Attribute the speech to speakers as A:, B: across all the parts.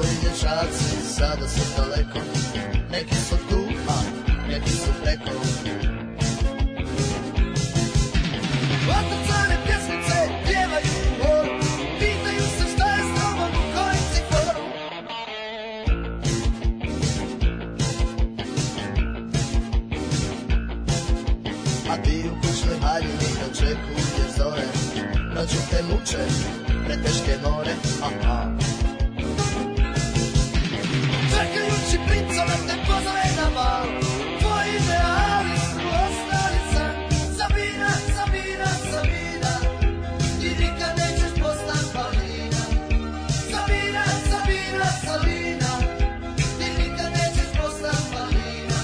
A: Pešaci sada su daleko Neki su tu, a neki su preko Vatacane pjesmice pjevaju u moru Pitaju se šta je s tobom u kojem si foru A ti u kućnoj haljini očekuje zore Noću te muče, preteške more Aha Čekajući princa da te pozove na bal Tvoji ideali su ostali san Sabina, Sabina, Sabina Ti nikad nećeš postat balina Sabina, Sabina, Sabina Ti nikad nećeš postat balina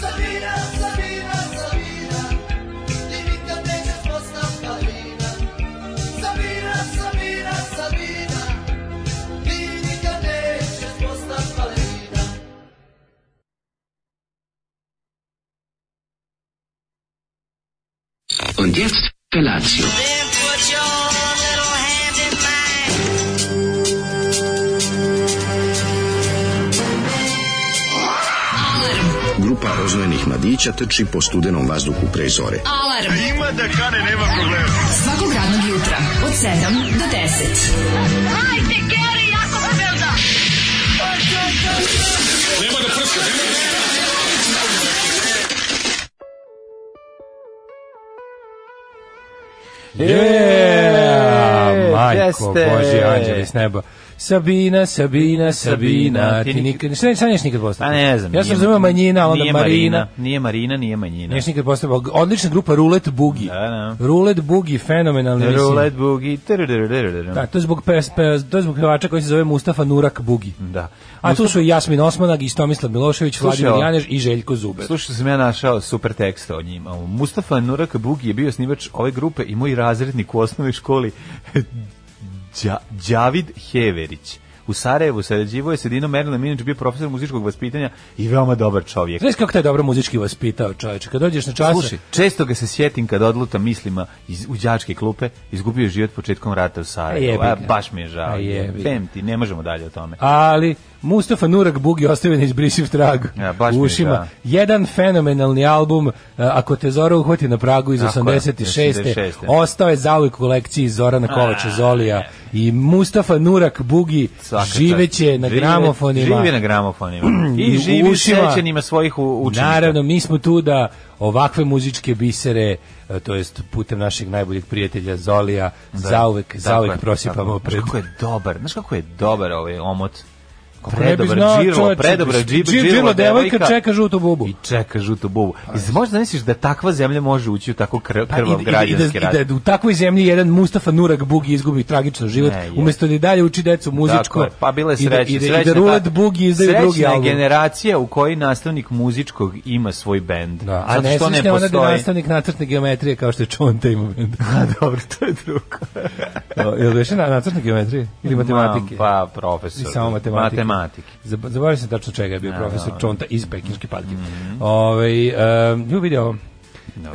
A: Sabina, Sabina, Sabina Ti nikad nećeš postat balina Sabina, Sabina, Sabina Ti nikad nećeš postat balina
B: Und jetzt Felatio.
C: Then put your little hand in mine.
D: Grupa rozvojenih mladića trči po studenom vazduhu pre zore.
E: Alarm. Ima da kane, nema problema. Svakog radnog jutra, od 7 do 10.
C: Hajde, Geri, jako se velda.
F: Yeah, majko,
G: Jeste.
F: Boži, anđeli s neba. Sabina, Sabina, Sabina,
G: Sabina,
F: ti
G: ti
F: nikad... Šta ne, šta neš nikad postao?
G: Pa ne znam.
F: Ja sam
G: nije-
F: zove manjina, a onda
G: nije
F: Marina.
G: Nije Marina, nije manjina.
F: Neš nikad postao. Odlična grupa Rulet Bugi.
G: Da,
F: Rulet Bugi, fenomenalni. mislim.
G: Roulette boogie. trrrrrrrrrrr.
F: Da, to je zbog, pes, pe- to je zbog pevača koji se zove Mustafa Nurak Bugi.
G: Da.
F: A tu su i Jasmin Osmanag, i Tomislav Milošević,
G: Slušaj,
F: Vladimir
G: ovo.
F: Janež i Željko Zuber.
G: Slušao sam ja našao super tekst o njima. Mustafa Nuraka Bugi je bio snimač ove grupe i moj razrednik u osnovnoj školi Đa, Đavid Heverić. U Sarajevu sarađivao je sredinom Merlina Minić, bio profesor muzičkog vaspitanja i veoma dobar čovjek.
F: Znaš kako te je dobro muzički vaspitao, čoveče? Kad dođeš na čas...
G: Slušaj, često ga se sjetim kad odlutam mislima iz, u đačke klupe, izgubio je život početkom rata u
F: A
G: Sarajevu.
F: jebi
G: A,
F: ga.
G: baš mi je
F: A
G: žao.
F: jebi ga.
G: Pem ti, ne možemo dalje o tome.
F: ali Mustafa Nurak Bugi ostavio neizbrisiv trag
G: Ja, baš
F: u
G: mi je
F: ušima.
G: žao.
F: Jedan fenomenalni album, e, ako te Zora uhvati na pragu iz
G: Tako je,
F: 86.
G: 86..
F: Ostao je zauvijek u kolekciji Zorana Kovača Zolija i Mustafa Nurak Bugi
G: Svaka čast.
F: živeće na
G: Žive-
F: gramofonima.
G: Živi na gramofonima. I
F: u
G: živi u
F: ušima.
G: sećanjima svojih u- učenika.
F: Naravno, mi smo tu da ovakve muzičke bisere, e, to jest putem našeg najboljeg prijatelja Zolija, zauvek, zauvek
G: Tako je,
F: prosipamo
G: tako je.
F: pred...
G: Znaš kako je dobar, znaš kako je dobar ovaj omot.
F: Pa Ne bi znao,
G: Predobar džirlo,
F: čoveče,
G: predobar džib-
F: džir-
G: džirlo,
F: devojka
G: devojka.
F: čeka žutu bubu.
G: I čeka žutu bubu. I možda misliš da takva zemlja može ući u tako krv,
F: Pa i,
G: krvav
F: i-
G: građanski
F: i, da,
G: rat.
F: i da u takvoj zemlji jedan Mustafa Nurak Bugi izgubi tragično život,
G: Ne, je.
F: umjesto da i dalje uči decu muzičko.
G: Tako je, pa bila je srećna.
F: I da, i da, i
G: srećna
F: da
G: ta-
F: Rulet Bugi izdaju drugi
G: srećna je
F: album.
G: generacija u kojoj nastavnik muzičkog ima svoj bend.
F: Da, a
G: Zato
F: ne
G: što
F: slične
G: ne
F: ona da je
G: postoji.
F: nastavnik nacrtne geometrije kao što je Čonta ima bend.
G: A dobro, to je drugo.
F: Je li više na, nacrtne geometrije ili matematike?
G: Ma, Pa, profesor.
F: I samo matematike.
G: Matematike.
F: Zab- Zaboravio sam tačno čega je bio
G: Da,
F: profesor
G: da. Mhm.
F: Čonta iz Pekinške patke. Ovaj um, ju video.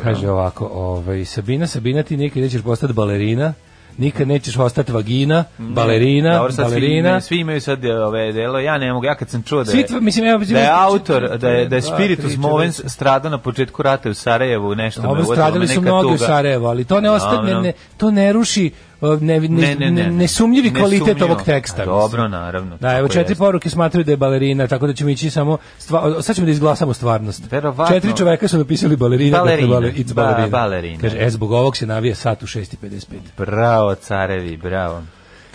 F: Kaže ovako, ovaj Sabina, Sabina ti nikad nećeš postati balerina, nikad nećeš ostati vagina, balerina,
G: Dobro, sad
F: balerina.
G: Svi, imaju- svi imaju sad e, ove delo, ja ne mogu, ja kad sam čuo da
F: Svi
G: je,
F: tvo- mislim, evo,
G: da je
F: mislim,
G: autor, da je, da je
F: dva,
G: Spiritus
F: tri,
G: Movens
F: četiri.
G: stradao na početku rata u Sarajevu, nešto me
F: Dobro,
G: uvodilo,
F: stradali
G: me
F: su
G: neka
F: mnogi u
G: tuga.
F: Sarajevu, ali to ne ostane, ne,
G: Dobro.
F: ne, to ne ruši uh, ne, ne,
G: Ne, ne, ne, ne.
F: nesumnjivi kvalitet
G: Nesumnjivo.
F: ovog teksta.
G: A,
F: mislim.
G: dobro, naravno,
F: Da, evo
G: tako
F: četiri
G: jeste.
F: poruke smatraju da je balerina, tako da ćemo ići samo stva, sad ćemo da izglasamo stvarnost.
G: Verovatno.
F: Četiri čoveka su napisali balerina, dakle,
G: Balerina.
F: bale- it's
G: Ba-
F: balerina.
G: balerina.
F: Kaže, e, zbog ovog se navija sat u 6.55.
G: Bravo, carevi, bravo.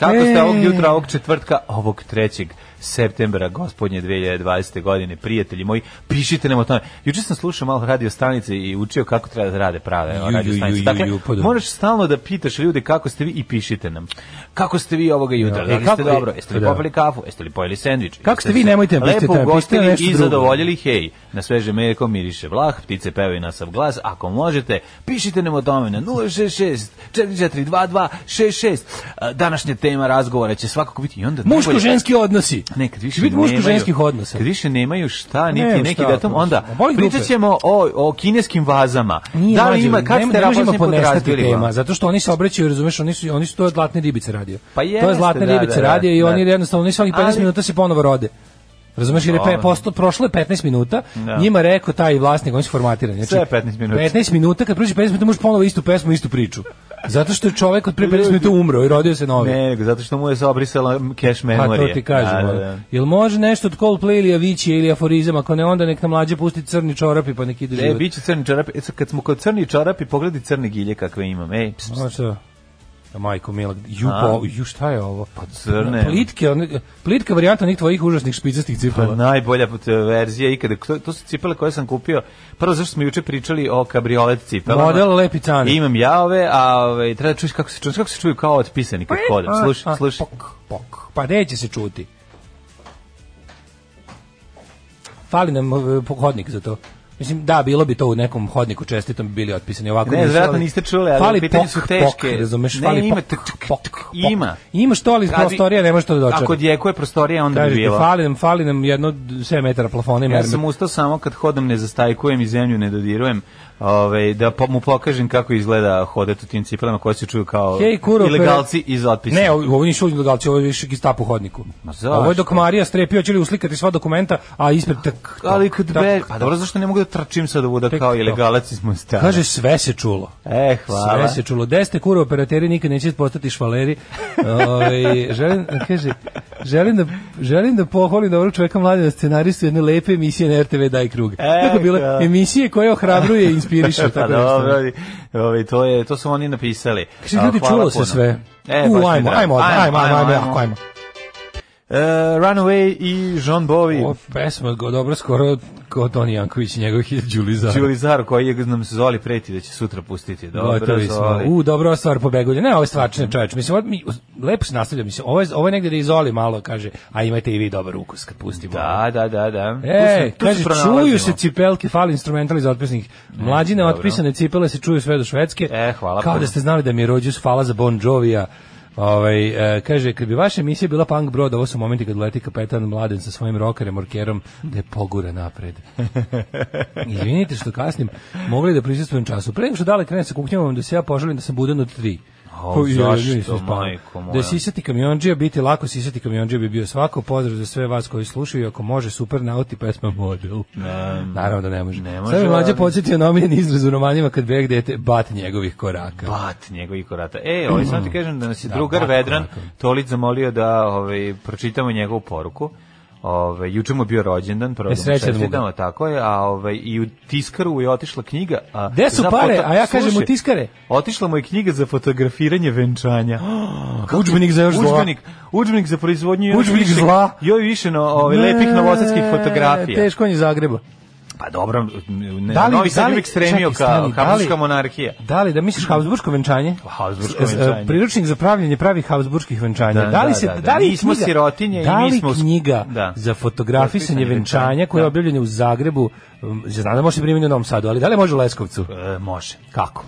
G: Kako
F: E.
G: ste ovog jutra, ovog četvrtka, ovog trećeg septembra, gospodnje 2020. godine, prijatelji moji, pišite nam o tome. Juče sam slušao malo radio stanice i učio kako treba da rade prave
F: Ju, ju,
G: radio stanice.
F: ju,
G: Dakle,
F: ju, pa da.
G: moraš stalno da pitaš ljude kako ste vi i pišite nam. Kako ste vi ovoga jutra?
F: Ja,
G: da
F: e,
G: li
F: kako
G: ste
F: je-
G: dobro? Jeste li
F: da.
G: popili kafu? Jeste li pojeli sendvič?
F: Kako ste vi? Nemojte nam pišite
G: Lepo
F: tamo, pišite nam
G: ugostili
F: nešto
G: i
F: drugo.
G: zadovoljili, hej, na sveže mlijeko miriše vlah, ptice pevaju na sav glas, ako možete, pišite nam o tome na 066 4422 66. A, Današnja tema ima razgovora, će svakako biti i onda... najbolje-
F: Muško-ženski odnosi.
G: Ne, kad više
F: Će biti muško-ženskih
G: nemaju-
F: odnosa.
G: Kad više nemaju šta, niti
F: Nemaju
G: neki
F: šta,
G: datum, onda
F: a boli dupe.
G: pričat ćemo o, o kineskim vazama.
F: Nije
G: da li
F: mlađe,
G: ima, kad
F: ne-
G: ste
F: ne možemo
G: rapozni put
F: ponestati
G: razbili
F: tema,
G: vam?
F: zato što oni se obraćaju, razumeš, oni su, oni su to zlatne ribice radio.
G: Pa
F: to
G: jeste,
F: je zlatne
G: da,
F: ribice
G: da, da,
F: radio i
G: da.
F: oni jednostavno, oni svaki 15
G: Ali-
F: minuta se ponovo rode. Razumeš, jer je pe,
G: Dobro.
F: posto, prošlo je 15 minuta,
G: Da.
F: njima rekao taj vlasnik, oni su formatirani. Znači,
G: Sve je 15 minuta.
F: 15 minuta, kad prođe 15 minuta možeš ponovo istu pesmu, istu priču. Zato što je čovek od pre 15 minuta umro i rodio se novi.
G: Ne, nego zato što mu je se obrisala cash
F: Pa
G: memorija.
F: to ti kažem.
G: Da, da,
F: ono.
G: da.
F: Jel može nešto od Coldplay ili Avicii ili aforizama, ako ne onda nek nam mlađe pusti crni čorapi pa nek ide
G: E,
F: život.
G: bit će crni čarapi. E, sad Kad smo kod crni čarapi, pogledaj crne gilje kakve imam. Ej, pst, pst.
F: A šta? A Majko Milak, ju,
G: Ono A?
F: po, ju šta je ovo? Pa
G: crne.
F: Plitke, one- plitka varijanta onih tvojih užasnih špicastih
G: Pa
F: cipela.
G: najbolja pot- verzija ikada. To, to su cipele koje sam kupio. Prvo zašto smo juče pričali o kabriolet cipelama.
F: Model lepi cane.
G: Imam ja ove, a ove, treba da čuješ kako se čuju, kako se čuju kao otpisani
F: Pa
G: kad hodam.
F: A,
G: Slušaj,
F: a,
G: slušaj.
F: Pok, pok. Pa neće se čuti. Fali nam e, pohodnik za to. Mislim, da, bilo bi to u nekom hodniku čestitom bi bili otpisani. Ovako
G: Ne,
F: nisu,
G: vjerojatno
F: ali
G: niste čuli, ali
F: fali
G: pitanje
F: pok,
G: su
F: Pok,
G: teške.
F: razumeš,
G: Ne,
F: fali
G: ima
F: pok,
G: tuk, tuk,
F: pok,
G: tuk,
F: pok.
G: ima.
F: Ima što, ali iz
G: Radi-
F: prostorija nema što da dočara.
G: Ako djeko je prostorija, onda bi
F: Kažete,
G: bilo.
F: fali nam, fali nam jedno 7 metara plafona i
G: Ja
F: mermer.
G: sam ustao samo kad hodam ne zastajkujem i zemlju ne dodirujem. Ove, da po, mu pokažem kako izgleda hodet u tim cipelama koje se čuju kao
F: Hej, kuro,
G: ilegalci iz otpisa.
F: Ne, ovo ovo nisu ilegalci, ovo je više Gestapo u hodniku.
G: Ma zašto?
F: Ovo je dok Marija strepio, će li uslikati sva dokumenta, a ispred tak,
G: ali
F: tak,
G: kad
F: tak,
G: be,
F: tak.
G: pa dobro zašto ne mogu da trčim sad ovuda
F: Tek
G: kao
F: to.
G: ilegalac iz Mostara.
F: Kaže, sve se čulo.
G: E, hvala.
F: Sve se čulo. Gde ste kuro operateri, nikad neće postati švaleri. Ove, želim, kaže, želim da, želim da pohvalim dobrog čoveka mlade na scenaristu jedne lepe emisije na RTV Daj krug. Tako je
G: E, da.
F: bilo, emisije koje ohrabruje i inspiriše.
G: pa
F: tako nešto.
G: dobro, ove, to, je, to su oni napisali.
F: Kaže,
G: A,
F: ljudi,
G: hvala
F: čulo se
G: puno.
F: sve.
G: E,
F: U,
G: baš mi je
F: ajmo,
G: drago.
F: ajmo, ajmo, ajmo, ajmo, ajmo.
G: E, Runaway i John Bowie.
F: Ova pesma go dobro skoro kao Toni Janković i njegov hit Đulizar.
G: Đuli Zar koji je nam se Zoli preti da će sutra pustiti. Dobro,
F: Gotovi smo.
G: Zoli.
F: U, dobro, ova stvar pobegulja. Ne, ovo je stvarčina čoveč. Mislim, ovo, mi, lepo se nastavlja. Mislim, ovo je, ovo je negde da izoli malo, kaže, a imajte i vi dobar ukus kad pustimo.
G: Da, da, da, da.
F: E,
G: Tu se- tu se
F: kaže, čuju se
G: pronalazimo.
F: cipelke, fali instrumental iz otpisnih. Mlađine
G: dobro.
F: otpisane cipele se čuju sve do Švedske.
G: E, hvala
F: Kao
G: puno.
F: da ste znali da mi je rođus, hvala za Bon Jovija. Ovaj, e, kaže, kad bi vaša emisija bila punk brod, ovo su momenti kad leti kapetan Mladen sa svojim rokerem, orkerom, da je pogura napred. Izvinite što kasnim, mogli da prisustujem času. Pre nego što dale krenem sa kuknjavom, da se ja poželim da sam budan od tri.
G: A,
F: Ko- ja, ja
G: zašto,
F: nisam spavao.
G: majko moja?
F: Da je sisati kamionđija, biti lako sisati kamionđija bi bio svako. Pozdrav za sve vas koji slušaju i ako može, super nauti pesma model. Naravno da ne može.
G: Ne
F: Ne
G: može,
F: Sad me mlađa
G: ali-
F: podsjetio na omiljen izraz u romanima kad beg dete, bat njegovih koraka.
G: Bat njegovih korata. E, ovaj, samo ti kažem da nas je drugar
F: bat
G: Vedran
F: koraka.
G: Tolić zamolio da ovaj, pročitamo njegovu poruku. Ovaj juče mu je bio rođendan, prvo
F: E,
G: da mu
F: srećan mu ga.
G: čestitamo, tako je, a ovaj i u tiskaru je otišla knjiga. A
F: Gde su
G: za
F: pare?
G: foto-
F: A ja kažem,
G: Slušaj,
F: u tiskare.
G: Otišla mu je knjiga za fotografiranje venčanja.
F: Udžbenik za još zla.
G: Pa Udžbenik, udžbenik za proizvodnju još
F: Udžbenik
G: više-
F: zla.
G: Joj više no, ovaj, lepih
F: Ne,
G: novosadskih fotografija.
F: Teško on je iz Zagreba.
G: Pa dobro, ne,
F: Da li-
G: Novi
F: da
G: Sad
F: li-
G: uvijek stremio
F: čekaj,
G: ka
F: stani, da li-
G: Habsburgska monarhija. Pa,
F: Da li da misliš Habsburško venčanje?
G: Habsburgsko
F: S- e,
G: venčanje.
F: Priručnik za pravljenje pravih Habsburških venčanja.
G: Da,
F: Da, li
G: da,
F: se
G: da, da.
F: da, li je
G: Mi smo
F: knjiga-
G: sirotinje i
F: da
G: mi
F: li
G: smo-
F: knjiga
G: Da.
F: za fotografisanje venčanja koja je
G: Da.
F: objavljena u Zagrebu, um, ja znam da može se primiti u Novom Sadu, ali da li može u Leskovcu?
G: E, može.
F: Kako?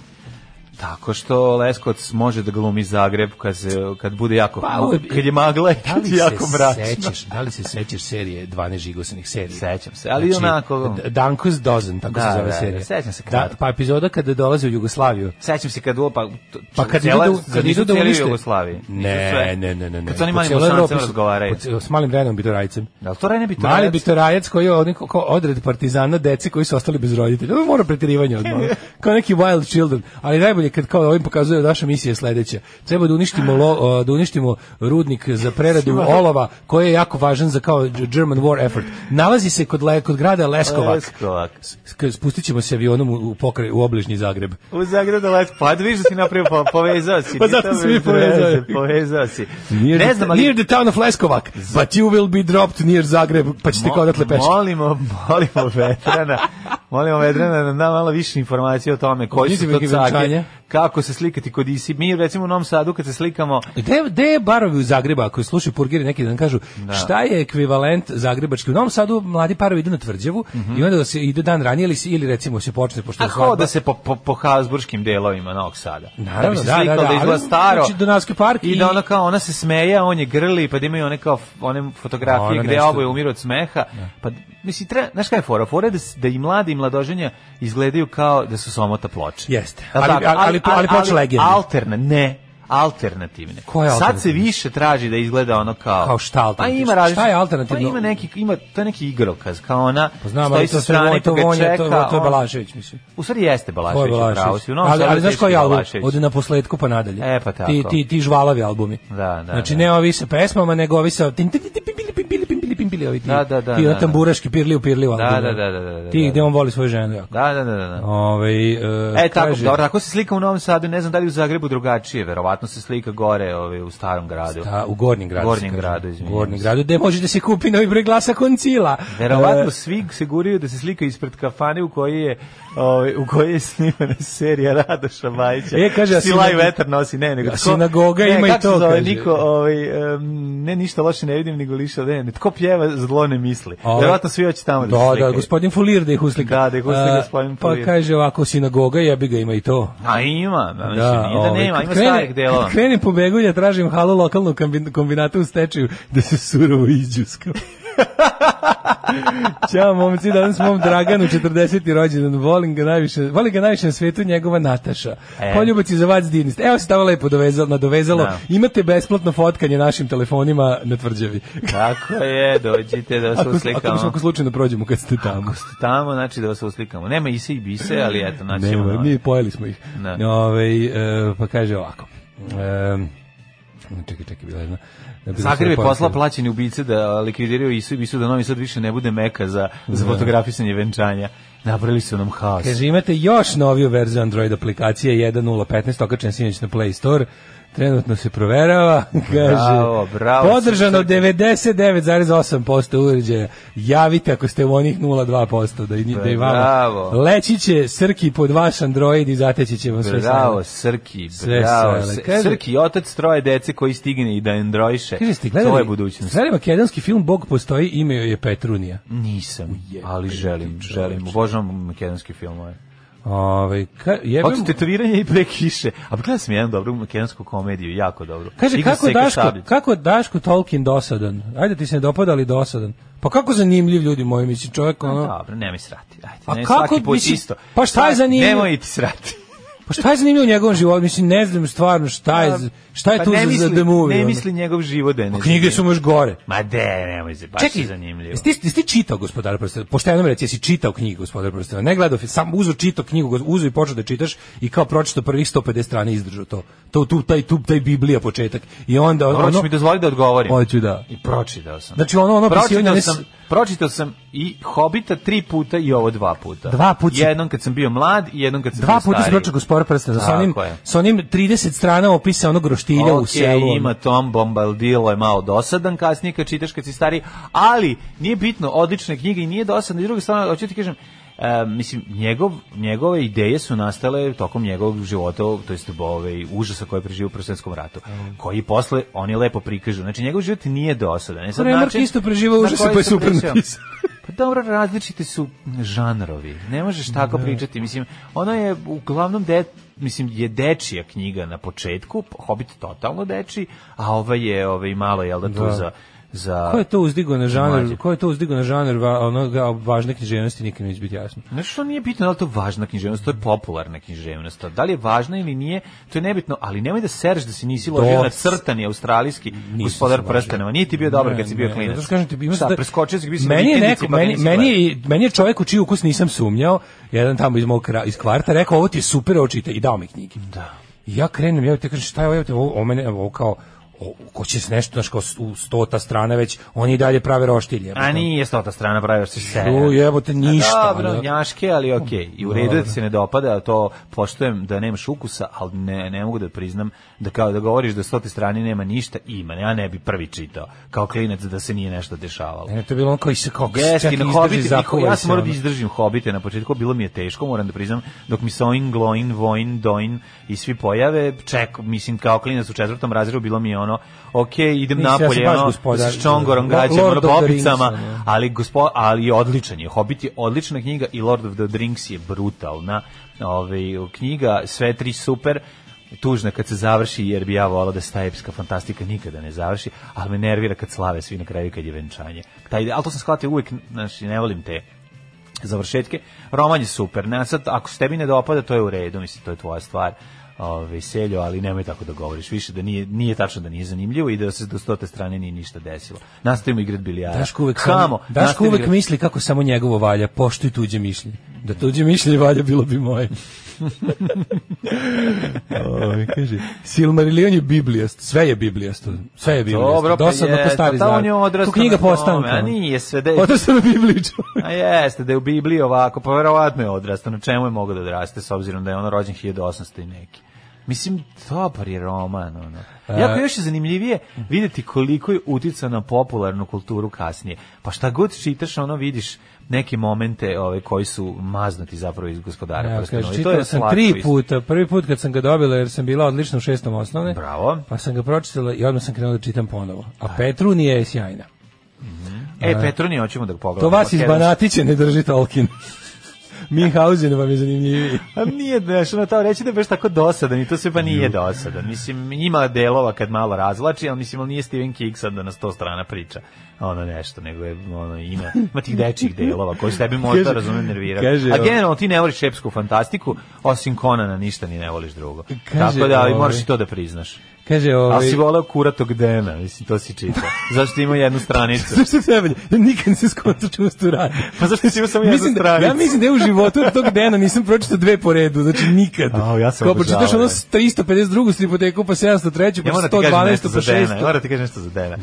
G: Tako što Leskovac može da glumi Zagreb kad, se, kad bude jako...
F: Pa, uvijek-
G: kad je magla i
F: Da
G: kad
F: li
G: je jako
F: se
G: mračno.
F: sećaš, da li se sećaš serije 12 žigosanih serija? Znači,
G: Sećam se, ali onako-
F: D- Danko's Dozen, tako
G: Da,
F: se
G: da,
F: zove
G: da,
F: serija.
G: sećam se
F: Da,
G: kratko.
F: pa epizoda kada dolaze u Jugoslaviju.
G: Sećam se kad opa... to-
F: Pa kad
G: cijela-
F: idu da,
G: zar
F: kad
G: nisu
F: idu da
G: cijeli
F: unište
G: Jugoslaviji. Nisu sve.
F: Ne, ne, ne, ne, ne.
G: Kad su oni
F: Po
G: malim
F: cijeloj
G: bosancem
F: Evropi su-
G: razgovaraju.
F: po cijel- S malim vremenom bitorajcem.
G: Da, to ne bi to
F: Mali bitorajac koji je on kao odred partizana deci koji su ostali bez roditelja. Ovo mora preterivanje odmah. ono. Kao neki wild children. Ali najbolje kad kao ovim pokazuje naša misija je sledeća. Treba da uništimo, lo- da uništimo rudnik za preradu olova koji je jako važan za kao German war effort. Nalazi se kod, le, kod grada Leskovac.
G: Leskovak.
F: Spustit ćemo se avionom u, u, pokre, u obližnji Zagreb.
G: U Zagrebu Leskovac. Pa da vidiš da si napravio, pa povezao si.
F: Pa
G: Ni
F: zato
G: to
F: se mi
G: bez
F: povezali.
G: veze, Povezao si.
F: Near
G: ne
F: the-
G: znam, ali...
F: Near the town of Leskovak, but you will be dropped near Zagreb, pa ćete kao odatle peći.
G: Molimo, molimo Vedrana, molimo Vedrana da nam da malo više informacije o tome koji su
F: Niti
G: to
F: mi
G: cage,
F: venčanja.
G: kako se slikati kod Isi. Mi recimo u Novom Sadu kad se slikamo,
F: Gde, gde je barovi u Zagreba, koji slušaju purgiri neki dan kažu šta je ekvivalent zagrebački? U Novom Sadu mladi parovi idu na tvrđavu i onda da se ide dan ranije ili, se- ili recimo se počne pošto
G: a
F: je
G: kao
F: svadba.
G: da se po, po, po Habsburgskim delovima Novog Sada. da bi
F: Naravno,
G: se
F: da, da,
G: slikalo
F: da,
G: da izgleda
F: ali,
G: staro.
F: znači, Dunavski park
G: i,
F: i-
G: da ona kao, ona se smeja, on je grli, pa da imaju one kao f- one fotografije
F: Ona
G: gde
F: nešto-
G: oboje umiru od smeha. Pa, mislim, treba, znaš kaj je fora? Fora je da, s- da i mladi i mladoženja izgledaju kao da su somota ploče.
F: Jeste.
G: Jel
F: Ali-
G: tako?
F: ali- ali- ali ploče legende.
G: Alterna, ne, alternativne.
F: Koje
G: Sad se
F: alternativne?
G: više traži da izgleda ono kao...
F: Kao šta alternativno?
G: Pa ima
F: Šta
G: različit,
F: je alternativno?
G: Pa ima neki, ima, to je neki igrokaz, kao ona...
F: Pa znam,
G: stoji
F: ali
G: sa
F: to sve
G: strane,
F: to
G: pa ga
F: vonja, to,
G: čeka,
F: to je
G: on-
F: Balašević, mislim.
G: u stvari jeste
F: Ko je
G: Balašević, u pravu
F: Balašević?
G: si. U Novom
F: Ali,
G: Sadu
F: ali znaš
G: teško
F: koji je album?
G: Balašević.
F: Od naposledku pa nadalje.
G: E, pa tako.
F: Ti, ti, ti žvalavi albumi.
G: Da, da,
F: Znači
G: da.
F: ne ovi sa pesmama, nego ovi sa... tin, tin, tin, tin, pimpili, pimpili, pimpili, pimpili, ovi ti.
G: Da, da, da,
F: Ti
G: da.
F: na tamburaški pirli u pirli
G: Da,
F: albumi.
G: da, da, da, da, da,
F: Ti
G: da.
F: gde on voli svoju ženu. Jako.
G: Da, da, da, da. da.
F: Ovaj, e,
G: E, tako,
F: kaže-
G: dobro, tako se slika u Novom Sadu, ne znam da li u Zagrebu drugačije, verovatno se slika gore ovaj, u starom gradu.
F: Da, u Gornjem gradu.
G: Gornjem
F: se kaže.
G: gradu, izvinjavam
F: U Gornjem
G: se.
F: gradu, gde može da se kupi novi broj glasa koncila.
G: Verovatno
F: E,
G: svi se guraju da se slika ispred kafane u kojoj je, ovaj, u kojoj je snimana serija Radoša Majića.
F: E, kaže, a
G: Sila i
F: sinago-
G: vetar nosi, ne, nego...
F: A
G: tko-
F: sinagoga
G: ne,
F: ima i
G: kako se
F: to,
G: Zove,
F: kaže.
G: niko, ovaj, em, ne, ništa loše ne vidim, nego liša, ne, ne, tko pjeva, zlo ne misli.
F: Ovaj-
G: Verovatno svi hoće tamo da, se
F: Da, da,
G: slikaju.
F: gospodin Fulir da ih uslika.
G: Da, da ih uslika
F: E,
G: gospodin Fulir.
F: Pa kaže ovako, sinagoga, jebi ga, ima i to.
G: A ima, da, mislim, nije da
F: ovaj,
G: nema,
F: kad
G: ima
F: krene-
G: starih delova.
F: kad Krenem po Begulja, tražim halu lokalnu kombi- kombinatu u stečaju da se surovo izđuska. Ćao momci, danas mom Draganu 40. rođendan, volim ga najviše, volim ga najviše na svetu njegova Nataša.
G: E.
F: Poljubaci za vas dinist. Evo se tamo lepo dovezalo, nadovezalo.
G: Da.
F: Imate besplatno fotkanje našim telefonima na tvrđavi.
G: Tako je, dođite da se
F: Ako, ako,
G: uslikamo.
F: ako slučajno prođemo kad ste tamo.
G: Ako ste tamo, znači da vas uslikamo. Nema ise i bise, ali eto, znači
F: Nema,
G: ono,
F: mi pojeli smo ih.
G: Ne.
F: Ovaj, e, pa kaže ovako. E, čekaj, čekaj, bila jedna. bila
G: Zagreb je
F: jedna
G: posla
F: poruka.
G: plaćeni ubice da likvidiraju Isu i Bisu da Novi Sad više ne bude meka za, za fotografisanje venčanja. Napravili su nam haos.
F: Kaže, imate još noviju verziju Android aplikacije 1.0.15, okačen sinoć na Play Store. Trenutno se proverava. Kaže,
G: Bravo, bravo,
F: Podržano
G: srce.
F: 99,8% uređaja. Javite ako ste u onih 0,2% da, i ni- da i vama.
G: Bravo.
F: Leći će Srki pod vaš Android i zateći će vam sve sajle.
G: Bravo, Srki,
F: Sve
G: bravo.
F: sajle.
G: Sr-
F: Kaže-
G: Srki, otac troje dece koji stigne i da endrojše.
F: Kaže, ste
G: To
F: gledali,
G: je budućnost.
F: gledali makedonski film Bog postoji, ime joj je Petrunija.
G: Nisam, ali želim, želim. Obožavam makedonski filmove.
F: Ove, Ovaj, ka, jebem-
G: Hoću tetoviranje i pre kiše. A gledam sam jednu dobru makedonsku komediju, jako dobru.
F: kaže,
G: Igra
F: kako
G: Seka
F: Daško,
G: Sabljić.
F: kako je Daško Tolkien dosadan? Ajde ti se ne dopada, ali dosadan. Pa kako zanimljiv ljudi moji, mislim, čovjek, ono,
G: Dobro, nemoj srati. Ajde,
F: A
G: ne,
F: kako,
G: svaki put
F: mislim,
G: isto.
F: pa šta je
G: Svaki-
F: zanimljivo?
G: Nemoj ti srati.
F: pa šta je zanimljivo u njegovom životu? Mislim, ne znam stvarno šta je, za- šta je
G: Pa
F: tu
G: ne
F: za,
G: misli-
F: za the movie.
G: Ne
F: ono?
G: misli njegov život da je
F: Pa knjige su mu još gore.
G: Ma de, nemoj se, baš Pa je zanimljivo.
F: jesi ti, jesi ti čitao gospodar prstena? Pošteno mi reci, jesi čitao knjigu gospodar prstena? Ne gledao, film, sam uzo čitao knjigu, gos- uzo i počeo da čitaš i kao pročitao prvih 150 strana i izdržao to. To tu taj tu taj Biblija početak. I onda
G: Dobro,
F: ono
G: hoćeš mi dozvoli da odgovorim.
F: Hoću da.
G: I pročitao sam.
F: Znači, ono- ono opisivanje
G: pročitao
F: ne
G: sam,
F: s-
G: pročitao sam i Hobita tri puta i ovo dva puta.
F: Dva put si-
G: Jednom kad sam bio mlad i jednom kad sam bio
F: Dva puta
G: stariji.
F: se pročitao gospodar prstena sa
G: Tako
F: onim
G: je.
F: sa onim 30 strana opisa onog roštilja u
G: Ok,
F: selu. ono.
G: ima Tom Bombadilo je malo dosadan kasnije kad čitaš kad si stari, ali nije bitno, odlične knjige i nije dosadan. I druga strana, hoću ti kažem, e, mislim, njegov, njegove ideje su nastale tokom njegovog života, to jest bove, užasa koje je preživio u Prosvetskom ratu, koji posle oni lepo prikažu. Znači, njegov život nije dosadan. E, sad
F: Remark
G: način
F: Ono isto preživao
G: na
F: užase,
G: koji
F: pa je
G: sam
F: super
G: pričao-
F: napisao.
G: Pa dobro, različiti su žanrovi. Ne možeš tako pričati. Mislim, ono je uglavnom de, mislim je dečija knjiga na početku, Hobbit totalno deči, a ova je ovaj malo jel da tu
F: Da.
G: za za
F: Ko je to uzdigo na
G: Pa, Mlađe.
F: žanar? Ko je to uzdigo na žanar va, onoga važne književnosti nikad neće biti jasno.
G: Znaš što nije bitno, da li je to važna književnost, to je popularna književnost. a Da li je važna ili nije, to je nebitno, ali nemoj da sereš da si nisi ložio
F: Do-
G: na crtani australijski gospodar
F: se ložio.
G: prstenova. Nije ti bio dobar kad si bio klinac.
F: Zato što kažem ti, imaš
G: Šta,
F: da-
G: preskočio si, bio si na
F: meni je
G: vikendici,
F: neko,
G: pa ga
F: meni,
G: nisi
F: meni,
G: gledao.
F: je, meni je čovjek u čiji ukus nisam sumnjao, jedan tamo iz mog kra- iz kvarta, rekao ovo ti je super, očite i dao mi knjige. Da. I ja krenem, ja te kažem šta je ovo, evo te, ovo, ovo mene, evo, ovo kao o, ko će se nešto, znaš, kao u stota strana već, oni i dalje prave roštilje.
G: A nije stota strana praviš se se.
F: U, jebote, ništa,
G: Dobro,
F: ono.
G: njaške, ali okej. I u redu je da ti se ne dopada, ali to poštujem da nemaš ukusa, ali ne, ne mogu da priznam da kao da govoriš da stote strani nema ništa, ima. Ja ne bi prvi čitao, kao klinac da se nije nešto dešavalo.
F: Ne, to je bilo on kao i se kao
G: Yes,
F: E, čak
G: i na
F: izdrži,
G: Hobbit,
F: zakuva
G: ja
F: se,
G: sam morao da
F: ono.
G: izdržim Hobbite na početku, bilo mi je teško, moram da priznam, dok mi se Oin, Gloin, Voin, Doin i svi pojave, ček, mislim, kao klinac u četvrtom razredu, bilo mi je ono, ok, idem
F: Nisi, ja sam
G: napolje,
F: baš
G: ono,
F: gospodar.
G: s čongorom gađam,
F: Lord
G: ono,
F: of the
G: bobicama,
F: Rings, ono.
G: ali, gospo, ali odličan je, Hobbit je odlična knjiga i Lord of the Rings je brutalna ovaj, knjiga, sve tri super, tužna kad se završi jer bi ja volao da se ta epska fantastika nikada ne završi, ali me nervira kad slave svi na kraju kad je venčanje. Taj, ali to sam shvatio uvijek, znači, ne volim te završetke. Roman je super. Ne, sad, ako se tebi ne dopada, to je u redu, mislim, to je tvoja stvar. Ove, seljo, ali nemoj tako da govoriš više, da nije, nije tačno da nije zanimljivo i da se do stote strane nije ništa desilo. Nastavimo igrat bilijara.
F: Daško uvek,
G: Kamo,
F: samo, Daško
G: nastavi
F: uvek
G: igrat-
F: misli kako samo njegovo valja, poštuj tuđe mišljenje. Da tuđe mišljenje valja, bilo bi moje. Ovi, kaže, Silmarillion je biblijast, sve je biblijast. Sve je biblijast.
G: Dobro, pa
F: Dosadno
G: je,
F: po stari
G: pa ta on
F: znak.
G: je odrastao
F: Tu knjiga
G: na tome,
F: postanka.
G: a nije sve da je-
F: Odrastao na Bibliju, čovek.
G: A jeste, da je u Bibliji ovako, pa verovatno je odrastao. Na čemu je mogao da odraste, s obzirom da je ono rođen 1800 i neki. Mislim, dobar je roman. Ono.
F: E.
G: Jako je još je zanimljivije vidjeti koliko je utica na popularnu kulturu kasnije. Pa šta god čitaš, ono vidiš neke momente ove, koji su maznuti zapravo iz gospodara.
F: Ja,
G: prstenova.
F: kaže,
G: I to je
F: čitao sam
G: slatko
F: tri
G: isto.
F: puta. Prvi put kad sam ga dobila jer sam bila odlična u šestom osnovne.
G: Bravo.
F: Pa sam ga pročitala i odmah sam krenula da čitam ponovo. A Petrunija je sjajna.
G: E, Petroni, hoćemo da ga pogledamo.
F: To vas iz
G: Makedonski.
F: Banatiće ne drži Tolkien. Minhausen vam je zanimljiviji.
G: A nije, znaš, ono tao reći da je baš tako dosadan i to sve pa nije dosadan. Mislim, ima delova kad malo razlači, ali mislim, ali nije Stephen King sad da na sto strana priča ono nešto, nego je, ono, ima, ima tih dečih delova koji se tebi možda
F: Kaže-
G: razume nervirati.
F: kaže, ono-
G: A
F: ovo-
G: generalno ti ne voliš šepsku fantastiku, osim Konana ništa ni ne voliš drugo.
F: Kaže,
G: Tako da ovaj,
F: ovaj-
G: moraš i to da priznaš.
F: Kaže, ovaj...
G: Ali si voleo kuratog Dena, mislim, to si čitao. Zašto ima jednu stranicu?
F: Zašto se najbolje? Ja nikad nisam skonto čemu se tu radi.
G: Pa zašto si imao samo jednu
F: mislim da,
G: stranicu?
F: ja mislim da je u životu od tog dana nisam pročitao dve po redu, znači nikad.
G: Au, ja sam
F: Kao
G: obožavao,
F: pročitaš ono
G: ja.
F: 352. stripoteku, pa 703.
G: Ja
F: pa
G: moram ti kažem nešto
F: 112. pa
G: za Dena.
F: 600.
G: Ja moram ti kažem nešto za Dena.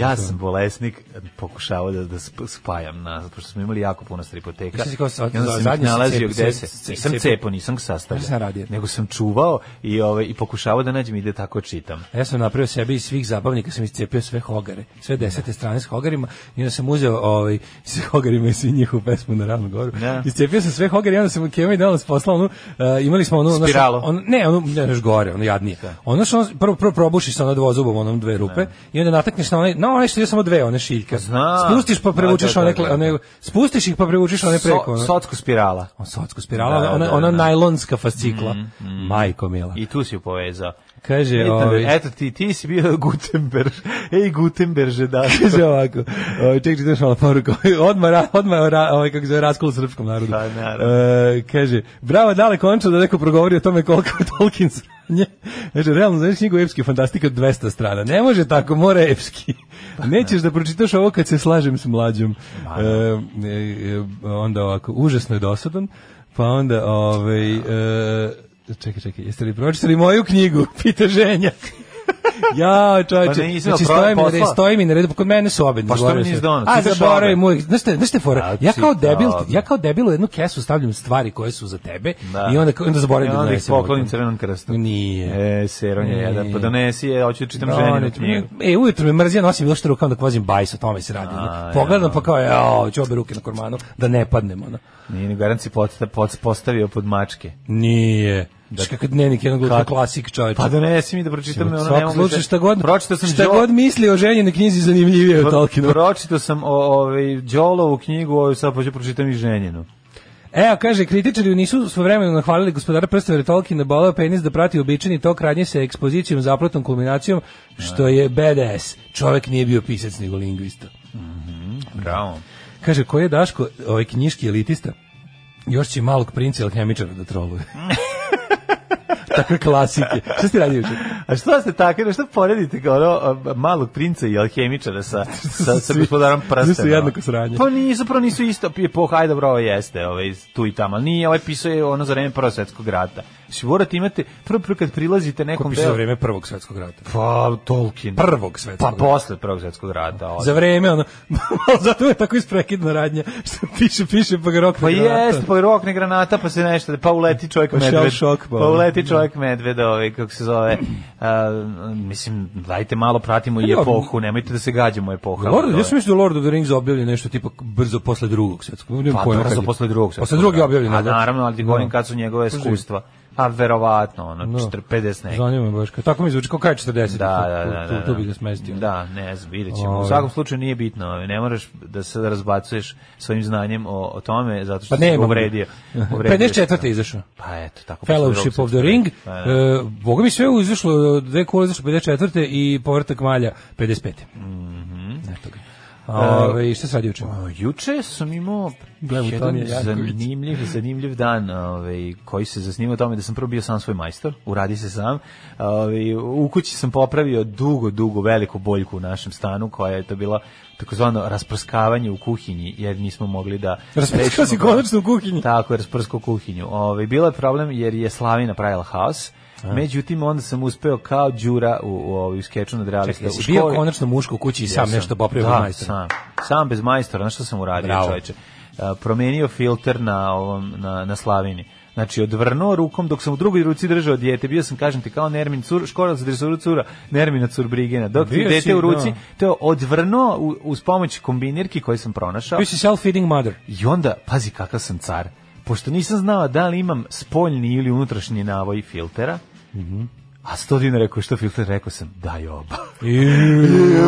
G: Ja sam bolesnik, pokušavao da, da sp- spajam nas, pošto smo imali jako puno stripoteka.
F: Šta si kao sa-
G: I onda sam ih
F: zadnje si
G: nalazio
F: cep-
G: gde
F: cep-
G: se...
F: cep-
G: Nisam
F: cep-
G: cepo, nisam ga sastavljao.
F: Šta sam radio?
G: Nego sam čuvao i, ove, i pokušavao da nađem i da tako čitam.
F: Ja sam napravio sebi iz svih zabavnika, sam iscepio sve hogare, sve desete strane s hogarima i onda sam uzeo ovaj, s hogarima i svi njihovu pesmu na ravnu goru.
G: Da.
F: Iscepio sam sve hogare i onda sam Kema i Dalas poslao onu, uh, imali smo onu... ono što-
G: Spiralu.
F: ono- ne, ono, ne, još gore, ono jadnije. Ono što on- prvo, prvo probušiš sa ono dvozubom, onom dve rupe i onda natakneš na one, na one što je samo dve, one šiljke.
G: Znam.
F: Spustiš pa
G: Da,
F: prevučeš
G: da, da,
F: one,
G: da.
F: kle- one, spustiš ih pa prevučeš one preko.
G: So,
F: ono.
G: socko spirala.
F: On socko spirala,
G: Da,
F: ona,
G: da,
F: ona
G: da.
F: najlonska fascikla. Majko mila.
G: I tu si ju povezao.
F: Kaže,
G: Eto,
F: ovaj-
G: eto ti, ti si bio Gutenberg. Ej, Gutenberg, da.
F: Kaže ovako, ovaj ček čitaš malo poruku. Odmah, ra- odmah ra, ovaj kako se zove raskol u srpskom narodu.
G: Pa, naravno.
F: E, kaže, bravo dale končno da neko progovori o tome koliko je Tolkien sranje. Kaže, realno znaš knjigu epski fantastika od 200 strana. Ne može tako, mora epski. Nećeš da pročitaš ovo kad se slažem s mlađom. E, e, e, onda ovako, užasno je dosadan. Pa onda, ovaj, e, čekaj, čekaj, jeste li pročitali moju knjigu? Pita ženja. ja, čovječe,
G: Pa nisam,
F: znači
G: pro-
F: stoji mi, na re-
G: poslao.
F: stoji mi na redu, kod mene su obe
G: Pa što mi nisi donao?
F: a
G: Čitaš
F: zaboravim
G: obe.
F: uvijek. Znaš šta, znaš šta je fora?
G: A,
F: Ja kao
G: čita
F: debil,
G: obe.
F: ja kao debil u jednu kesu stavljam stvari koje su za tebe
G: Da.
F: i onda onda zaboravim
G: I
F: da
G: onda ih
F: donesem. ovaj
G: poklonim crvenom krstu.
F: Nije.
G: E, seron je
F: Nije.
G: jedan. Pa donesi je, hoću da čitam ženinu
F: Doneti.
G: knjigu.
F: E, ujutro me mrzija, nosim bilo što rukama dok vozim bajs, o tome se radi. Pogledam pa kao, jao, ću obe ruke na kormanu, da ne padnem, ono.
G: Nije, nego Garanci posta- pod- postavio pod mačke.
F: Nije. Da. Kakav dnevnik jednog lutka klasik čovječa.
G: Pa donesi mi da pročitam, ono ne
F: Svaki
G: mogu.
F: slučaj
G: da-
F: šta god,
G: Pročitao sam
F: šta
G: Đo-
F: god misli o ženjenoj knjizi zanimljivije od
G: pro-
F: Tolkienu.
G: Pročitao sam o, ovaj Đolovu knjigu, ovaj sad pođe pročitam i ženjenu.
F: Evo, E, kaže, kritičari nisu svojevremeno nahvalili gospodara prstave Tolkiena boleo penis da prati običajni tok radnje sa ekspozicijom, zapletom, kulminacijom, što je BDS. Čovek nije bio pisac nego lingvista.
G: Bravo.
F: Kaže, ko je Daško, ovaj knjiški elitista? Još će malog princa alhemičara da troluje. Takve klasike. Šta ste radili juče?
G: A što ste takvi, šta poredite kao ono, a, malog princa i alhemičara sa, sa, sa
F: Svi-
G: gospodarom
F: svi su
G: prstena?
F: jednako sranje.
G: Pa nisu, prvo nisu isto, je po, hajde bro, ovo jeste, ovaj, tu i tamo, ali nije, ovaj pisao je ono za vreme ono, Prvog svetskog rata. Mislim, morate imate, prvo, prvo kad prilazite
F: Ko
G: nekom
F: piše za
G: delu...
F: vreme Prvog svetskog rata.
G: Pa, Tolkien.
F: Prvog svetskog
G: Pa
F: rata.
G: posle Prvog svetskog rata.
F: Za vreme, ono, zato je tako isprekidna radnja, što piše, piše, pa ga rok
G: Pa jeste, pa rokne granata, pa se nešto, pa uleti čovjek
F: Pa shell
G: medved.
F: shock,
G: pa
F: pa.
G: uleti čovjek medved, ovaj, kako se zove. A, mislim, dajte malo, pratimo i
F: Ja,
G: epohu, nemojte da se gađamo epoha.
F: Lord, ja sam mislio da Lord of the Rings objavljen nešto tipa brzo posle drugog svetskog. nemam
G: Pa
F: pojma
G: brzo
F: kad je.
G: posle drugog
F: Posle drugog je objavljen.
G: A
F: da.
G: naravno, ali ti govorim
F: Da.
G: kad su njegove
F: Drži.
G: iskustva. Pa verovatno, ono,
F: Da.
G: 40, 50 nekih.
F: Zanima me baš. kako- Tako mi zvuči kao kaj 40.
G: Da,
F: tu-
G: da,
F: tu-
G: da, da,
F: tu-
G: da.
F: Tu bi ga smestio.
G: Da, ne znam, vidjet ćemo. U
F: Ovaj.
G: svakom slučaju nije bitno, ovaj, ne moraš da se razbacuješ svojim znanjem o, o tome, zato što
F: Pa
G: si se
F: nema.
G: uvredio. uvredio si.
F: 54. je izašao.
G: Pa eto, tako. posle
F: Fellowship
G: drugog
F: of the Ring.
G: Pa, da.
F: E, Boga mi sve je izašlo, dve kola izašlo 54. i povrtak malja 55.
G: Mhm.
F: Eto ga.
G: E,
F: Ove, I šta se radi učin?
G: O, Juče sam imao
F: Gledam,
G: jedan
F: Tonija Janković.
G: zanimljiv, zanimljiv dan ovaj, koji se zasnivao tome da sam prvo bio sam svoj majstor, uradi se sam. Ovaj, u kući sam popravio dugo, dugo veliku boljku u našem stanu koja je to bila takozvano rasprskavanje u kuhinji jer nismo mogli da...
F: Rasprskao si
G: rešimo problem.
F: konačno u kuhinji.
G: Tako, je, rasprskao kuhinju. Ovaj, bilo je problem jer je Slavi napravila haos. Međutim, onda sam uspeo kao đura u, u, u, u skeču nad realista.
F: Čekaj,
G: u
F: jesi bio
G: školi-
F: konačno muško u kući i sam
G: Jesam.
F: nešto popravio
G: da,
F: od majstora?
G: Sam, sam bez majstora, znaš što sam uradio,
F: Bravo.
G: čoveče? E, promenio filter na, ovom, na, na slavini. Znači, odvrnuo rukom, dok sam u drugoj ruci držao dijete, bio sam, kažem ti, kao Nermin cur, škola za dresuru cura, Nermina curbrigena. Dok ti
F: Bio
G: dete
F: si,
G: u ruci,
F: da.
G: to je odvrnuo u- uz pomoć kombinirki koje sam pronašao.
F: Bio si self-feeding mother.
G: I onda, pazi kakav sam car, pošto nisam znao da li imam spoljni ili unutrašnji navoj filtera,
F: Mhm.
G: a sto dinara rekao, što filter? Rekao sam, daj oba.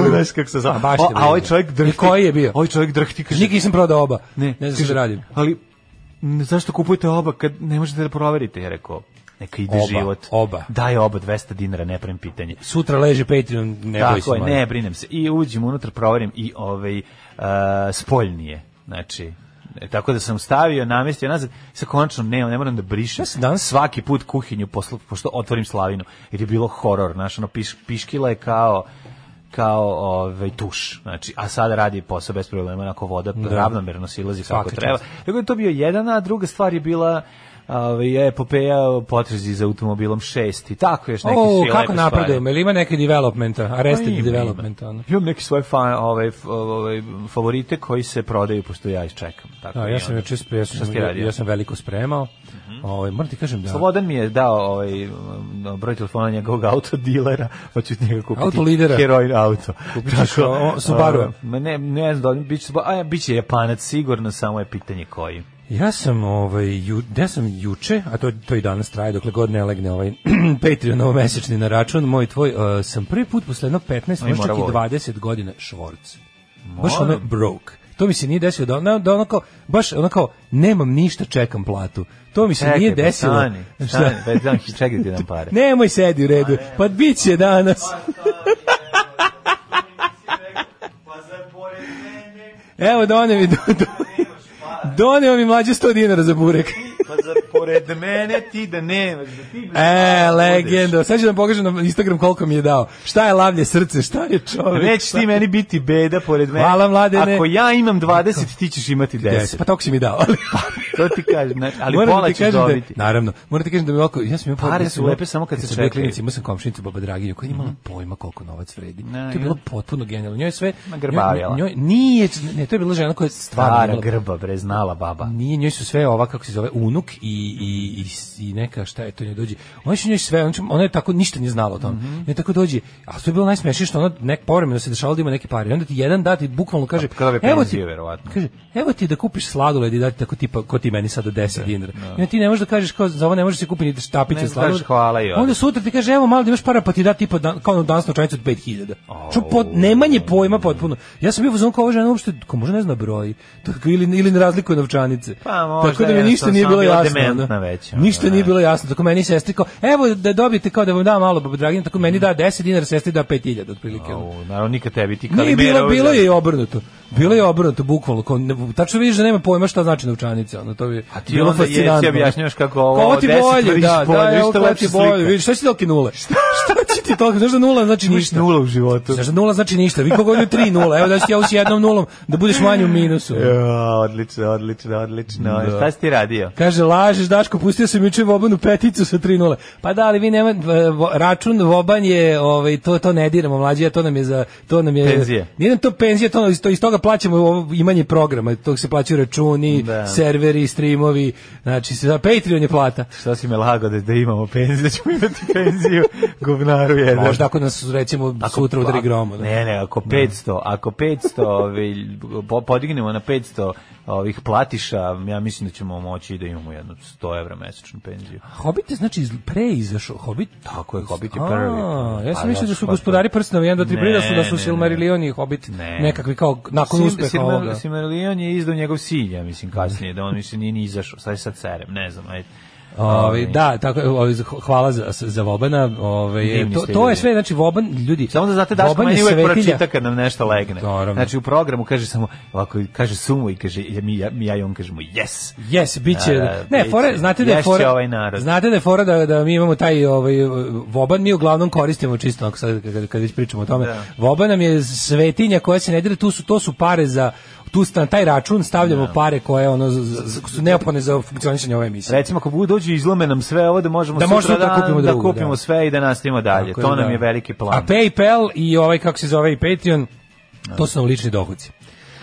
G: Znaš kako se zove.
F: A baš
G: O,
F: je
G: a ovaj
F: bilo.
G: čovjek
F: I
G: drhti.
F: koji je bio?
G: Ovaj čovjek drhti. Kaže,
F: Nikad nisam prodao oba. Ne, ne znam
G: kaže,
F: što da radim.
G: Ali, m, zašto kupujete oba kad ne možete da proverite? Ja rekao, neka ide
F: Oba,
G: život.
F: oba.
G: Daj oba, 200 dinara, ne pravim pitanje.
F: Sutra leže Patreon, ne boj se.
G: Tako je,
F: mladen.
G: ne, brinem se. I uđem unutra, proverim i ovaj, uh, spoljni je. Znači, e, tako da sam stavio, namestio nazad, sa konačno ne, ne moram da brišem.
F: Ja sam danas-
G: Svaki put kuhinju, poslu, pošto otvorim slavinu, jer je bilo horor, znaš, ono, piš, piškila je kao kao ovaj tuš. Znači, a sada radi posao bez problema, onako voda ravnomerno silazi kako
F: Svaka
G: treba. Tako da je to bio jedan, a druga stvar je bila ovaj epopeja o potrezi za automobilom 6 i tako još neke
F: O,
G: sve
F: kako
G: lepe stvari.
F: napredujemo? Ili ima neke developmenta?
G: Pa
F: Arrested
G: ima,
F: developmenta?
G: ima.
F: Ono.
G: Imam neke svoje fan, ovaj, f- ovaj, favorite koji se prodaju, pošto ja ih čekam. Tako
F: Da,
G: i
F: ja sam
G: onda-
F: juče sp- ja
G: Šta
F: sam,
G: ste
F: ja,
G: radio? Mhm.
F: ja sam veliko spremao. Ovaj moram ti kažem da
G: Slobodan mi je dao ovaj, m, broj telefona njegovog autodilera, pa ću od njega kupiti
F: Autolidera.
G: heroin auto.
F: Kupit ćeš, o, Subaru.
G: a, ma ne, ne znam, da li biće, Subaru, a, ja, biće Japanac sigurno, samo je pitanje koji.
F: Ja sam ovaj ju, gde sam juče, a to to i danas traje dokle god ne legne ovaj Patreon mesečni na račun moj tvoj, eh, sam prvi put posle jedno 15, možda čak
G: moravo.
F: i 20 godina švorc. Baš ono broke. To mi se nije desilo da ono, da ono kao, baš ono kao, nemam ništa, čekam platu. To mi se
G: Čekaj,
F: nije
G: pa
F: desilo. Znači,
G: Stani,
F: Šta?
G: stani, pa znam, čekaj da ti dam pare.
F: Nemoj sedi u redu, pa bit će danas. Evo, doneo mi, do, do, doneo mi mlađe 100 dinara za burek.
G: Pa za pored mene ti da nemaš, da ti bez
F: E,
G: para budeš.
F: legendo. Sad ću da pokažem na Instagram koliko mi je dao. Šta je lavlje srce, šta je čovjek?
G: Nećeš Pa ti meni biti beda pored mene.
F: Hvala, mladene.
G: Ako ja imam 20, ti ćeš imati 10.
F: Deset. Pa toliko si mi dao. Ali,
G: to ti kažem, znači, ali
F: Moram
G: pola
F: ti
G: ćeš
F: kažem
G: dobiti.
F: Da, naravno. Moram ti kažem da mi oko... Ja sam imao
G: Pare
F: ja sam
G: su
F: imao-
G: lepe samo kad se
F: sam bio
G: čekaju. Mhm.
F: klinac, imao sam komšinicu Baba Draginju koja je imala pojma koliko novac vredi. to
G: ja.
F: je bilo potpuno genijalno. Njoj je sve...
G: Ma,
F: njoj-
G: grbavila.
F: njoj- nije... Ne, to je bila žena koja je stvarno...
G: Stara
F: imala-
G: grba, bre, znala baba.
F: Nije, njoj su sve ova, kako se zove, unuk i, i, i, i neka, šta je to njoj dođe. Ona su njoj sve, ona, će- ona je tako, ništa nije znala o tom.
G: Mhm.
F: Njoj tako dođe, a to je bilo najsmešnije što ona nek povremeno se dešavalo da ima neke pare. I onda ti jedan dati, bukvalno kaže,
G: Pa, kada bi
F: evo ti,
G: penzije, verovatno."
F: kaže, evo ti da kupiš sladoled i dati tako tipa, ko ti meni sad od 10 dinara. I onda ti ne možeš da kažeš, kao, za ovo ne možeš se kupiti ni
G: Ne,
F: štapiće sladoled.
G: kažeš hvala i ode.
F: Onda sutra ti kaže, evo malo da imaš para, pa ti da tipa, dan, kao ono danas novčanicu od 5000. Čo, pot, nemanje pojma potpuno. Ja sam bio uzmano kao ova žena uopšte, ko može ne zna broj, tako, ili, ili ne razlikuje novčanice.
G: Pa, možda
F: tako da mi
G: jednostavno
F: ništa nije
G: samo
F: bilo
G: bila
F: jasno.
G: dementna
F: ono.
G: već, ono,
F: ništa
G: da.
F: nije bilo jasno. Tako meni sestri kao, evo da dobijete kao da vam da malo baba Dragina, tako meni da 10 dinara, sestri da 5000 otprilike. ono.
G: O, naravno, nikad tebi ti
F: Nije
G: Kalimerovi
F: bilo, bilo
G: da-
F: je i obrnuto. Bilo je obrnuto, bukvalno. Kao, ne, tačno vidiš da nema pojma šta znači novčanica. Ono, to bi
G: A ti
F: bilo
G: onda jesi
F: fascinantno.
G: objašnjaš kako ovo
F: Kao, ovo ti
G: 10
F: bolje,
G: tvoriš
F: da,
G: bolje,
F: da,
G: što
F: evo, kao
G: lepše
F: ti bolje.
G: slika.
F: Vidiš, šta si dao nule? Šta, Daći ti toliko, znaš da nula znači
G: Imaš
F: ništa.
G: nula u životu.
F: Znaš da nula znači ništa. Vi kogodili tri nula. Evo da si ja s jednom nulom, da budeš manje u minusu.
G: E, Ja, odlično, odlično, odlično.
F: Da.
G: Šta si ti radio?
F: Kaže, lažeš, Daško, pustio sam juče Vobanu peticu sa 3-0. Pa da, ali vi nema, v- vo- račun Voban je, ovaj, to, to ne diramo, mlađe, to nam je za, to nam je...
G: Penzije.
F: Nije nam to penzije, to, iz- to, iz toga plaćamo ovo imanje programa, tog se plaćaju računi,
G: Da.
F: serveri, streamovi, znači, za Patreon je plata.
G: Šta si me lago da, da imamo penziju, da ćemo imati penziju govnaru jedan.
F: Možda ako nas, recimo, sutra udari gromo. Da.
G: pa- Ne, ne, ako 500, ako 500, ovaj, po- podignemo na 500 ovih platiša, ja mislim da ćemo moći da imamo jednu 100 evra mesečnu penziju.
F: Hobbit je znači iz- pre izašao Hobbit.
G: Tako je, Hobbit je
F: A,
G: prvi.
F: Ja sam
G: Ali
F: mislio da su
G: pa-
F: gospodari prstena 1 2 3
G: Ne,
F: prije da su da
G: ne,
F: su
G: ne.
F: Silmarillion i Hobbit
G: Ne.
F: nekakvi kao nakon
G: Sil-
F: uspeha
G: Silmar-
F: ovoga.
G: Silmarillion je izdao njegov silj, ja mislim, kasnije, da on mislim nije ni izašao, sad je sad serem, ne znam, ajde.
F: Ovaj da, tako je, ovaj hvala za za Vobana, ovaj
G: Divni
F: to
G: ste
F: to je
G: ljudi.
F: sve, znači Voban ljudi.
G: Samo da znate Daško
F: Voban je
G: meni uvek
F: svetilja.
G: pročita kad nam nešto legne.
F: Naravno.
G: Znači u programu kaže samo ovako kaže sumu i kaže ja, mi, ja, mi ja i on kažemo yes.
F: Yes, biće.
G: Da, da,
F: ne,
G: biće.
F: fore, znate da je
G: Ješće
F: fora.
G: ovaj narod.
F: Znate da je fora da, da mi imamo taj ovaj Voban mi uglavnom koristimo čisto ako sad kad, kad već pričamo o tome.
G: Da.
F: Voban nam je svetinja koja se ne dira, tu su to su pare za tu stan taj račun stavljamo pare koje ono z- z- z- su neophodne za funkcionisanje ove emisije.
G: Recimo ako budu dođu i izlome nam sve ovo da možemo
F: Da
G: sutra
F: možemo da
G: dan
F: kupimo
G: da
F: drugu,
G: kupimo
F: da.
G: sve i da nastavimo dalje.
F: Tako
G: to nam
F: da.
G: je veliki plan.
F: A PayPal i ovaj kako se zove i Patreon, to su nam lični dohodci.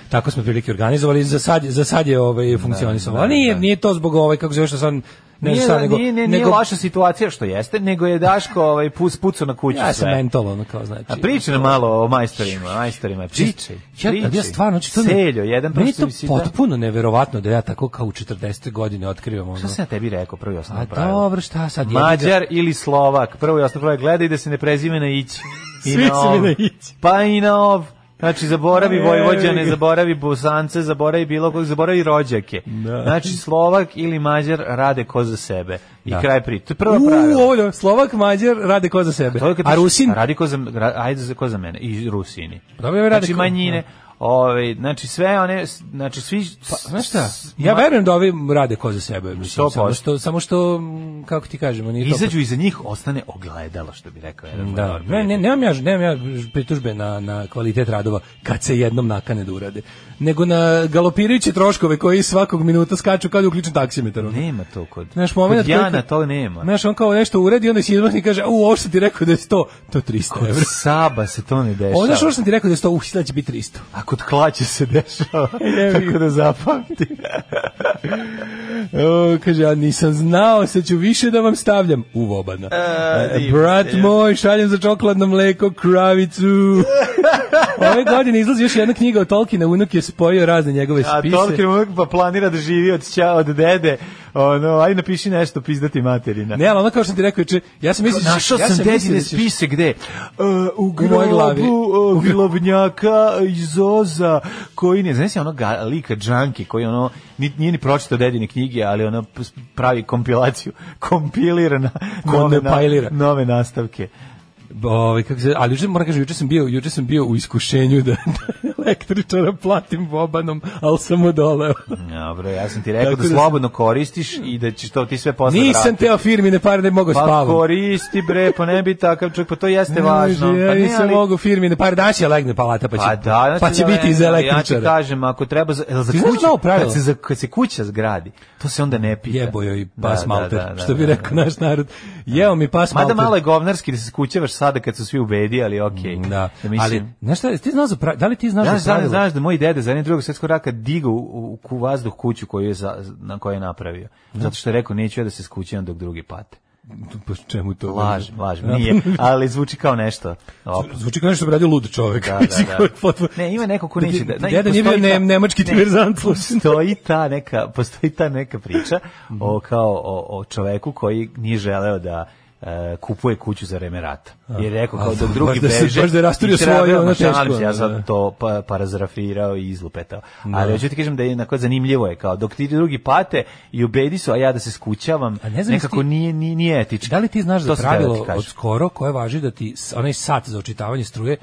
F: Tako smo prilike organizovali, za sad, za sad je ovaj funkcionisalo. A nije, nije to zbog ovaj, kako se zove što sad, ne znam
G: nije,
F: sad,
G: nije,
F: nego...
G: nije, nije loša situacija što jeste, nego je Daško ovaj pus pucu na kuću
F: Ja sam
G: sve.
F: mental, ono kao znači.
G: A pričaj nam malo o majstorima, majstorima, pričaj.
F: Ja,
G: pričaj.
F: ali ja stvarno, znači, to mi-
G: Seljo, jedan
F: meni je
G: prosto
F: to
G: visi- da.
F: potpuno neverovatno da ja tako kao u 40. godine otkrivam ono.
G: Šta sam ja tebi rekao, prvi
F: A
G: osnovno pravilo?
F: dobro, šta sad? jebi ga.
G: Mađar ili Slovak. Prvo jasno pravilo, gledaj da se ne prezime na ić. I
F: Svi
G: na
F: su mi
G: ov.
F: na ić.
G: Pa i na ov. Znači, zaboravi
F: Jebi
G: Vojvođane,
F: ga.
G: zaboravi Bosance, zaboravi bilo kog, zaboravi rođake. Znači, Slovak ili Mađar rade ko za sebe. I
F: Da.
G: kraj pri. To je prvo
F: U,
G: pravilo.
F: ovo je Slovak, Mađar rade ko za sebe.
G: To je kad
F: A
G: piše,
F: Rusin? Pa
G: Radi ko za, ra- ajde za, ko za mene. I Rusini.
F: Dobro, ovi rade
G: Znači,
F: ko-
G: manjine. Ove, znači, sve one, znači, svi...
F: Pa, znaš šta? Ja verujem da ovi rade ko za sebe, mislim, samo
G: 100%.
F: što samo što m, kako ti kažemo, nije to.
G: Izađu iza njih, ostane ogledalo, što bi rekao jedan moj
F: Da,
G: dobar
F: ne,
G: prijatelj.
F: ne, nemam ja, nemam ja pritužbe na, na kvalitet radova kad se jednom nakane da urade, nego na galopirajuće troškove koji svakog minuta skaču kao da uključen taksimetar. ono.
G: Nema to kod.
F: Znaš, moment
G: kod Jana to nema.
F: Znaš, on kao nešto uredi, onda si izvršni i kaže, u, ovo što ti rekao da je 100, to je 300 evra.
G: Saba se to ne dešava.
F: Ovo znaš ovo što sam ti rekao da je 100, uh, sada će biti 300.
G: A kod klaće se dešava.
F: Jebi ga.
G: tako da zapamti.
F: O, kaže, ja nisam znao, sad ću više da vam stavljam u vobana. E,
G: divno,
F: brat
G: divno.
F: moj, šaljem za čokoladno mleko kravicu. Ove godine izlazi još jedna knjiga o Tolkiena, unuk je spojio razne njegove
G: A
F: spise.
G: Tolkien uvijek pa planira da živi od, ća, od dede. Ono, aj napiši nešto, pizdati materina.
F: Ne, ali ono kao što ti rekao, juče, ja sam mislio...
G: Našao
F: ja
G: sam
F: mislio
G: dedine
F: da ćeš-
G: spise gde? Uh, u
F: mojoj glavi.
G: grobu uh, globnjaka iz Oza, koji ne, znaš si ono ga, lika džanki, koji ono, ni- nije ni pročitao dedine knjige, ali ono p- pravi kompilaciju, kompilira na, nove, na-
F: Kompilira.
G: nove nastavke.
F: Ovaj kako se, ali juče moram kažem, juče sam bio, juče sam bio u iskušenju da, da električara platim bobanom, ali sam mu doleo.
G: Dobro, ja sam ti rekao
F: Tako
G: da
F: da sam-
G: slobodno koristiš i da ćeš to ti sve posle
F: Nisam
G: vratiti.
F: teo firmi ne pare da mogu
G: Pa
F: spavam.
G: koristi bre, pa ne bi takav čovjek, pa to jeste važno.
F: Kaže, Ja
G: Pa ne,
F: nisam
G: ali-
F: mogu firmi, ne par dana će legne palata, pa će,
G: Pa da,
F: pa će
G: ja-
F: biti iz
G: Ja ti
F: električara.
G: kažem, ako treba za, jel za
F: Ti znaš
G: kuću,
F: novo pravilo?
G: kad se, za, kad se kuća zgradi, to se onda ne pita.
F: Jebo joj
G: Da,
F: pas
G: da,
F: malter,
G: da, da,
F: što bi
G: da,
F: rekao naš narod. Jeo mi pas
G: Mada
F: malter.
G: malo je govnarski da se skućevaš sada kad su svi u bedi, ali okej.
F: Mm, Da,
G: mislim,
F: ali, znaš šta, ti znaš za pra- da li ti znaš
G: Znaš,
F: za
G: znaš,
F: pravilo?
G: znaš da moj dede za jedan drugog svjetskog raka digao u, u, u vazduh kuću koju je za, na koju je napravio. Zato što je rekao, neću ja da se skućem dok drugi pate.
F: Po Pa čemu to?
G: Laž, laž, nije, ali zvuči kao nešto. Opa.
F: Zvuči kao nešto bi radio lud čovjek.
G: Da, da,
F: Mislim,
G: da.
F: kao je potpuno-
G: Ne, ima neko ko neće da-
F: Da,
G: ne,
F: deda nije bio
G: postoji ta-
F: ne, nemački
G: ne.
F: diverzant. slušaj.
G: postoji ta neka postoji ta neka priča
F: Mhm.
G: o kao o, o čoveku koji nije želeo da e, kupuje kuću za vreme rata. Jer je rekao
F: A,
G: kao dok
F: baš
G: drugi
F: da se-
G: beže.
F: baš da je rasturio
G: i treba-
F: svoje, ono
G: ma, šalim
F: teško,
G: se, Ja
F: da.
G: sam to pa, parazrafirao i izlupetao. Ali hoću ti kažem da je onako zanimljivo je kao dok ti drugi pate i ubedi su, a ja da se skućavam,
F: A ne znam
G: nekako
F: jesi ti-
G: nije, nije, nije etično.
F: Da li ti znaš
G: To
F: da
G: sam teo
F: pravilo
G: ti kažem.
F: od skoro koje važi da ti s- onaj sat za očitavanje struje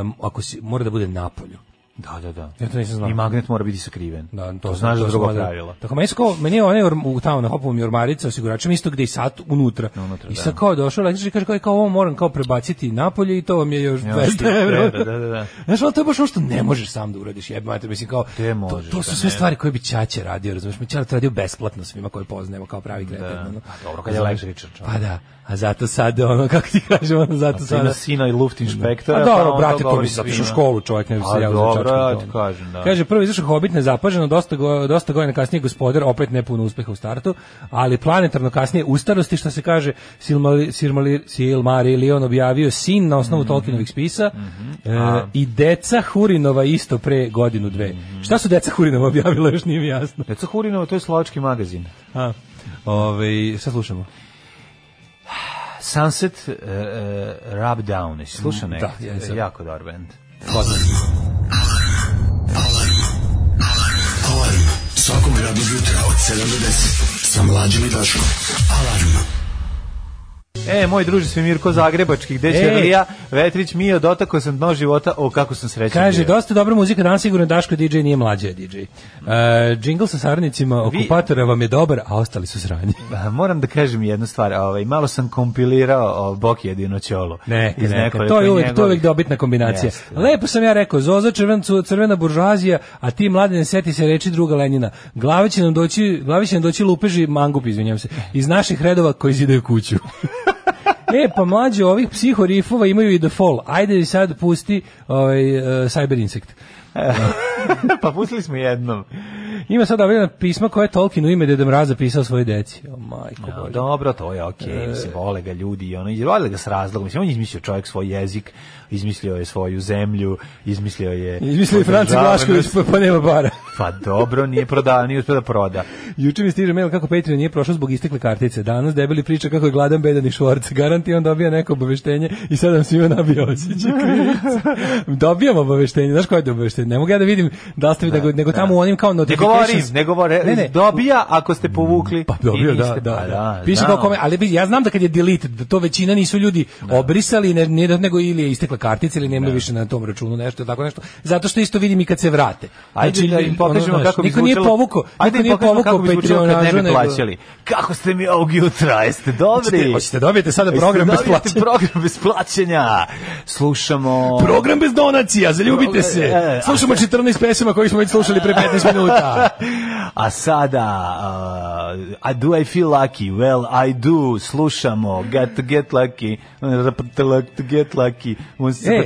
F: um, ako si mora da bude na polju.
G: Da, da, da.
F: Ja to nisam znao.
G: I magnet mora biti sakriven.
F: Da,
G: to znaš da
F: sam-
G: drugo
F: sam- da.
G: pravila.
F: Tako meni je kao meni je onaj orm- u tamo na hopovom jormarica osiguračem isto gde i sat unutra.
G: Unutra,
F: I
G: da.
F: sad kao došao električar i kaže kao, kao ovo moram kao prebaciti napolje i to vam je još
G: Još
F: 200
G: evra, da, da, da.
F: evra. Znaš, ali to je baš ono što ne možeš sam da uradiš, jebe mater, mislim kao,
G: Te
F: to,
G: možeš,
F: to
G: pa
F: su sve
G: ne.
F: stvari koje bi Ćaće radio, razumiješ, mi Ćaće to radio besplatno svima koje poznajemo kao pravi kreten. ono.
G: Pa dobro, kad je
F: Razumeš?
G: električar, čovek.
F: Pa da, a zato sad, ono, kako ti kažem, ono, zato
G: Pa
F: sada...
G: Ima sina i luft inspektora.
F: A Pa dobro,
G: on
F: brate, to
G: govori
F: bi se otišao u
G: svima.
F: školu, čovjek ne bi
G: A
F: se javio za
G: dobro,
F: čačku.
G: ja
F: to
G: ti
F: ono.
G: kažem, da.
F: Kaže, prvo izašao Hobbit nezapaženo, dosta, go, dosta godina kasnije gospodar, opet ne puno uspeha u startu, ali planetarno kasnije u starosti, što se kaže, Silmari, Silmari, Silmarillion objavio sin na
G: Mhm.
F: osnovu Tolkienovih spisa e, i deca Hurinova isto pre godinu dve.
G: Mhm.
F: Šta su deca Hurinova objavila, još nije mi jasno.
G: Deca Hurinova, to je slovački magazin.
F: A, ove, šta slušamo?
G: Sunset uh, uh, Rub Down. Jesi slušao nekad?
F: Mm, da, jesam.
G: Jako dobar band.
D: Svakog radnog jutra od 7 do 10 sa mlađom i Daškom. Alarm.
G: E, moj druži Svemirko Zagrebački, gde će
F: E.
G: Lija Vetrić Mio, dotakao sam dno života, o kako sam srećan.
F: Kaže,
G: bio.
F: dosta dobra muzika, danas sigurno Daško DJ nije mlađe DJ. E, džingl sa saradnicima okupatora vam je dobar, a ostali su sranji.
G: A, Moram da kažem jednu stvar, ovaj, malo sam kompilirao o, Bok jedino ćolo.
F: Neka,
G: Iz
F: neka.
G: nekoliko
F: To je uvek, to je uvek
G: njegovih-
F: dobitna kombinacija.
G: Jeste, da.
F: Lepo sam ja rekao, Zoza crvencu, crvena buržuazija, a ti mladene seti se reči druga Lenjina. Glave će nam doći, glave će nam doći lupeži mangup, izvinjam se, iz naših redova koji zidaju kuću. E, pa mlađe ovih psihorifova imaju i The Fall. Ajde i sad pusti ovaj, e, Cyber Insect.
G: pa pustili smo jednom.
F: Ima sad objavljena pisma koje je Tolkien u ime Deda Mraza pisao svoje deci. O, majko
G: Ja,
F: Bože.
G: dobro, to je okej,
F: E.
G: mislim, vole ga ljudi i ono, i vole ga s razlogom, mislim, on je izmislio čovjek svoj jezik, izmislio je svoju zemlju, izmislio je...
F: Izmislio je Franci Vlašković, pa, pa nema para.
G: Pa dobro, nije prodao, nije uspio da proda.
F: Juče mi stiže mail kako Patreon nije prošao zbog istekle kartice. Danas debeli priča kako je gladan bedan i švorc. Garanti on dobija neko obaveštenje i sad nam svima nabija osjećaj. krivice. Dobijam obaveštenje. Znaš koje je obaveštenje? Ne mogu ja da vidim da li ste vi, nego, nego tamo u onim kao
G: Ne govorim,
F: notifications.
G: ne govore,
F: Ne, ne.
G: dobija ako ste povukli.
F: Pa dobio,
G: i
F: da,
G: niste-
F: da,
G: pa
F: da. Piše kao
G: znam.
F: kome, ali vidi, ja znam da kad je delete, da to većina nisu ljudi obrisali, ne, ne, nego ili je istekla kartica ili nema više na tom računu nešto, tako nešto. Zato što isto vidim i kad se vrate. Znači,
G: Ajde
F: ono,
G: da im ono, pokažemo
F: znaš,
G: kako bi
F: niko nije
G: zvučalo-
F: povukao,
G: Ajde
F: niko
G: im
F: nije
G: pokažemo kako
F: povukao
G: bi zvučalo kad ne
F: Patreonažu,
G: bi
F: nego-
G: plaćali. Kako ste mi ovog jutra, jeste dobri?
F: Hoćete, hoćete dobijete sada
G: Jeste
F: program bez
G: dobijete
F: plaćanja.
G: program bez plaćanja. Slušamo...
F: Program bez donacija, zaljubite
G: E,
F: se.
G: a-
F: Slušamo 14 pesama koji smo već slušali pre 15 minuta.
G: A sada, uh, I do I feel lucky? Well, I do. Slušamo. Got to get lucky. Got to get lucky.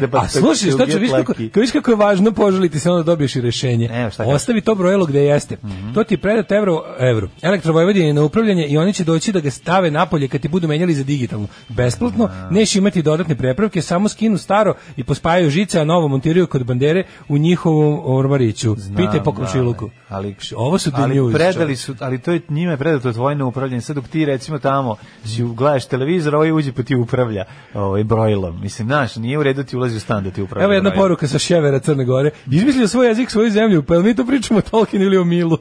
F: E,
G: pa
F: a slušaj, šta ću, viš kako, kao viš kako je važno poželiti se, onda dobiješ i rešenje.
G: Evo, šta kažeš? Mhm.
F: Ostavi to brojelo gde jeste. To ti je predat evro, evro. Elektrovojvodin je na upravljanje i oni će doći da ga stave napolje kad ti budu menjali za digitalno. Besplatno, neš imati dodatne prepravke, samo skinu staro i pospajaju žice, a novo montiraju kod bandere u njihovom ormariću. Pite po komšiluku.
G: ali
F: Ovo su the
G: ali
F: news,
G: predali
F: čovječe.
G: su ali to je njime predato tvojno upravljanje sad dok ti recimo tamo si u- gledaš televizor ovaj uđe pa ti upravlja ovaj brojlom mislim znaš nije u redu ti ulazi u stan da ti upravlja
F: Evo jedna
G: brojlom.
F: poruka sa ševera Crne Gore. Izmislio svoj jezik, svoju zemlju, pa jel mi to pričamo o Tolkienu ili o Milu?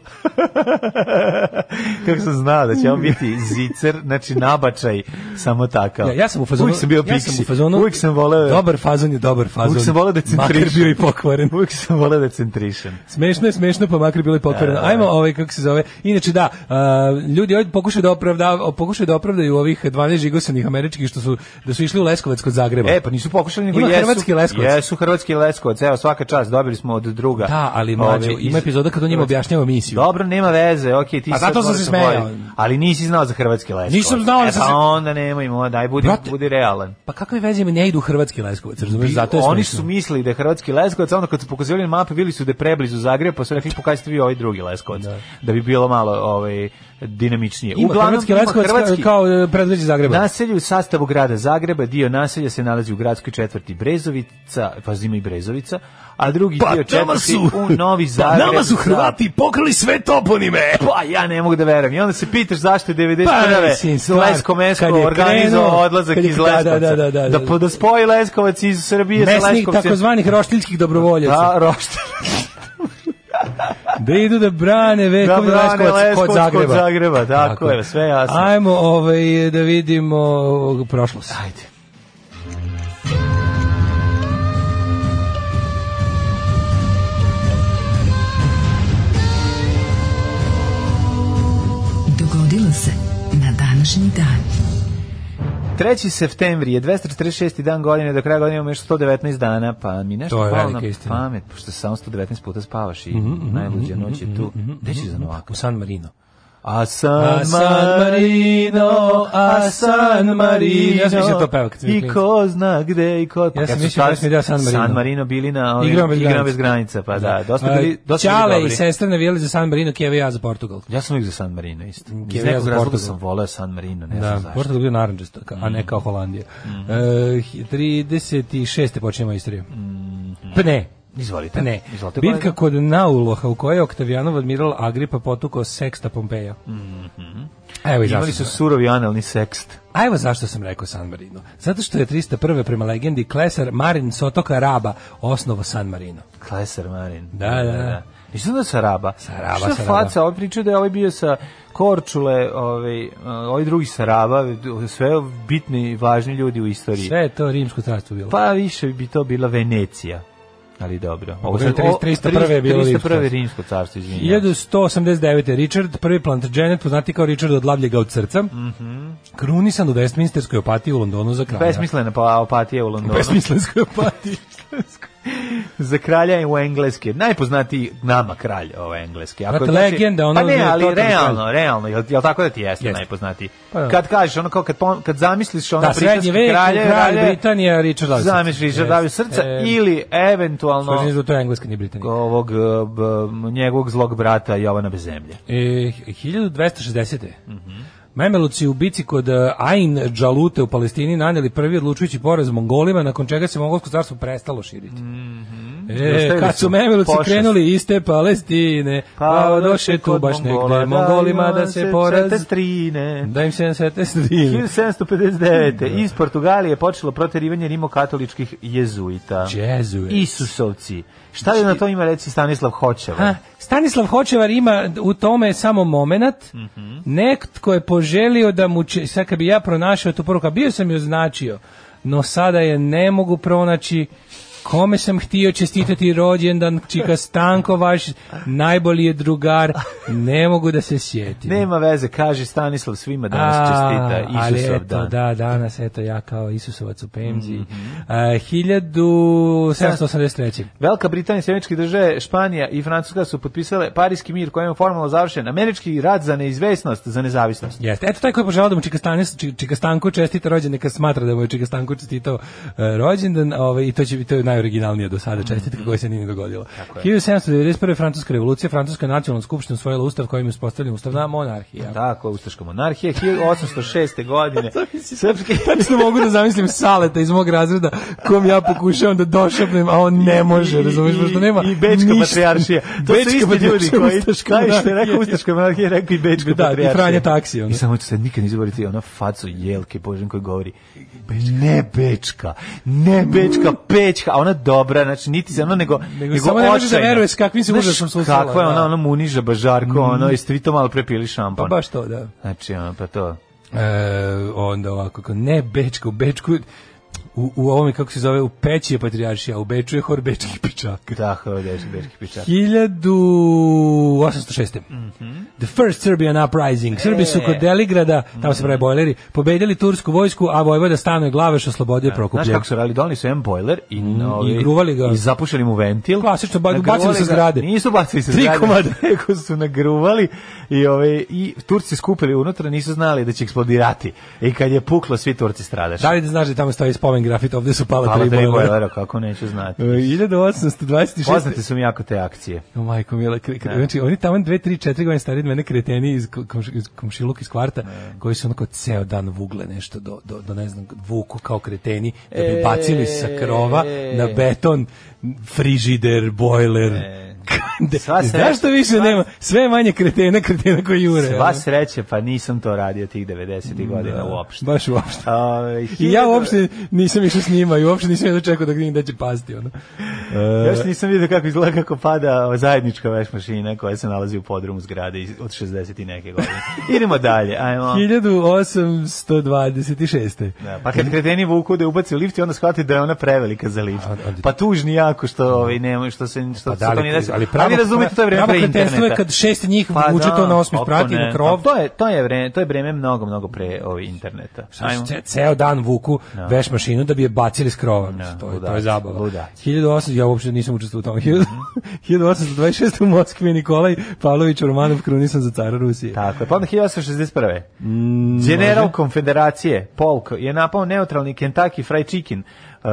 G: Kako sam znao da će on biti zicer, znači nabačaj, samo takav.
F: Ja, ja sam u fazonu.
G: Uvijek sam bio
F: ja sam u
G: piksi.
F: fazonu.
G: Uvijek sam voleo.
F: Dobar fazon je dobar fazon.
G: Uvijek sam voleo da
F: Makar
G: centrišem.
F: bio i pokvaren.
G: Uvijek sam voleo da centrišem.
F: Smešno je, smešno, pa makar bilo i pokvareno. Ajmo, ovaj, kako se zove. Inače, da, a, ljudi ovdje pokušaju da, opravda, pokušaju da opravdaju ovih 12 žigosanih američkih što su, da su išli u Leskovac kod Zagreba.
G: E, pa nisu pokušali, nego
F: Ima
G: jesu.
F: hrvatski Leskovac.
G: Jesu hrvatski leskovac, evo svaka čast, dobili smo od druga.
F: Da, ali mlađe,
G: Ove, iz-
F: ima epizoda kad on njima objašnjava misiju.
G: Dobro, nema veze, okej, ti
F: A
G: sad
F: zato sam
G: moraš
F: se
G: da
F: smejao.
G: voliš. Ali nisi znao za hrvatski leskovac.
F: Nisam znao, ali
G: e,
F: sam
G: pa
F: se-
G: onda nemojmo, daj, budi,
F: Brate-
G: budi realan.
F: Pa kakve veze ima, ne idu u hrvatski Leskovac, razumeš? Zato je
G: oni
F: smešno.
G: su mislili da je hrvatski Leskovac, a onda kad su pokazivali na mapi, bili su da je preblizu Zagreba, pa su rekli pokažite vi ovaj drugi Leskovac, da, bi bilo malo ovaj dinamičnije.
F: Ima hrvatski
G: ima
F: Leskovac
G: hrvatski-
F: kao, kao e, predgrađe Zagreba.
G: Naselje u sastavu grada Zagreba, dio naselja se nalazi u gradskoj četvrti Brezovica, pa zima i Brezovica, a drugi
F: Pa
G: dio četvrti u Novi Zagreb.
F: pokrali sve toponime.
G: Da. Pa ja ne mogu da verujem. I onda se pitaš zašto je
F: Pa, mislim,
G: 91.
F: stvar,
G: Lesko Mesko
F: kad je
G: organizovao
F: krenuo,
G: odlazak
F: kad je-
G: iz
F: da,
G: Leskovca.
F: da, da, da, da.
G: da, da spoji Leskovac iz Srbije sa
F: Mesnih
G: Leskovcem.
F: takozvanih roštiljskih dobrovoljaca.
G: Da, roštilj.
F: Da idu da brane vekovni
G: Da brane
F: Leskovac,
G: Leskovac
F: kod
G: kod
F: Zagreba.
G: Zagreba, tako je, sve jasno.
F: Ajmo ovaj, da vidimo ovog prošlost.
G: Ajde.
E: današnji dan.
G: 3. septembri je 246. dan godine, do kraja godine imamo još 119 dana, pa mi nešto
F: To je
G: palo
F: velika
G: na
F: istina. Mhm,
G: pamet, pošto samo 119 puta spavaš i najluđa noć je tu. Gde ćeš za Novaka?
F: U San Marino.
G: A San,
F: mhm, A San Marino, a San Marino. Ja sam mislio to peva kad sam bio
G: I
F: klinac.
G: ko zna gde i ko...
F: Ja sam
G: Kad su
F: mislio
G: tad
F: pesmi da San Marino.
G: San Marino bili na ovim
F: Ovaj, Igramo
G: igrama
F: bez
G: bez,
F: granica.
G: granica, pa da, dosta bili, dosta bili
F: Ćale i
G: dobri.
F: sestra navijali za San Marino, Keva i ja za Portugal.
G: Ja sam uvijek za San Marino, isto. Iz
F: Kevija
G: nekog
F: za
G: razloga
F: Portugal.
G: sam voleo San Marino, ne znam
F: Da,
G: zašto. Mm.
F: Portugal je bio naranđast, a ne kao Holandija. E, 36. počinjemo istoriju. Pa ne,
G: Izvolite.
F: pa ne.
G: Mhm. Izvolite,
F: Bitka
G: kolega.
F: kod Nauloha u kojoj je Oktavijanov admiral Agripa potukao Seksta Pompeja. Evo i zašto.
G: Mhm. Imali su surovi analni sekst.
F: A evo zašto sam rekao San Marino. Zato što je 301. prema legendi klesar Marin s otoka Raba osnovo San Marino.
G: Klesar Marin.
F: Da, da, da.
G: I što da sa Raba?
F: Sa Raba,
G: Šta
F: sa Raba.
G: faca, ovaj pričao da je ovaj bio sa Korčule, ovaj, ovaj drugi sa Raba, sve bitni i važni ljudi u istoriji.
F: Sve je to rimsko carstvo bilo.
G: Pa više bi to bila Venecija. Ali dobro.
F: Ovo je 300- 301 je bilo
G: 301.
F: rimsko carstvo.
G: rimsko carstvo, izvinjam.
F: 1189. Richard, prvi Plantagenet, poznati kao Richard od lavljega od srca,
G: Mhm.
F: krunisan u Westminsterskoj opatiji u Londonu za kralja.
G: Besmislena pa opatija u Londonu.
F: Besmislenskoj opatiji.
G: Za kralja je u Engleske. Najpoznatiji nama kralj ove Engleske.
F: Brate,
G: znači-
F: legenda, ono
G: pa ne,
F: je
G: ali
F: totalni
G: realno, realno. Jel, jel tako da ti jeste,
F: Jeste.
G: najpoznatiji?
F: Pa da.
G: Kad kažeš, ono kao kad, pom- kad zamisliš ono
F: Da, srednji
G: britanske
F: vek,
G: kralje,
F: kralj,
G: kralje,
F: Britanija, Richard Davis.
G: zamisliš Richard Davis srca ono- ili eventualno
F: Složeni to je Engleska, pa nije Britanija.
G: ovog e, b- njegovog zlog brata Jovana bez zemlje.
F: E, 1260. Memeluci u bici kod e, Ain Džalute u Palestini naneli prvi odlučujući poraz Mongolima, nakon čega se mongolsko carstvo prestalo širiti. E,
G: Ostavili
F: kad su
G: su
F: Memeluci
G: pošast.
F: krenuli iste Palestine, pa
G: ono
F: odoše tu baš negde Mongolima da se poraz...
G: Trine.
F: Da im se sete strine.
G: 1759. iz Portugalije počelo proterivanje rimokatoličkih jezuita.
F: Jezuit.
G: Isusovci. Šta je na to ima reći Stanislav
F: Znači- Ha,
G: Hočevar?
F: Stanislav Hočevar ima u tome samo momenat.
G: Mhm.
F: Netko je poželio da mu će, sad kad bi ja pronašao tu poruku, a bio sam ju označio, no sada je ne mogu pronaći kome sam htio čestitati rođendan Čika Stanko vaš najbolji je drugar ne mogu da se sjetim
G: Nema veze, kaže Stanislav svima danas
F: A,
G: čestita
F: ali
G: Isusov
F: eto,
G: dan. Mhm.
F: da, danas, eto, ja kao Isusovac u Pemzi. A, 1783.
G: Velika Britanija, Sjemeničke države, Španija i Francuska su potpisale Parijski mir kojem je formalno završen američki rad za neizvesnost, za nezavisnost.
F: Jeste. Eto taj koji je poželao da mu Čika, Stanis, Čika- Čika Stanko čestita rođendan, kad smatra da mu je Čika Stanko čestitao e, rođendan, ovaj, i to će biti to je najoriginalnija do
G: Mhm.
F: sada čestitka koja se nije ni dogodila. 1791. Francuska revolucija, Francuska nacionalna skupština usvojila ustav kojim je uspostavljen ustavna monarhija.
G: Tako, Ustaška monarhija, 1806. godine. Srpski...
F: Tačno mogu da zamislim saleta iz mog razreda kom ja pokušavam da došapnem, a on ne može, razumiješ, pošto nema
G: I, i Bečka patrijaršija. To
F: Bečka
G: su isti ljudi
F: patrijaršija,
G: koji,
F: ustaška
G: taj što je
F: monarhija.
G: rekao Ustaška monarhija, rekao i Bečka
F: Da, i
G: patrijaršija.
F: Franje taksi. ono.
G: I samo ću se nikad izboriti ona facu jelke Božen koji govori ne bečka, ne bečka, pečka, a ona dobra, znači niti se ono nego
F: Nego samo ne možeš da
G: očajna.
F: veruješ s kakvim se
G: Znaš
F: užasom susrela,
G: Kakva je ona,
F: da. Mm.
G: ona muniža bažarko, ono, jeste vi to malo prepili šampon.
F: Pa baš to, da.
G: Znači, ono, pa to.
F: E, onda ovako, kao, ne Bečka, u Bečku, u, u ovome, kako se zove, u Peći je patrijaršija, u Beču je hor Bečkih pičaka.
G: Tako je, deš, ovaj bečki pičak.
F: 1806.
G: Mhm.
F: The first Serbian uprising. Srbi
G: E.
F: su kod Deligrada, tamo se
G: Mhm.
F: pravi bojleri, pobedili tursku vojsku, a vojvoda Stanoj Glaveš oslobodio Prokuplje.
G: Znaš kako su radili? Donili su jedan bojler i, ovaj,
F: gruvali Mm, ga.
G: i zapušili mu ventil.
F: Klasično, ba-
G: Nagruvali
F: bacili sa
G: ga-
F: zgrade.
G: Nisu bacili sa
F: Tri
G: zgrade.
F: komada.
G: Nego su nagruvali i, ovaj, i Turci skupili unutra, nisu znali da će eksplodirati. I kad je puklo, svi Turci stradaš.
F: Da li da znaš da tamo stoji spomen grafit, ovde su pala,
G: Hvala
F: tri
G: tri
F: bojlera. E,
G: bojlera, kako neću znati.
F: 1826.
G: Poznate su mi jako te akcije.
F: O majko mila, kre, kre, znači oni tamo 2 3 4 godine stari od mene kreteni iz ko- komš- iz komšiluk iz kvarta koji su onako ceo dan vugle nešto do do, do ne znam vuku kao kreteni da
G: E,
F: bi bacili sa krova na beton frižider, bojler. E.
G: Sva sreća,
F: Zašto više
G: sva-
F: nema? Sve je manje kretena, kretena koji jure.
G: Sva
F: ono.
G: sreće, pa nisam to radio tih 90. godina uopšte.
F: Baš uopšte.
G: Ovaj,
F: I ja
G: hiljadu-
F: uopšte nisam išao s njima i uopšte nisam jedno čekao da vidim da će pasti. Ono.
G: Još nisam vidio kako izgleda kako pada ova zajednička veš mašina koja se nalazi u podrumu zgrade iz- od 60 i neke godine. Idemo dalje, ajmo.
F: 1826.
G: Da, pa kad kreteni vuku da je ubaci u lift i onda shvati da je ona prevelika za lift. Pa tužni jako što ovaj nema što se što
F: Pa
G: se
F: da
G: to
F: li
G: nije
F: ti-
G: desilo.
F: ali pravo,
G: ali razumete to je vreme
F: pravo
G: pre
F: kretenstvo
G: interneta.
F: je kad šest njih vuče to na osmi
G: kako
F: sprat i na
G: ne.
F: krov.
G: Pa To je to je vreme, to je vreme mnogo mnogo pre ovaj interneta. Ajmo.
F: Ce, ceo dan vuku veš mašinu da bi je bacili s krova. mislim, to, je, to je
G: ludaci,
F: zabava.
G: ludaci.
F: 1800, ja uopšte nisam učestvovao u tome.
G: Mhm.
F: 1826 u Moskvi Nikolaj Pavlović Romanov krunisan za cara Rusije.
G: Tako je, pa onda 1861.
F: Mm,
G: General konfederacije Polk je napao neutralni Kentucky Fried Chicken uh,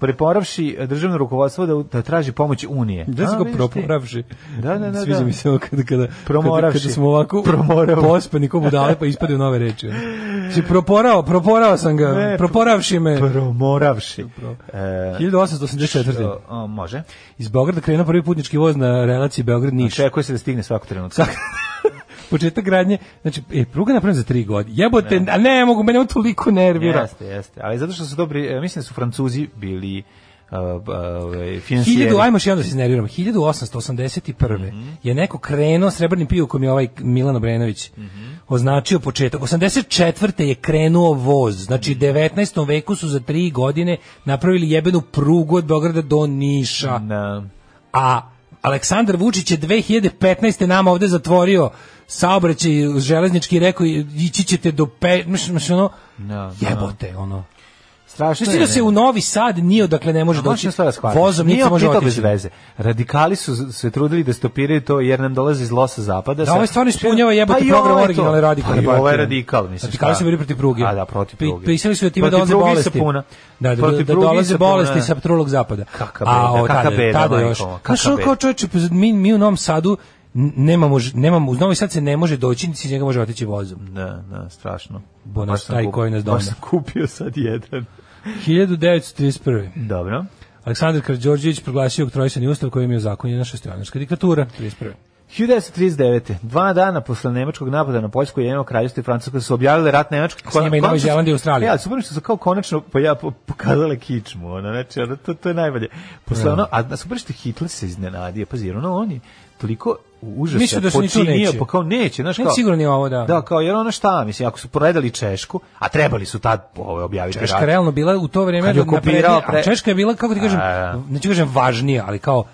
G: preporavši državno rukovodstvo da, da traži pomoć Unije.
F: Da se
G: A,
F: ga
G: vidiš ti.
F: proporavši.
G: Da, da, da,
F: Sviđa
G: da.
F: mi se ovo kada, kada, kada,
G: Promoravši.
F: kada smo ovako
G: Promorao.
F: pospani ko budale pa ispade u nove reči. Si proporao, proporao sam ga,
G: Ne,
F: proporavši me.
G: Promoravši. E,
F: 1884.
G: o, može.
F: Iz Beograda krenuo prvi putnički voz na relaciji Beograd-Niš.
G: Čekuje se da stigne svakog trenutka.
F: Svak- početak gradnje, znači, e, pruga je napravljena za tri godine. Jebote, a ne, mogu, mene on toliko nervira.
G: Jeste, jeste. Ali zato što su dobri, e, mislim da su Francuzi bili uh, uh, finansijeri.
F: 1000, ajmo još jedan da se iznerviramo, 1881. je neko krenuo srebrnim pijukom je ovaj Milan Obrenović označio početak. 84. je krenuo voz, znači u 19. veku su za tri godine napravili jebenu prugu od Beograda do Niša.
G: Na,
F: A Aleksandar Vučić je 2015. nama ovde zatvorio saobraćaj železnički i rekao ići ćete do pe... Miš, miš, ono,
G: na, na.
F: jebote, ono.
G: Pa Strašno
F: Znači da se u Novi Sad nije odakle ne može doći. Znači, Vozom niti
G: nije
F: se može
G: opet to
F: otići.
G: bez veze. Radikali su se trudili da stopiraju to jer nam dolazi iz losa zapada.
F: Da,
G: Sad-
F: ovaj stvarno ispunjava jebote
G: Pa i
F: program
G: ovaj to.
F: originalne radikalne
G: Pa i ovaj
F: partije.
G: radikal, mislim.
F: Radikali
G: šta?
F: su bili protiv pruge.
G: A da, protiv
F: Pi-
G: pruge.
F: Pisali su da time
G: Protiv
F: dolaze
G: pruge i
F: bolesti.
G: sapuna.
F: Da, da,
G: Protiv
F: da
G: pruge i
F: dolaze
G: sapuna,
F: bolesti
G: da.
F: sa trulog zapada.
G: Kaka
F: A,
G: beda,
F: o,
G: kaka
F: tada-
G: beda,
F: tada
G: majko
F: još.
G: moja,
F: Znaš,
G: kaka
F: ono kao
G: beda.
F: čoveče, pa mi, mi u Novom Sadu n- nemamo, ž- nemamo, u Novi Sad se ne može doći, niti se iz njega može otići vozom.
G: Da, da, strašno.
F: Bo nas
G: Baš sam
F: taj
G: kup-
F: koji nas
G: baš
F: doma.
G: sam kupio sad jedan.
F: 1931.
G: Dobro.
F: Aleksandar Karđorđević proglasio oktrojsani ustav kojim je ozakonjena šestionarska diktatura. 31.
G: 1939. Dva dana posle nemačkog napada na Poljsku i jednog kraljevstva i Francuska su objavile rat Nemačke.
F: njima i Novi Zeland i Australija.
G: Ja, super što su kao konačno pa ja po- pokazale kičmu, ono, znači, ono, to, to je najbolje. Posle ono, a a super što je Hitler se iznenadio, pazi, jer ono, on je toliko užasa
F: Mislio da se ni tu
G: počinio,
F: neće.
G: pa kao neće, znaš
F: Ne,
G: kao...
F: sigurno nije ovo, da.
G: Da, kao, jer ono šta, mislim, ako su poredali Češku, a trebali su tad ovaj, objaviti
F: Češka je
G: rat.
F: realno bila u to vrijeme
G: Kad je
F: naprednija,
G: okupirao
F: a
G: pre-
F: Češka je bila kako ti kažem,
G: A, da.
F: neću kažem važnija, ali kao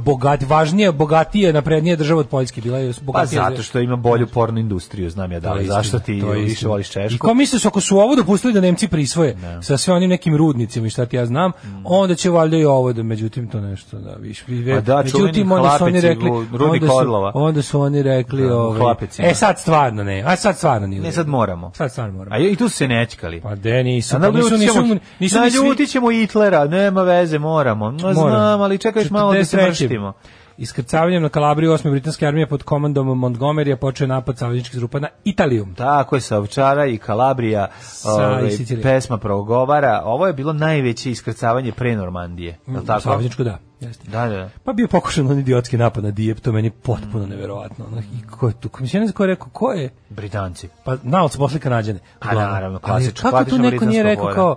F: bogat, važnija, bogatija, naprednija država od Poljske bila je
G: Pa
F: bogatija.
G: zato što ima bolju pornu industriju, znam ja da,
F: To je
G: ali
F: istina,
G: zašto ti
F: to je
G: više
F: istina.
G: voliš
F: I
G: Češku?
F: ko misle su ako su ovo dopustili da Nemci prisvoje sa sve onim nekim rudnicima i šta ti ja znam,
G: Mm.
F: onda će valjda i ovo da međutim to nešto da više.
G: A Pa da,
F: međutim
G: čuveni
F: onda su oni
G: hlapeci,
F: rekli,
G: u- rudnik
F: onda su,
G: Orlova.
F: onda su oni rekli
G: Da, u
F: ovaj,
G: hlapecima.
F: E sad stvarno ne. A sad stvarno nije. u
G: Ne,
F: redu.
G: sad moramo.
F: Sad stvarno moramo.
G: A i tu su se nećkali.
F: Pa de nisu,
G: A
F: pa nisu,
G: naljutit
F: nisu,
G: ćemo-
F: nisu, nisu ni svi-
G: naljutit ćemo Hitlera, nema veze, moramo. No, znam, ali čekaj još malo da se
F: 43..
G: mrštimo.
F: Iskrcavanjem na Kalabriju 8. britanske armije pod komandom Montgomerya počeo je napad savezničkih trupa na Italiju.
G: Tako je, sa Ovčara i Kalabrija
F: Sa-
G: ovaj,
F: i Sicilije.
G: pesma progovara. Ovo je bilo najveće iskrcavanje pre Normandije.
F: Mm,
G: Je li tako?
F: Savezničku, da. Jeste.
G: Da, da.
F: Pa bio pokušan on idiotski napad na Dijep, to meni je potpuno neverovatno. Ono, I ko je tu? Mislim, ja ne znam ko je rekao, ko je?
G: Britanci.
F: Pa naoc su posle Kanadjane.
G: A,
F: Uglavnom.
G: naravno,
F: Ali
G: klasično,
F: Kako tu
G: klasična
F: neko
G: britanska
F: nije rekao
G: vojna.
F: kao,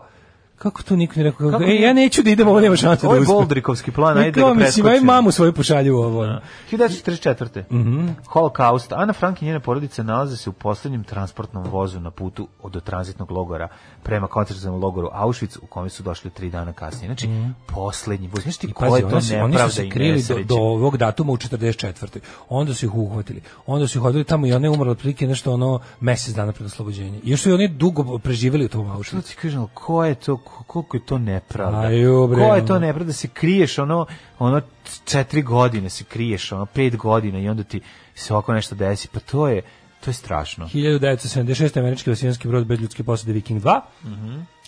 F: Kako tu niko nije rekao?
G: Kako
F: Kako, e,
G: nije?
F: ja neću da idem, ovo nema šanse da
G: Ovo je
F: uspe.
G: Boldrikovski plan,
F: Ne,
G: ajde
F: kao,
G: da ga
F: Mislim, aj
G: preskočimo.
F: mamu svoju pošalju u ovo. ono.
G: 1944.
F: Mhm.
G: Holokaust. Ana Frank i njene porodice nalaze se u posljednjem transportnom vozu na putu od tranzitnog logora prema koncentracijom logoru Auschwitz u kome su došli tri dana kasnije. Znači, posljednji voz. Znaš ti
F: Mhm. I
G: koja
F: pazi,
G: je to
F: oni su, oni su
G: nepravda
F: se
G: i
F: krili do,
G: nesreće?
F: do ovog datuma u 44. Onda su ih uhvatili. Onda su ih odveli tamo i ona je umrla otprilike nešto ono mesec dana pred oslobođenje. I još su i oni dugo preživjeli u tom
G: Što
F: Auschwitzu.
G: Ono ti kažem, ali ko je to, ko- koliko je to nepravda?
F: Aju, bre,
G: ko je
F: ono.
G: to nepravda? Se kriješ ono, ono četiri godine se kriješ, ono pet godina i onda ti se ovako nešto desi. Pa to je, to je strašno.
F: 1976. američki vasijanski brod bez ljudske posade Viking 2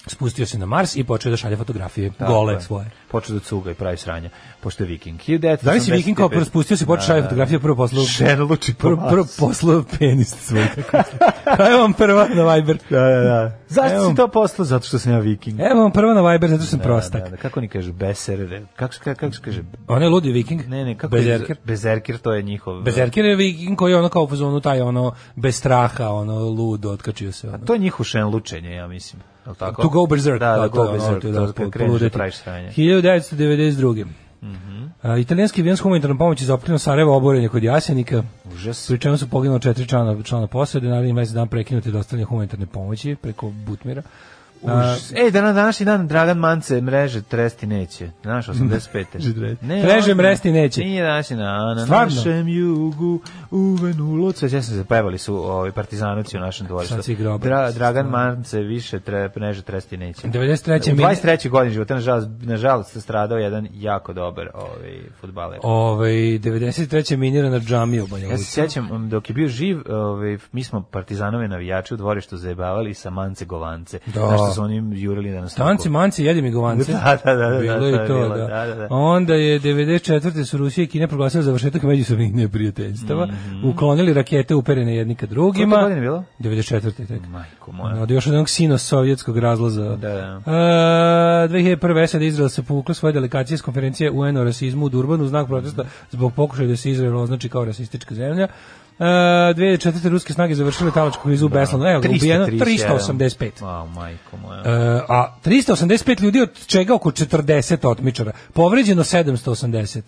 F: spustio se na Mars i počeo da šalje fotografije
G: Mhm. Tako
F: gole
G: je.
F: svoje.
G: Počeo da cuga i pravi sranja, pošto je viking. 1985.
F: Da li si Viking kao prvo spustio se i počeo šalje fotografije prvo poslu...
G: Šenluči po
F: Prvo, prvo
G: Marsu.
F: poslu penis svoj. Evo vam prva na Viber.
G: Da, da, da. Zašto
F: Evo.
G: si to poslao? Zato što sam ja viking.
F: Evo vam prvo na Viber, zato što sam
G: Da,
F: prostak.
G: da, kako oni kažu? Beser, kako, se- kako, kako se kaže?
F: On je ludi viking.
G: Ne, ne, kako
F: Bezerker.
G: je? Bezerker, to je njihov.
F: Bezerker je viking koji je ono kao u fazonu taj ono bez straha, ono ludo, otkačio se. Ono.
G: To je njihov šenlučenje, ja mislim. Jel tako?
F: To go berserk.
G: Da, da,
F: to je
G: go
F: ono,
G: berserk.
F: to je
G: To
F: da,
G: kad
F: po-
G: kreneš da
F: poludeti.
G: praviš sranje. Mhm.
F: 1992. A, italijanski avijan s humanitarnom pomoći za opklinu Sarajeva oboren je kod Jasenika.
G: Užas.
F: Pri čemu su poginuli četiri člana, člana posade, naravno mesec dan prekinuti dostavljanje humanitarne pomoći preko Butmira.
G: Užas. Ej, da na današnji dan Dragan Mance mreže tresti neće. Znaš, 85.
F: Ne, mreže mresti neće.
G: Nije današnji dan. Na
F: Stvarno?
G: našem jugu uvenulo sve. Ja sam se pevali su ovi partizanovci u našem dvorištu.
F: Sad si igrao
G: Dra,
F: obrazac.
G: Dragan Mance više tre, mreže tresti neće.
F: 93.
G: U
F: meni-
G: 23. godini života, nažalost, nažalost, stradao jedan jako dobar ovaj, futbaler.
F: Ovaj 93. minirana džamija u Banja
G: Ja se
F: Luci.
G: sjećam, um, dok je bio živ, ovaj, mi smo partizanove navijače u dvorištu zajebavali sa mance govance.
F: Da.
G: Znaš što su oni jurili da nas tako-
F: Tanci, manci, jedi mi govance.
G: Da, da, da, da,
F: Bilo
G: to
F: je
G: je
F: to,
G: bilo,
F: da.
G: da, da, da.
F: Onda je 94. su Rusija i Kina proglasila završetak međusobnih neprijateljstava, uklonili rakete uperene jedni ka drugima.
G: Koje godine Mhm. je bilo?
F: 94. tek.
G: Majko moja.
F: Od još jednog sino-sovjetskog razlaza.
G: Da, da.
F: E, 2001. SAD Izrael se povukla svoje delegacije s konferencije UN o rasizmu u Durbanu u znak protesta zbog pokušaja da se Izrael označi kao rasistička zemlja. E, 2004. ruske snage završile talačku krizu u Beslanu. Evo, ga, ubijeno 385.
G: Wow, majko moja.
F: E, a 385 ljudi od čega oko 40 otmičara. Povređeno 780.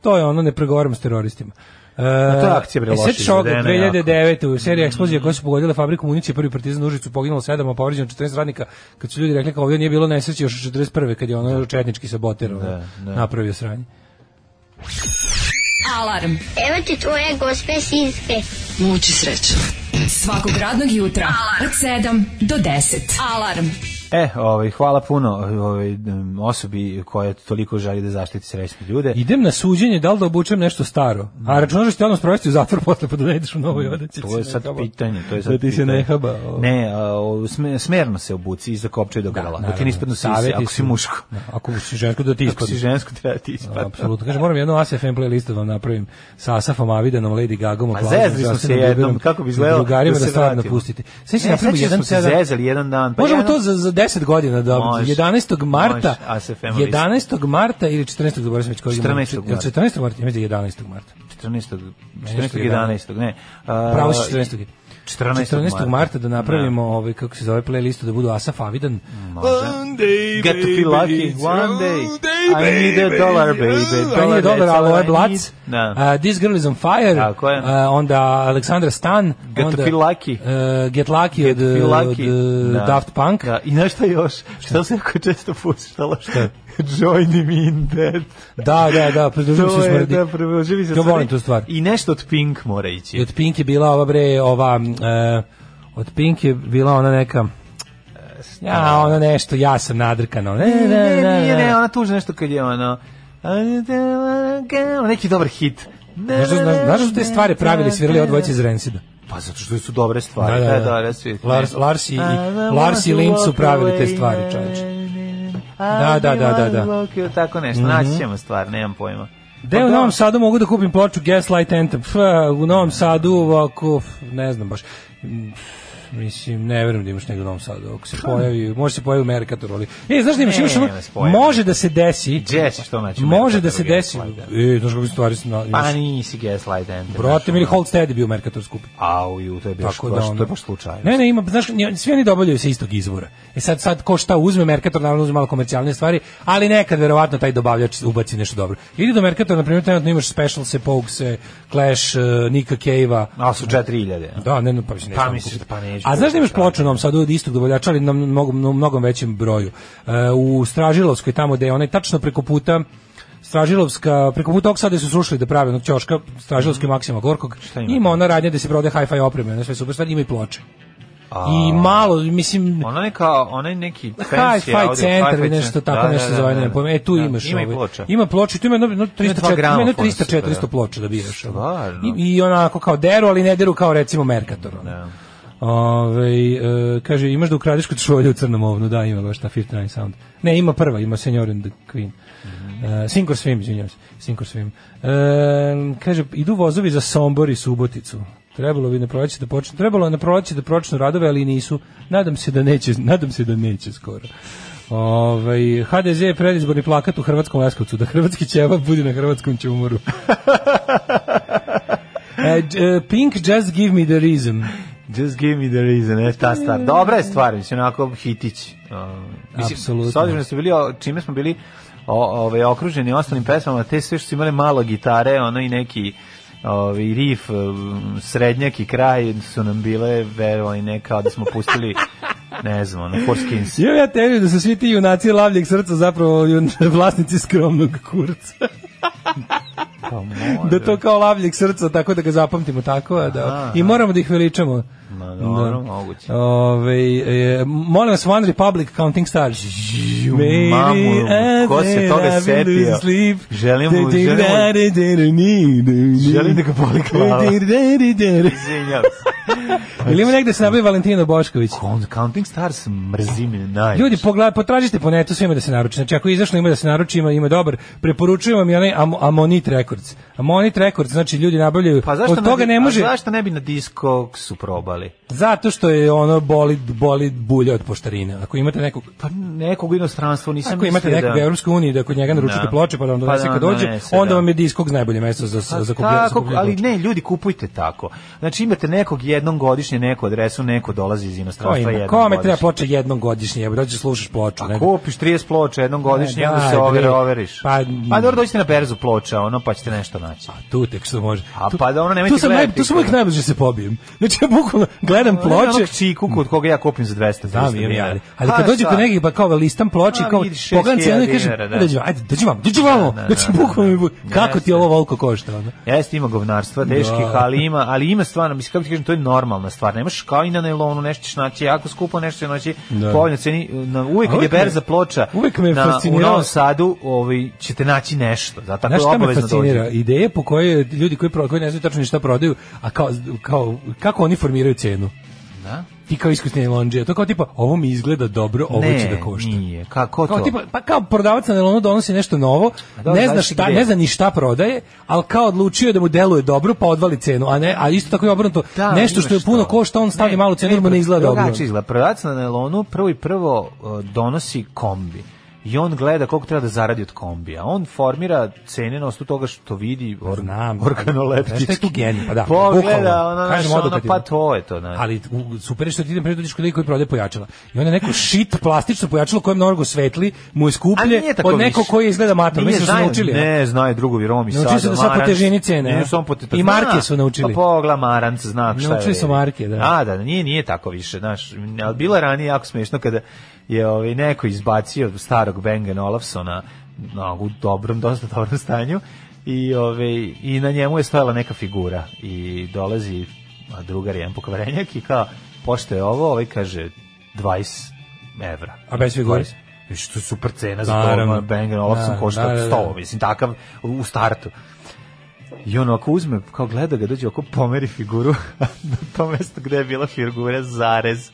F: To je ono, ne pregovaram s teroristima. E,
G: to je akcija, bre,
F: e,
G: loše
F: sjećaš ovog
G: izvedena jako. Mm.
F: 2009. u seriji eksplozije koje su pogodile fabriku municije prvi partizan u Užicu poginulo 7, a povređeno 14 radnika kad su ljudi rekli kao ovdje nije bilo nesreće još od 41. kad je ono četnički saboter ono,
G: da.
F: napravio sranje.
E: Alarm.
H: Evo ti tvoje gospe sinske.
E: Muči sreće. Svakog radnog jutra od 7 do 10. Alarm.
G: E, ovaj, hvala puno ovaj, um, osobi koja toliko želi da zaštiti srećne ljude.
F: Idem na suđenje, da li da obučem nešto staro? A računaš da ću te odmah sprovesti u zatvor posle pa da ne ideš u novoj odeći.
G: Mm, To je sad pitanje, to je sad
F: Da ti se
G: pitanje.
F: ne haba, ovo.
G: Ne, a, o, sme- smerno se obuci i zakopčaj do grla. ovaj. Da, ti ne ispadnu sise,
F: savjeti
G: ako si
F: su-
G: muško.
F: Da, ako si žensko da ti
G: Ako si
F: ispadne.
G: žensko, treba ti ispadne.
F: Apsolutno. Kaže, moram jednu ASFM playlist da vam napravim sa Asafom Avidanom, Lady Gagom,
G: Pa
F: Aplauzom,
G: zezli smo se
F: Justin
G: jednom,
F: Bieberom
G: kako bi
F: i
G: izgledalo
F: drugarima da,
G: se
F: stvarno
G: vratimo.
F: pustite. Sve
G: Ne,
F: se napravimo
G: E, sećaš da
F: jedan
G: smo se
F: sedam-
G: zezali jedan dan. Pa
F: Možemo
G: jedan-
F: to za, za 10 godina da
G: Može.
F: 11. marta
G: Može, ASFM list.
F: 11. marta ili 14. zaboravio sam već koji je
G: 14.
F: mart.
G: marta.
F: Jel 14. marta, ja mislim da je 11. marta.
G: 14. 14.
F: Nešto
G: 11. Ne. a,
F: Pravo si 14.
G: 14.
F: 14. marta da napravimo ovaj kako se zove playlistu da budu Asaf Avidan. One day,
G: Get to feel lucky
F: baby, Oh,
G: one day. I
F: baby.
G: need a dollar, baby.
F: Pa nije dobar, ali ovo je Blac.
G: Da.
F: Uh, This Girl is on Fire.
G: Tako Ah, je.
F: Uh, onda Aleksandra Stan.
G: Get to
F: onda,
G: Feel Lucky.
F: Uh, Get Lucky od,
G: Feel lucky.
F: od uh,
G: Da.
F: Daft Punk.
G: Da, i nešto još. Šta se jako često puštalo? Šta? Join him in death.
F: Da, da, da, pridružujem se
G: To je,
F: smrdi.
G: da, prevoži mi se
F: Ja volim
G: smrdi.
F: tu stvar.
G: I nešto od Pink mora ići.
F: I od Pink je bila ova bre, ova... Uh, od Pink je bila ona neka... Ja, ona nešto, ja sam nadrkana. Ne, ne, ne,
G: ne,
F: ne,
G: nije, ne,
F: ne.
G: ona tuži nešto kad je ono... Neki dobar hit.
F: Znaš, znaš, znaš su te stvari pravili, svirali odvojice iz Rensida.
G: Pa zato što su dobre stvari. Pa Da, da, da. svi-
F: Lars, Lars, i,
G: I wanna
F: Lars i Link su
G: walk
F: pravili te
G: away,
F: stvari, čovječe.
G: Da,
F: da, da, da, Mhm. da.
G: Tako nešto, naći ćemo stvar, nemam pojma.
F: Gde
G: Pa
F: u
G: da.
F: Novom Sadu mogu da kupim ploču Gaslight Anthem? F, u Novom Sadu ovako, f, ne znam baš. Mm, Mislim, ne verujem da imaš negdje u Novom Sadu. Ako se pojavi, može se pojavi u Mercatoru. Ali... E, znaš da imaš,
G: Ne,
F: imaš ono,
G: ne, spojem.
F: može da se desi.
G: Gdje ćeš to naći u
F: Može da se
G: Mercatoru
F: desi.
G: Gaslight?
F: E, znaš kako stvari su... Na,
G: Pa ono.
F: imaš,
G: nisi Gaslight Anthem.
F: brate, Mili Holt Stead je bio Mercator skupi.
G: Au, ju, to je baš,
F: Tako da
G: baš,
F: ono-
G: to je baš slučaj.
F: Ne, ne, ima, znaš, nje- svi oni dobavljaju se istog izvora. E sad, sad ko šta uzme, Merkator naravno uzme malo komercijalne stvari, ali nekad verovatno taj dobavljač ubaci nešto dobro. Ili do Merkatora, na primjer, trenutno imaš Specialse, Pogse, Clash, uh, Nika Cave-a,
G: Ali su 4000.
F: Da, ne, ne, pa mislim,
G: Pa
F: neću
G: misliš da pa neću.
F: A znaš da imaš ploču nam sad od istog dobavljača, ali na mnogo, na mnogo većem broju. E, u Stražilovskoj, tamo gde je onaj tačno preko puta Stražilovska, preko puta ovog sada su srušili da prave onog ćoška, Stražilovski Maksima Gorkog,
G: Mhm. ima
F: ima, ona radnja da se prode hi-fi opreme, ona sve super stvari, ima i ploče. I malo, mislim,
G: Ona neka, onaj neki Ono fancy
F: Hi-fi
G: audio,
F: centar
G: hi-fi
F: ili nešto
G: centar.
F: tako, nešto za ovaj, ne znam pojma. E, tu
G: Da,
F: imaš
G: Ima i
F: ovaj.
G: ploča.
F: Ima ploče, tu ima jedno- jedno
G: dva
F: 300, ima jedno
G: gramofona
F: 300,
G: super,
F: 400
G: da.
F: ploča da biraš. ono.
G: Stvarno?
F: I, I onako kao deru, ali ne deru kao recimo Mercator. ono. Ovaj, e, kaže, imaš da ukradeš kod šolje u crnom ovnu, da, ima baš ta 59 sound. Ne, ima prva, ima Senor and the Queen. E, Sinkor Svim, izvinjam se, Sinkor Svim. E, kaže, idu vozovi za Sombor i Suboticu. Trebalo bi na proleće da počnu, trebalo je na proleće da počnu radove, ali nisu. Nadam se da neće, nadam se da neće skoro. Ovaj HDZ je predizborni plakat u Hrvatskom Leskovcu da hrvatski ćevap bude na hrvatskom čumoru. E, dž- e, Pink just give me the reason.
G: Just give me the reason, e, ta
F: Mm.
G: stvar. Dobra je stvar, mislim, onako hitić. Um, mislim,
F: Apsolutno.
G: S obzirom da su bili, o- čime smo bili o, ove, okruženi ostalim pesmama, te sve što su imali malo gitare, ono i neki ovaj mm, riff, um, srednjak i kraj su nam bile verovali neka da smo pustili ne znam, ono, Horskins.
F: Imam ja teoriju da su svi ti junaci lavljeg srca zapravo jun- vlasnici skromnog kurca.
G: Pa može.
F: da to kao lavljeg srca, tako da ga zapamtimo tako, a da, i moramo da ih veličamo.
G: Ma, dobro, moguće.
F: Ove, e, molim vas, One Republic, Counting Stars.
G: mamu, ko se toga setio? Želim mu- želim mu- Želim da ga boli glava. Izvinjavam se. Znači-
F: Ili ima negde se nabavi Valentino Bošković?
G: Con- Counting Stars mrzi me najviše.
F: Ljudi, pogledaj, potražite po netu svima da se naruči. Znači, ako je izašlo ima da se naruči, ima, ima dobar. Preporučujem vam i onaj Am Amonit Records. Amonit Records, znači ljudi nabavljaju.
G: pa zašto
F: Od toga
G: bi-
F: ne može,
G: A zašto ne bi na diskog su probali?
F: zato što je ono boli, boli bulja od poštarine. Ako imate nekog
G: Pa nekog inostranstvo nisam
F: Ako imate
G: mislio
F: nekog u Evropskoj uniji da kod njega naručite
G: Da.
F: ploče pa da vam
G: Pa
F: donese
G: da
F: kad
G: vam
F: dođe,
G: donese,
F: onda
G: da.
F: vam je diskog najbolje mesto za
G: Pa
F: za za kupljanje.
G: tako, ali ne, ljudi kupujte tako. Znači imate nekog jednom godišnje, neku adresu, neko dolazi iz inostranstva jednom
F: Kome treba
G: godišnje. Pa
F: ploča jednom godišnje? Evo dođeš slušaš ploču, ne?
G: Kupiš 30 ploča jednom godišnje,
F: Ne,
G: onda
F: daj,
G: se over,
F: bre.
G: overiš.
F: Pa-
G: Pa, dobro, dođite na berzu ploča, ono, pa ćete nešto naći.
F: Tu tek što može.
G: A
F: Tu-
G: pa da ono nemojte
F: Tu sam naj,
G: gledati.
F: tu sam uvijek najbliže da se pobijem. Znači ja bukvalno gledam
G: Ono
F: ploče.
G: je onog čiku kod koga ja kupim za 200
F: Da,
G: 300
F: mi je,
G: dinara.
F: ali, ali
G: Pa
F: kad dođe
G: šta?
F: kod nekih pa kao listam ploče
G: Pa
F: kao
G: vidi, šest
F: pogledam cenu i
G: hiljada
F: kažem,
G: dinara, da.
F: "Ajde, dođi, ajde, dođi vam, dođi vamo."
G: Da, da,
F: Znači
G: da,
F: bukvalno
G: da.
F: mi- kako ti
G: Jeste.
F: ovo volko košta ono?
G: Jeste, ima govnarstva teških,
F: Da.
G: ali ima, ali ima stvarno, mislim, kako ti kažem, to je normalna stvar. Nemaš kao i na nailonu, nešto ćeš naći jako skupo, nešto ćeš naći
F: Da.
G: povoljno ceni. Na, uvijek kad
F: A
G: je
F: uvek me-
G: berza ploča,
F: uvek me je
G: na, u
F: fascinirao-
G: Novom Sadu ovaj, ćete naći nešto. Da, tako
F: Znaš
G: je
F: šta me
G: Pa obavezno
F: fascinira?
G: dođe.
F: Ideje po kojoj ljudi koji, pro, koji ne znaju tačno ni šta prodaju, a kao, kao, kako oni formiraju cenu?
G: Da?
F: Ti kao iskusni nelonđe, to kao tipa, ovo mi izgleda dobro, ovo će da košta.
G: nije. Kako
F: Kao
G: to?
F: tipa, pa kao prodavac na nelonu donosi nešto novo,
G: dobro,
F: ne zna
G: zavisi
F: šta,
G: gde.
F: ne zna ni šta prodaje, ali kao odlučio je da mu deluje dobro, pa odvali cenu, a ne, a isto tako je obrnuto,
G: Da,
F: nešto što je
G: imaš
F: puno
G: to.
F: košta, on stavi
G: Ne,
F: malu cenu, jer mu ne izgleda dobro.
G: Drugačije izgleda. Prodavac na nailonu prvo i prvo uh, donosi kombi i on gleda koliko treba da zaradi od kombija. On formira cene na osnovu toga što vidi or,
F: Znam.
G: organoleptički.
F: Znaš šta je tu genij? Pa da,
G: Pogleda,
F: bukvalno.
G: ono, znaš,
F: Kažem,
G: ono,
F: odokativno.
G: pa to je to. Ne.
F: Ali u, super je što ti idem prije dođeš kod lika koji prodaje pojačala. I onda neko shit plastično pojačalo kojem mnogo svetli, mu je skuplje od nekog koji izgleda matom. Mislim da su naučili. a?
G: Ne, znaju drugovi Romi
F: Naučili su da sad po
G: Maranc.
F: težini cene,
G: Ne,
F: a?
G: samo po te-
F: I marke
G: pa Zna.
F: su naučili.
G: Pa pogla Maranc, zna šta je.
F: Naučili su
G: vredi.
F: marke, da.
G: A, da, nije, nije tako više, znaš. Ali bilo je ranije jako smiješno kada je ovaj, neko izbacio starog Bang Olufsona na, u dobrom, dosta dobrom stanju i, ovaj, i na njemu je stojala neka figura i dolazi a, drugar jedan pokvarenjak i kao, pošto je ovo, ovaj kaže 20 evra.
F: A bez figure?
G: 20. I što je super cena za
F: Naravno.
G: to, ono Bang Olufsen
F: Da,
G: košta
F: da, da, da.
G: 100, mislim, takav u- u startu. I on ako uzme, kao gleda ga, dođe oko pomeri figuru, a na to mesto gde je bila figura, zarez,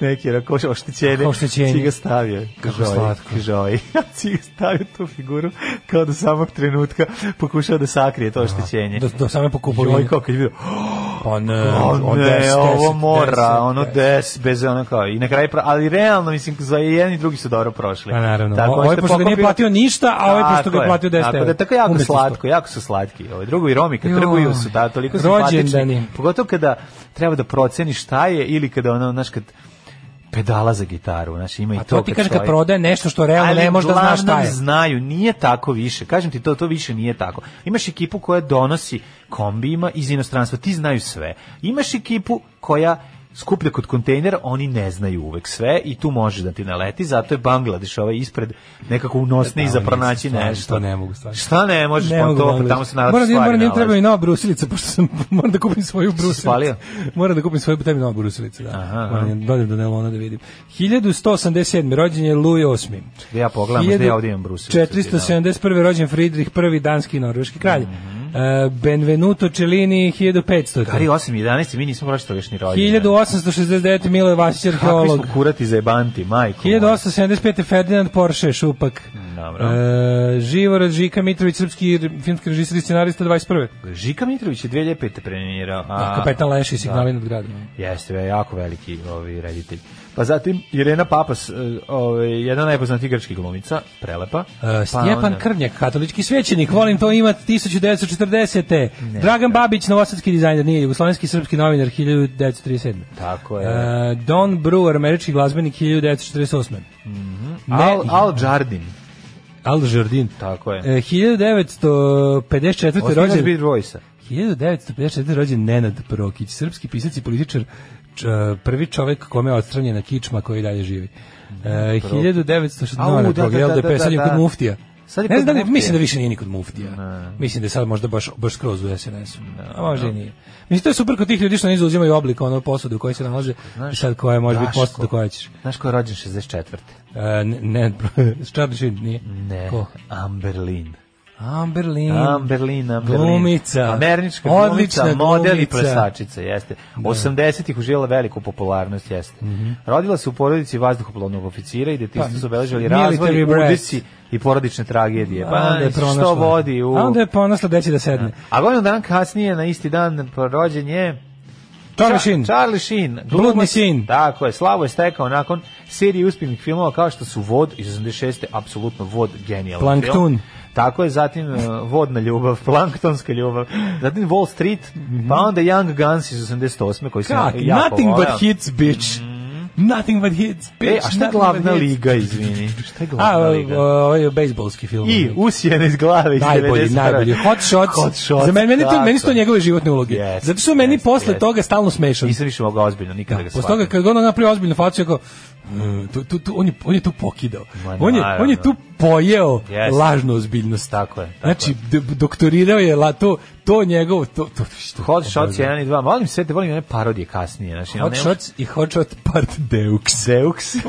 G: neki rako oštećenje,
F: Oštećenje.
G: si ga stavio,
F: Kako slatko.
G: žoj, si ga stavio tu figuru, kao do samog trenutka pokušao da sakrije to oštećenje.
F: Do, do same pokupovine.
G: Joj, kao kad je vidio,
F: Pa ne,
G: o,
F: od
G: ne,
F: 10, 10,
G: ovo
F: 10,
G: mora,
F: 10,
G: ono
F: 10.
G: des, bez ono kao, i na kraju, pra- ali realno, mislim, za jedan i drugi su dobro prošli.
F: Pa naravno.
G: Tako,
F: Ovaj
G: možete
F: pošto ga nije
G: pokupiti-
F: platio ništa, a ovaj pošto
G: Tako
F: ga je platio 10
G: Tako
F: evra.
G: da tako jako
F: Umesto
G: slatko,
F: sto.
G: jako su slatki. Ovaj drugo i Romi kad
F: Joj.
G: trguju su da toliko su
F: Rođendani.
G: simpatični. Pogotovo kada treba da proceni šta je ili kada ono znaš kad pedala za gitaru, znaš ima i
F: A
G: Pa to.
F: to ti kaže kad
G: čovjek-
F: prodaje nešto što realno ne može da zna šta
G: uglavnom
F: je.
G: znaju, nije tako više. Kažem ti to, to više nije tako. Imaš ekipu koja donosi kombijima iz inostranstva, ti znaju sve. Imaš ekipu koja skuplja kod kontejnera, oni ne znaju uvek sve i tu može da ti naleti, zato je Bangladeš ovaj ispred nekako unosniji
F: Da,
G: za
F: oni nisu
G: pronaći
F: stvarno,
G: nešto.
F: to ne mogu stvarno.
G: Šta ne možeš,
F: Ne
G: pa
F: mogu
G: to,
F: Bangladeš.
G: tamo se naravno
F: Moram da
G: stvari
F: moram da im treba
G: nalaze.
F: i nova brusilica pošto sam moram da kupim svoju brusilicu.
G: spalio?
F: Moram da kupim svoju tebi novu brusilicu, da.
G: Aha, aha.
F: moram da dođem do Nelona da vidim. 1187. rođen je Louis VIII.
G: Da ja pogledam, možda ja ovdje imam brusilicu.
F: 471. rođen Friedrich I, danski i norveški kralj.
G: Mhm.
F: E, Benvenuto Cellini 1500.
G: Kari 8 i 11, mi nismo prošli toga još ni rođeni.
F: 1869. Miloje Vasić
G: Kakvi
F: arheolog.
G: smo kurati za jebanti, majko. moja.
F: 1875. Ferdinand Porsche, Šupak.
G: Dobro.
F: E, Živorad Žika Mitrović, srpski r- filmski režisir i scenarista 21.
G: Žika Mitrović je 2005. premijerao.
F: A, pa Kapetan Leši, signali nad gradom.
G: Jeste, je jako veliki ovaj reditelj. Pa zatim Irena Papas, eh, ovaj jedna najpoznatija grčkih glumica, prelepa.
F: E, Stjepan
G: Pa onda-
F: Krvnjak, katolički svećenik, volim to imat 1940. Dragan Babić, novosadski dizajner, nije jugoslovenski srpski novinar 1937.
G: Tako je.
F: E, Don Brewer, američki glazbenik 1948. Ne-
G: Al, Al Jardin,
F: Al Jardin.
G: tako je.
F: E, 1954.
G: Osnivač
F: rođen.
G: Beat Boysa.
F: 1954. rođen Nenad Prokić, srpski pisac i političar, č- prvi čovek kome je odstranjena kičma koji dalje živi. E, 1960.
G: Au,
F: no,
G: da,
F: ne, Prokić,
G: da,
F: jel
G: da,
F: da je
G: da,
F: sad je
G: da.
F: kod muftija.
G: Sad je
F: ne
G: kod
F: znam da li,
G: muftije.
F: mislim da više nije ni kod muftija. Mislim da je sad možda baš, baš skroz u SNS-u. A možda i nije. Mislim, to je super kod tih ljudi što ne zauzimaju oblik ono posude u kojoj se nalaze. I sad koja je, može biti
G: Daško.
F: posuda koja ćeš.
G: Znaš ko je rođen 64.
F: E, ne, ne, Charlie Sheen nije.
G: Ne,
F: Ko?
G: Amberlin.
F: Amberlin.
G: Amberlin, Amberlin.
F: Glumica.
G: Američka
F: Odlična
G: glumica, model i
F: glumica.
G: plesačica, jeste. 80-ih uživjela veliku popularnost, jeste.
F: Mhm.
G: Rodila se u porodici vazduhoplovnog oficira i detinjstvo su obeležili razvoj,
F: Pa, military brat.
G: udici i porodične tragedije.
F: A
G: Pa,
F: onda je pronašla.
G: što vodi u...
F: A onda je ponosla gde će da sedne.
G: A godinu dan kasnije, na isti dan rođen je
F: Charlie
G: Ča-
F: Sheen.
G: Charlie Sheen.
F: Bludni
G: glumac.
F: sin.
G: Tako je, slavu je stekao nakon serije uspješnih filmova kao što su Vod iz 86. apsolutno Vod genijalan
F: Plankton.
G: film. Tako je, zatim eh, Vodna ljubav, Planktonska ljubav, zatim Wall Street, pa onda Young Guns iz 88. koji se
F: Mhm. Kak,
G: ja
F: nothing but hits, bitch. Nothing but hits, bitch.
G: Mm-hmm. E, a šta je
F: nothing
G: glavna
F: but hits.
G: liga, izvini? Šta je
F: A,
G: glavna liga?
F: ovo je bejsbolski film.
G: I usijena iz glave iz
F: najbolji,
G: 91..
F: najbolji. Hot shots.
G: Hot shots,
F: Za mene, meni, to,
G: tako
F: meni su to
G: je.
F: njegove životne uloge.
G: Jeste,
F: Zato su meni
G: jeste,
F: posle
G: jeste.
F: toga stalno smešan.
G: Nisam više mogao ozbiljno nikada
F: Da,
G: ga
F: posle toga
G: shvatim.
F: kad god on napravi ozbiljnu facu, ja kao, "Mm, tu, tu, tu, on, je, on je tu pokidao.
G: Ma,
F: on, je, on je tu pojeo
G: Jeste.
F: lažnu ozbiljnost.
G: Tako je, tako
F: znači, d- doktorirao je la, to, to njegovo... To, to, što,
G: Hot Shots 1 i 2. Volim sve te, volim one parodije kasnije. Znači, ja
F: Hot
G: ne mogu-
F: Shots i Hot Shot Part Deux.
G: Deux.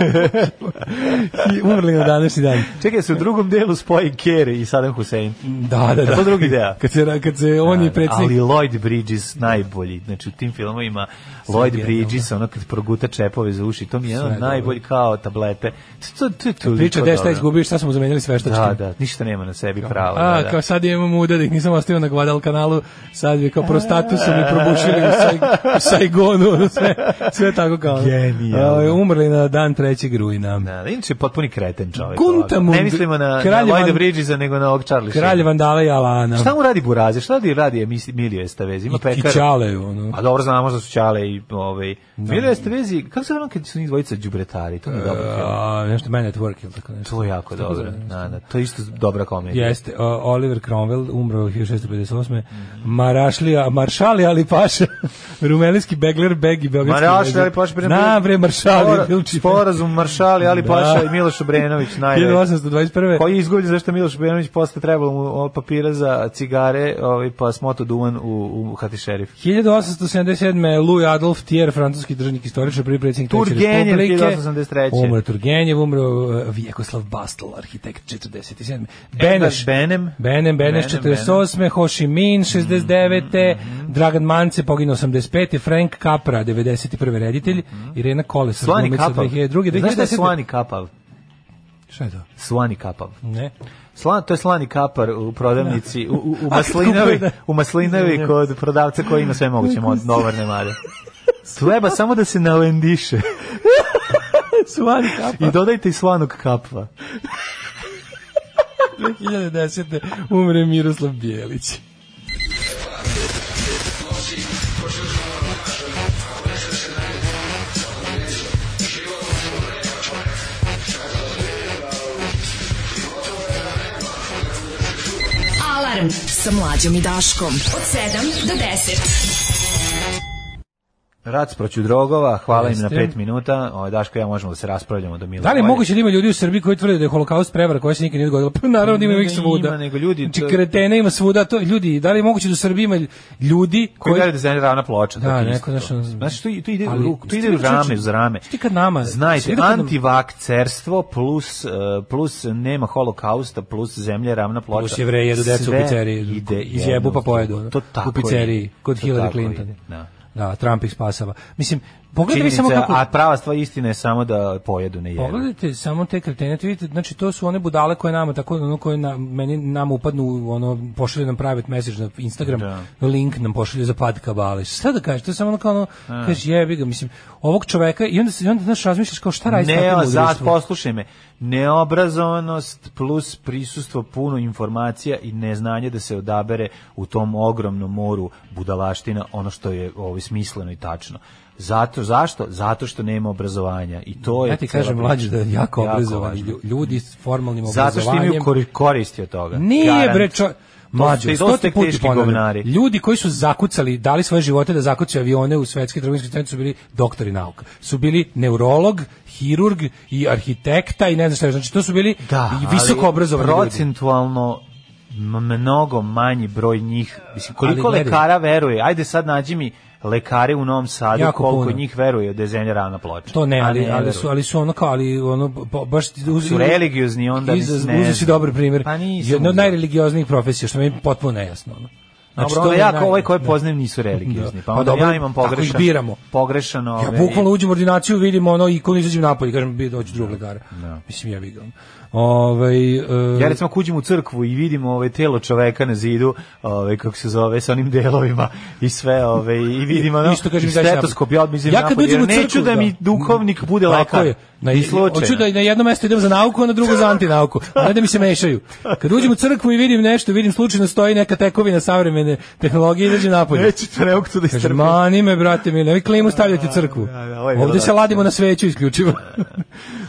F: I umrli na današnji dan.
G: Čekaj, se u drugom delu spoji Kerry i Saddam Hussein.
F: Da, da, da.
G: Je to drugi deo?
F: Kad se, ra- kad se on je
G: Ali
F: predsjednik...
G: Lloyd Bridges najbolji. Znači u tim filmovima Lloyd
F: genijalno.
G: Bridges, ono kad proguta čepove za uši, to mi je
F: Sve
G: jedan
F: je
G: najbolji kao tablete. To, to, to, to
F: Priča gde šta izgubio, šta smo zamenili sveštački.
G: Da, da, ništa nema na sebi pravo.
F: A,
G: da, da.
F: kao sad imam muda da ih nisam ostavio na Guadalcanalu, sad je kao prostatu su
G: E.
F: mi probušili u, Saig- u Saigonu, ono sve, sve tako kao.
G: Genijalno.
F: Ovaj, umrli na dan 3. rujna.
G: Da, da, inače je potpuni kreten čovjek.
F: Guntamund,
G: Ne mislimo na, na
F: kralj
G: Lloyda
F: Van-
G: Bridgesa, nego na ovog Charlie
F: Kralj
G: Sheena.
F: Vandala i Alana.
G: Šta mu radi Buraze? Šta radi, radi Emisi- Emilio Estevez? Ima
F: I
G: pekar.
F: Kićale, ono.
G: A dobro znamo da su Ćale i ovaj. Milo jeste vezi, kako se ono kad su njih dvojica đubretari, to mi je dobro. film.
F: A, nešto Man at Work ili E, tako nešto.
G: To je jako dobro. Da, da, to je isto dobra komedija.
F: Jeste, o, Oliver Cromwell, umro 1658.
G: Mhm.
F: Marašlija, Maršali Ali Paša, rumelijski begler, beg i beogradski.
G: Marašli
F: vezir.
G: Ali Paša, bre,
F: Na, bre, Maršali, Bilčić.
G: Sporazum Maršali Ali
F: Da.
G: Paša i Miloš Obrenović najveći.
F: 1821.
G: Koji je izgubljen zašto Miloš Obrenović posle trebalo mu o, papira za cigare, ovaj pa smoto duvan u u Hati šerif.
F: 1877. Louis Adolf Thier, francuski državnik istoričar, prvi predsjednik Treće
G: Turgenev,
F: Republike.
G: 1883.
F: Umro je Turgenjev, umro uh, Vjekoslav Bastel, arhitekt 47.
G: Beneš
F: Beneš,
G: Benem.
F: Benem, Beneš 48. Ho Chi Minh
G: Mhm,
F: 69. Dragan Mance poginuo 85. Frank Capra 91. reditelj. Irena Koles,
G: Mhm. Slani
F: glumica
G: Kapav.
F: 2002.
G: Znaš šta je
F: 2010.
G: Slani Kapav?
F: Šta je to?
G: Slani Kapav.
F: Ne.
G: Slan, to je slani kapar u prodavnici, u, u, u maslinovi,
F: kupuje, da.
G: u maslinovi kod prodavca koji ima sve moguće mod, novarne mare. Treba samo da se nalendiše
F: Suani Capra.
G: i dodajte i slanog kapva.
F: 2010. umre Miroslav Bijelić.
E: Alarm sa mlađom i Daškom. Od 7 do 10.
G: Rac proću drogova, hvala im na
F: Jeste.
G: pet minuta. Ovo, Daško i ja možemo da se raspravljamo do mila.
F: Da li je
G: volje.
F: moguće da ima ljudi u Srbiji koji tvrde da je holokaust prevara koja se nikad nije dogodila? Pa naravno da ima ih svuda.
G: Ima, nego ljudi-
F: Znači, kretena ima svuda. To, ljudi, da li je moguće da u Srbiji ima ljudi
G: Koji
F: koji...
G: gleda da se ravna ploča.
F: Da,
G: to je
F: neko,
G: isto.
F: znaš, ono-
G: Znaš, tu, tu ide u
F: Ali,
G: ruku, tu
F: ti
G: ide u
F: vidi,
G: rame,
F: čovječe,
G: uz rame.
F: ti kad nama-
G: Znajte,
F: svi kad nam-
G: antivakcerstvo plus, eh, plus nema holokausta, plus zemlja ravna ploča.
F: Plus jevreje jedu decu u
G: Sve
F: pizzeriji.
G: Ide
F: Izjebu
G: jedno
F: pa
G: uz
F: pojedu,
G: drugo.
F: ono,
G: To
F: u
G: tako
F: pizzeriji,
G: ide.
F: kod
G: To
F: Hillary
G: tako
F: Clinton.
G: ide, Da.
F: Da, Trump ih spasava. Mislim, pogledajte vi
G: Činjenica,
F: samo kako...
G: a prava stvar istina je samo da pojedu ne jedu.
F: Pogledajte samo te kretene, to vidite, znači to su one budale koje nama tako ono koje na, meni nam upadnu u ono pošalju nam private message na Instagram,
G: Da.
F: link nam pošalju za pad kabale. Šta da kažeš, to je samo ono kao ono, kažeš jebi ga, mislim, ovog čoveka i onda se i onda znaš razmišljaš kao šta radi s takvim
G: Ne,
F: u
G: za,
F: društvu?
G: poslušaj me. Neobrazovanost plus prisustvo puno informacija i neznanje da se odabere u tom ogromnom moru budalaština ono što je ovo smisleno i tačno. Zato, zašto? Zato što nema obrazovanja. I to je
F: Ja ti
G: cela
F: kažem
G: priča.
F: mlađe da je jako obrazovani
G: važno.
F: lju- ljudi s formalnim
G: Zato što imaju
F: obrazovanjem.
G: kor- koristi od toga.
F: Nije
G: Garant.
F: bre čo... Mlađo,
G: dosta
F: stoti put
G: teški
F: ponavljam.
G: govnari.
F: Ljudi koji su zakucali, dali svoje živote da zakucaju avione u svetski trgovinski centar su bili doktori nauka. Su bili neurolog, hirurg i arhitekta i ne znam šta još. Znači, to su bili i visoko
G: ali
F: obrazovani ljudi.
G: procentualno m- mnogo manji broj njih. Mislim, koliko
F: Ali gledaj.
G: lekara veruje? Ajde sad nađi mi lekare u Novom Sadu,
F: Jako
G: koliko
F: puno.
G: njih veruje da je zemlja ravna ploča.
F: To ne,
G: A
F: ali, ali,
G: veruju.
F: su, ali su ono kao, ali ono, po- baš... Uz,
G: Su religiozni, onda
F: iz,
G: mislim, ne
F: uzeo si
G: znam.
F: dobar primjer.
G: Pa nisam
F: Jedna od
G: uzeo.
F: najreligioznijih profesija, što mi je potpuno nejasno. Ono.
G: Znači,
F: to
G: Dobro,
F: je
G: ja
F: naj-
G: kao ovaj koje
F: da.
G: poznajem nisu religiozni.
F: Da.
G: Pa
F: Pa
G: onda
F: dobro,
G: ja imam
F: tako ih
G: pogrešan.
F: biramo.
G: Pogrešan
F: Ja
G: ovaj,
F: bukvalno uđem u ordinaciju, vidim ono ikonu, izađem napolje, i kažem, bi doći drugog lekara. Mislim, ja vidim. Ovaj, e,
G: Ja recimo ako uđem u crkvu i vidim ovaj telo čoveka na zidu, ovaj kako se zove sa onim delovima i sve, ovaj i vidim ono
F: Isto kažem,
G: i
F: daj
G: stetoskop
F: napolje.
G: ja odmizim
F: Ja kad
G: napolje,
F: uđem
G: jer
F: u crkvu,
G: neću da,
F: da. Mm,
G: mi duhovnik bude
F: Tako
G: lekar.
F: je. Na,
G: I slučajno.
F: hoću da i na jedno mesto idem za nauku, a na drugo za antinauku. A ne da mi se mešaju. Kad uđem u crkvu i vidim nešto, vidim slučajno stoji neka tekovina savremene tehnologije, izađem napolje.
G: Neću to ne mogu to da
F: Kaže,
G: istrpim.
F: mani me, brate, mi, nemoj klimu stavljati u crkvu.
G: Da, da, ovo je bilo
F: Ovdje se
G: dobro.
F: ladimo na sveću isključivo.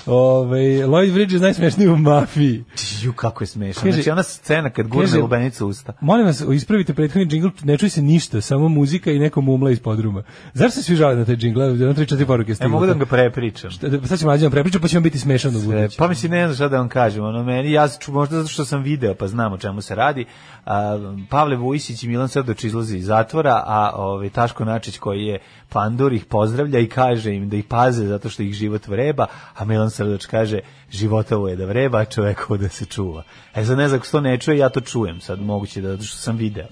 F: Ove, Lloyd Bridges najsmešniji u mafiji.
G: Ju, kako je smešno.
F: Kaže-
G: Znači, ona scena kad gurne
F: kaže-
G: lubenicu u usta.
F: Molim vas, ispravite prethodni džingl, ne čuje se ništa, samo muzika i neko mumla iz podruma. Zar se svi žale na taj džingl? Evo, Jedno, tri, četiri poruke
G: Ne
F: stigu.
G: E, mogu da vam ga prepričam.
F: Sad ćemo mlađe vam prepričati, pa će vam biti smešano u
G: E,
F: budući.
G: pa mislim ne znam šta da vam kažem, ono meni ja ću možda zato što sam video pa znam o čemu se radi. A, Pavle Vujisić i Milan Srdoć izlaze iz zatvora, a ovaj Taško Načić koji je pandur ih pozdravlja i kaže im da ih paze zato što ih život vreba, a Milan Srdoć kaže životovo je da vreba, a čovekovo da se čuva. E sad ne znam ako se to ne čuje, ja to čujem sad moguće da zato što sam video.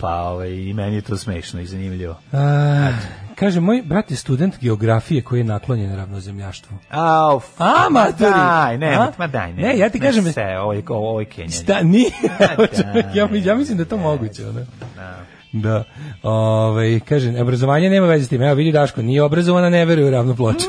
G: Pa ovaj, i meni je to smešno i zanimljivo.
F: A, kaže, moj brat je student geografije koji je naklonjen ravnozemljaštvu.
G: A, f-
F: A, maturi!
G: Daj, ne,
F: A?
G: ma daj, ne.
F: Ne, ja ti
G: Ne
F: kažem-
G: Se, ovo je, ovo je Kenjanje.
F: Šta, nije,
G: da,
F: ja, ja mislim da je to moguće, ono. Da. Ove, kaže, obrazovanje nema veze s tim. Evo, vidi Daško, nije obrazovana, ne veruje u ravnu ploču.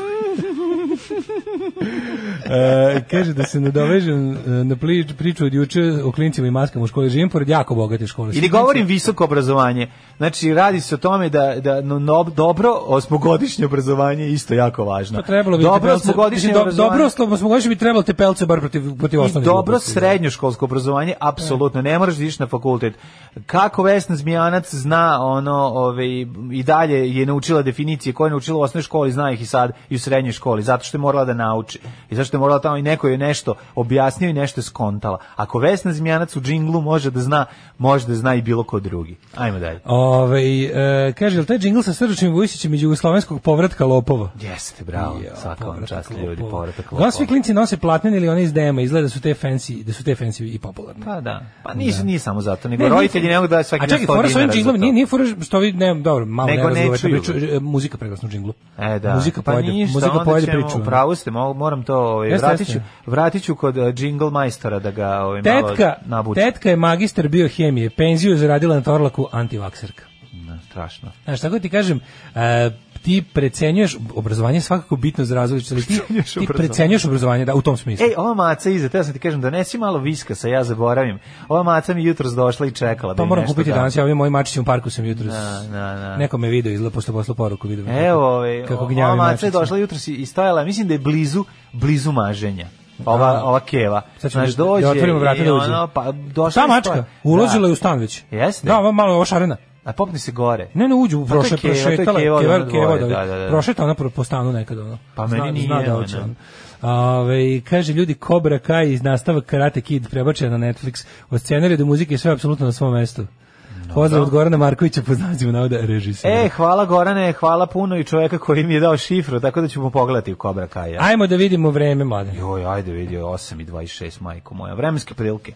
F: E, kaže da se nadovežem e, na pli- priču od juče o klincima i maskama u školi. Živim pored jako bogate škole.
G: Ili govorim visoko obrazovanje. Znači, radi se o tome da, da no, no- dobro osmogodišnje obrazovanje je isto jako važno.
F: Pa trebalo bi
G: dobro
F: Tepelce-
G: osmogodišnje
F: mislim, do-
G: obrazovanje
F: Dobro osmogodišnje bi trebalo te pelce bar protiv, protiv
G: i
F: osnovnih.
G: dobro
F: gluposti.
G: srednjoškolsko obrazovanje, apsolutno, ne moraš da ideš na fakultet. Kako Vesna Zmijanac zna ono, ove, i dalje je naučila definicije koje je naučila u osnovnoj školi, zna ih i sad i u srednjoj školi, zato što je morala da nauči. I zašto je morala tamo i neko je nešto objasnio i nešto je skontala. Ako Vesna Zmijanac u džinglu može da zna, može da zna i bilo ko drugi. Ajmo dalje.
F: Ove, e, kaže, jel taj džingl sa Srđačnim Vujsićem iz jugoslovenskog povratka lopova?
G: Jeste, bravo.
F: Ja,
G: Svaka vam
F: povratak
G: čast ljudi,
F: lopova.
G: povratak
F: Da li svi
G: lopova.
F: klinci nose platnene ili one iz DM-a, izgleda da su te fancy, da su te fancy i popularne.
G: Pa da. Pa nisu, nije samo zato, nego roditelji ne mogu da svaki
F: A čekaj,
G: dan 100
F: fora s ovim
G: dinara za
F: džinglom,
G: to.
F: nije, nije fora što vi, ne, dobro, malo
G: Nego
F: ne
G: ne
F: razgovarate
G: čuju
F: priču, e, muzika preglasno u džinglu.
G: E, da.
F: Muzika
G: pa
F: pojede,
G: ništa,
F: muzika
G: onda
F: pojede
G: ćemo,
F: priču. ono.
G: u pravu ste, mo- moram to, ovaj,
F: Jeste,
G: vratit, ću,
F: jeste.
G: vratit ću kod eh, jingle majstora da ga ovaj, malo
F: Tetka,
G: nabučim.
F: tetka je magister biohemije, penziju je zaradila na torlaku antivakserka.
G: Ne, strašno.
F: Znaš, tako ti kažem, e, ti precenjuješ, obrazovanje je svakako bitno za razvoj, ali ti,
G: Precenjuješ E,
F: ti
G: obrazovanje.
F: precenjuješ obrazovanje, da, u tom smislu.
G: Ej, ova maca iza, teo sam ti kažem, donesi malo viskasa, ja zaboravim. Ova maca mi jutros došla i čekala. da
F: Pa
G: mi
F: moram
G: nešto
F: kupiti
G: da.
F: danas, ja ovim mojim mačićem u parku sam jutros.
G: Da, da, da.
F: Neko me video izla posle posla poruku video.
G: Evo, ovaj,
F: kako
G: ova
F: gnjavi
G: maca je
F: mačić.
G: došla jutros i- i stajala, mislim da je blizu, blizu maženja. Ova, ova keva.
F: Sad ćemo
G: Znaš,
F: da- da
G: dođe
F: otvorimo vrata
G: i
F: da uđe.
G: ono, pa, došla
F: Šta
G: je stoja-
F: mačka? Uložila
G: Da.
F: je u stan već.
G: Jeste.
F: Da, ova malo ošarena.
G: A popni se gore.
F: Ne, ne, uđu,
G: to je
F: prošle,
G: Keva, to je
F: prošetala,
G: Keva od
F: keva,
G: onog
F: keva,
G: dvora,
F: od ovih.
G: da, da, da.
F: Prošeta ona po, po stanu nekad, ono.
G: Pa
F: Zna-
G: meni
F: Zna
G: nije,
F: da hoće
G: ono.
F: on. Ove, kaže ljudi, Cobra Kai iz nastavak Karate Kid prebačen na Netflix. Od scenarija do muzike sve apsolutno na svom mestu. Pozdrav od Gorana Markovića po znacima navoda režisera.
G: E, hvala Gorane, hvala puno i čoveka koji mi je dao šifru, tako da ćemo pogledati u Kobra Kaja.
F: Ajmo da vidimo vreme, mlade.
G: Joj, ajde vidi, 8 i 26, majko moja. Vremenske prilike.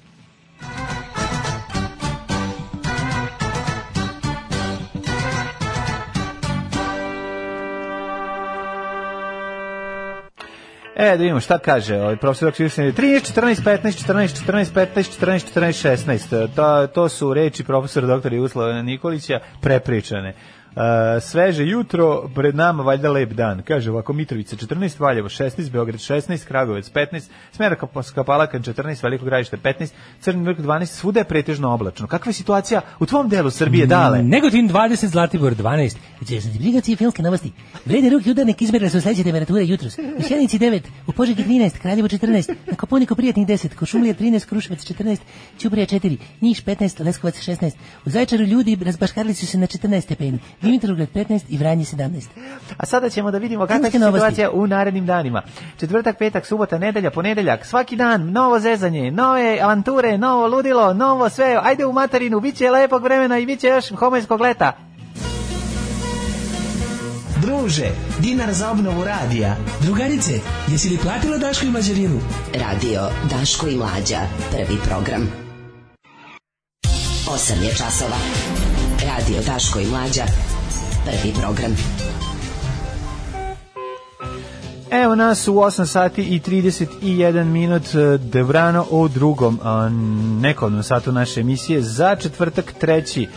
G: E, da vidimo šta kaže ovaj profesor Doktor Jušin. 13, 14, 15, 14, 14, 15, 14, 14, 16. To, to su reči profesora doktora Jugoslava Nikolića prepričane. E, E, sveže jutro, pred nama valjda lep dan. Kaže ovako, Mitrovica 14, Valjevo 16, Beograd 16, Kragujevac 15, Smera Kapalakan 14, Veliko gradište 15, Crni vrh 12, svuda je pretežno oblačno. Kakva je situacija u tvom delu Srbije, dale?
F: Negotin 20, Zlatibor Znači, 12. Zbrigacije filmske novosti. Vrede ruke udarnik izmerili su sledeće temperature jutros. U Sjenici 9, u Požegi 13, Kraljevo 14, na Koponiku prijatnih 10, Košumlija 13, Kruševac 14, Ćuprija 4, Niš 15, Leskovac 16. U Zaječaru ljudi razbaškarili su se na 14 stepeni, Dimitrovgrad 15 i Vranje 17.
G: A sada ćemo da vidimo kakva je
F: Filmske novosti.
G: situacija u narednim danima. Četvrtak, petak, subota, nedelja, ponedeljak, svaki dan, novo zezanje, nove avanture, novo ludilo, novo sve. Ajde u materinu, bit će lepog vremena i bit će još homoljskog leta.
I: Druže, dinar za obnovu radija. Drugarice, jesi li platila Daško i Mađarinu?
E: Radio Daško i Mlađa. Prvi program. 8 je časova. Radio Daško i Mlađa. Prvi program.
G: Evo nas u 8 sati i 31 minut e, Devrano o drugom a, nekovnom satu naše emisije za četvrtak treći e,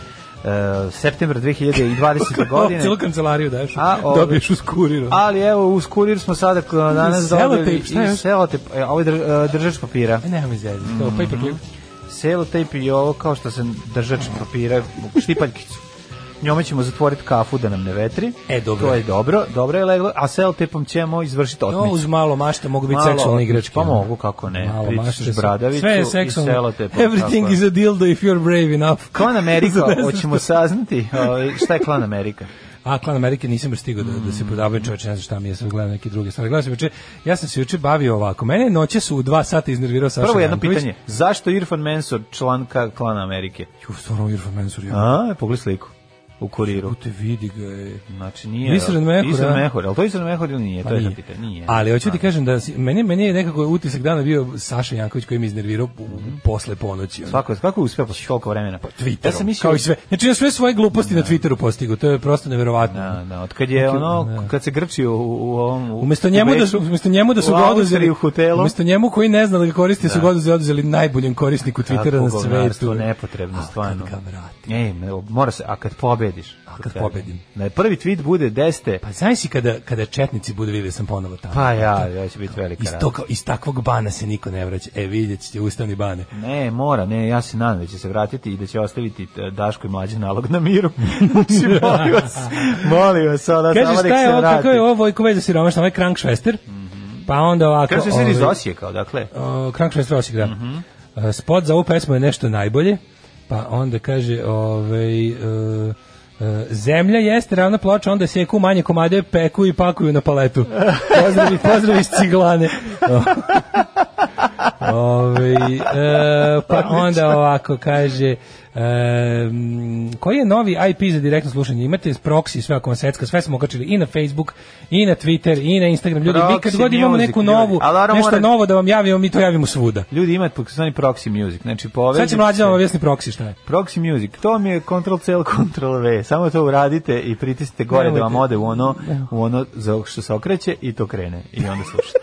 G: september 2020. godine.
F: Celu kancelariju daš.
G: A, ove-
F: Dobiješ uz kuriru.
G: Ali evo, uz kurir smo sada k- danas
F: Selotejp,
G: dobili
F: šta je?
G: i selotejp, e, ovo je dr- e, držač papira.
F: E, nema mi zezati. To,
G: Mm,
F: paperclip.
G: Selotejp i ovo kao što se držač papira, štipaljkicu. Njome ćemo zatvoriti kafu da nam ne vetri.
F: E, dobro.
G: To je dobro, dobro je leglo, a selotejpom ćemo izvršiti
F: No,
G: otmicu.
F: uz malo mašte mogu biti
G: Malo
F: seksualne
G: otmić,
F: igračke. ono.
G: pa mogu, kako ne.
F: Malo
G: Pričaš
F: mašte.
G: bradavicu
F: Sve je
G: i
F: seksualno.
G: selotejpom, tako
F: Everything
G: je.
F: is a dildo if you're brave enough.
G: Klan Amerika,
F: Za ne znam
G: hoćemo saznati ovaj, šta je Klan Amerika.
F: A, Klan Amerike nisam baš stigao da,
G: Mm.
F: da se prodavaju čoveče, ne znam šta mi je, sam gledao neke druge stvari. Gledao sam juče, ja sam se juče bavio ovako. Mene noće su u dva sata iznervirao Saša
G: Prvo jedno
F: Janković.
G: pitanje, zašto Irfan Mensur član ka- Klan Amerike?
F: Ju, stvarno, Irfan Mensur, ja.
G: A, pogledaj sliku u kuriru.
F: Te vidi ga je.
G: Znači nije.
F: Isran Mehur,
G: Isran
F: a?
G: Mehur, ali to je Isran Mehur ili nije?
F: Pa
G: to je
F: nije.
G: sad pitanje. Nije.
F: Ali hoću ti kažem da si- meni, meni je nekako utisak dana bio Saša Janković koji mi iznervirao u- posle ponoći. ono.
G: Svako, kako je uspeo posle toliko vremena? Pa
F: Twitterom,
G: Mhm. Ja sam mislio,
F: kao i sve. Znači ja sve svoje gluposti na Twitteru postigao, to je prosto neverovatno.
G: Da, da, od kad je ono, kad se grčio u, u ovom... U,
F: Umesto
G: u
F: njemu da
G: Beču,
F: su umesto njemu da su
G: u
F: ga
G: Austriji,
F: oduzeli
G: u hotelu.
F: Umesto njemu koji ne zna da ga koristi su ga oduzeli, oduzeli najboljem korisniku Twittera na
G: Kakvo govnarstvo,
F: svetu.
G: nepotrebno,
F: A,
G: stvarno.
F: Kad ga vrati.
G: Ej, ne, mora se, a kad pobediš?
F: kad pobedim.
G: Na prvi tweet bude, deste,
F: Pa znaš si kada kada četnici budu videli da sam ponovo tamo.
G: pa ja, ja će biti velika
F: iz to kao, iz takvog bana se niko ne vraća. E vidjet ćete ustavni bane.
G: Ne, mora, ne, ja se nadam da će se vratiti i da će ostaviti e, Daško i mlađi nalog na miru. Znači, molim vas, molim vas, ona,
F: Kaže
G: samo nek
F: šta
G: se
F: je ovo, kako
G: vrati. Mhm.
F: je ovo Vojko Veza siromašna, ovaj Krank Švester. Pa onda ovako...
G: Kaže se iz
F: ovaj,
G: Osijeka, Mhm. odakle?
F: O, Krank Švester Osijek, da. E, Spot za ovu pesmu je nešto najbolje, pa onda kaže, ovaj, e, e, zemlja jeste ravna ploča, onda seku manje komade, peku i pakuju na paletu. Pozdrav, pozdrav iz ciglane. Ove, e, pa onda ovako kaže e, m, koji je novi IP za direktno slušanje? Imate proxy, sve ako vam secka, sve smo okačili i na Facebook, i na Twitter, i na Instagram. Ljudi, mi kad
G: Proxy
F: god imamo
G: music,
F: neku
G: ljudi.
F: novu,
G: Ali ono
F: nešto
G: mora-
F: novo da vam javimo, mi to javimo svuda.
G: Ljudi imaju takozvani proxy music, znači povežete
F: Sad će mlađe da vam objasni proxy šta je.
G: Proxy Music, to mi je Ctrl C, Ctrl V, samo to uradite i pritisnite gore da vam
F: Nemojte.
G: ode u ono, u ono za što se okreće i to krene i onda slušate.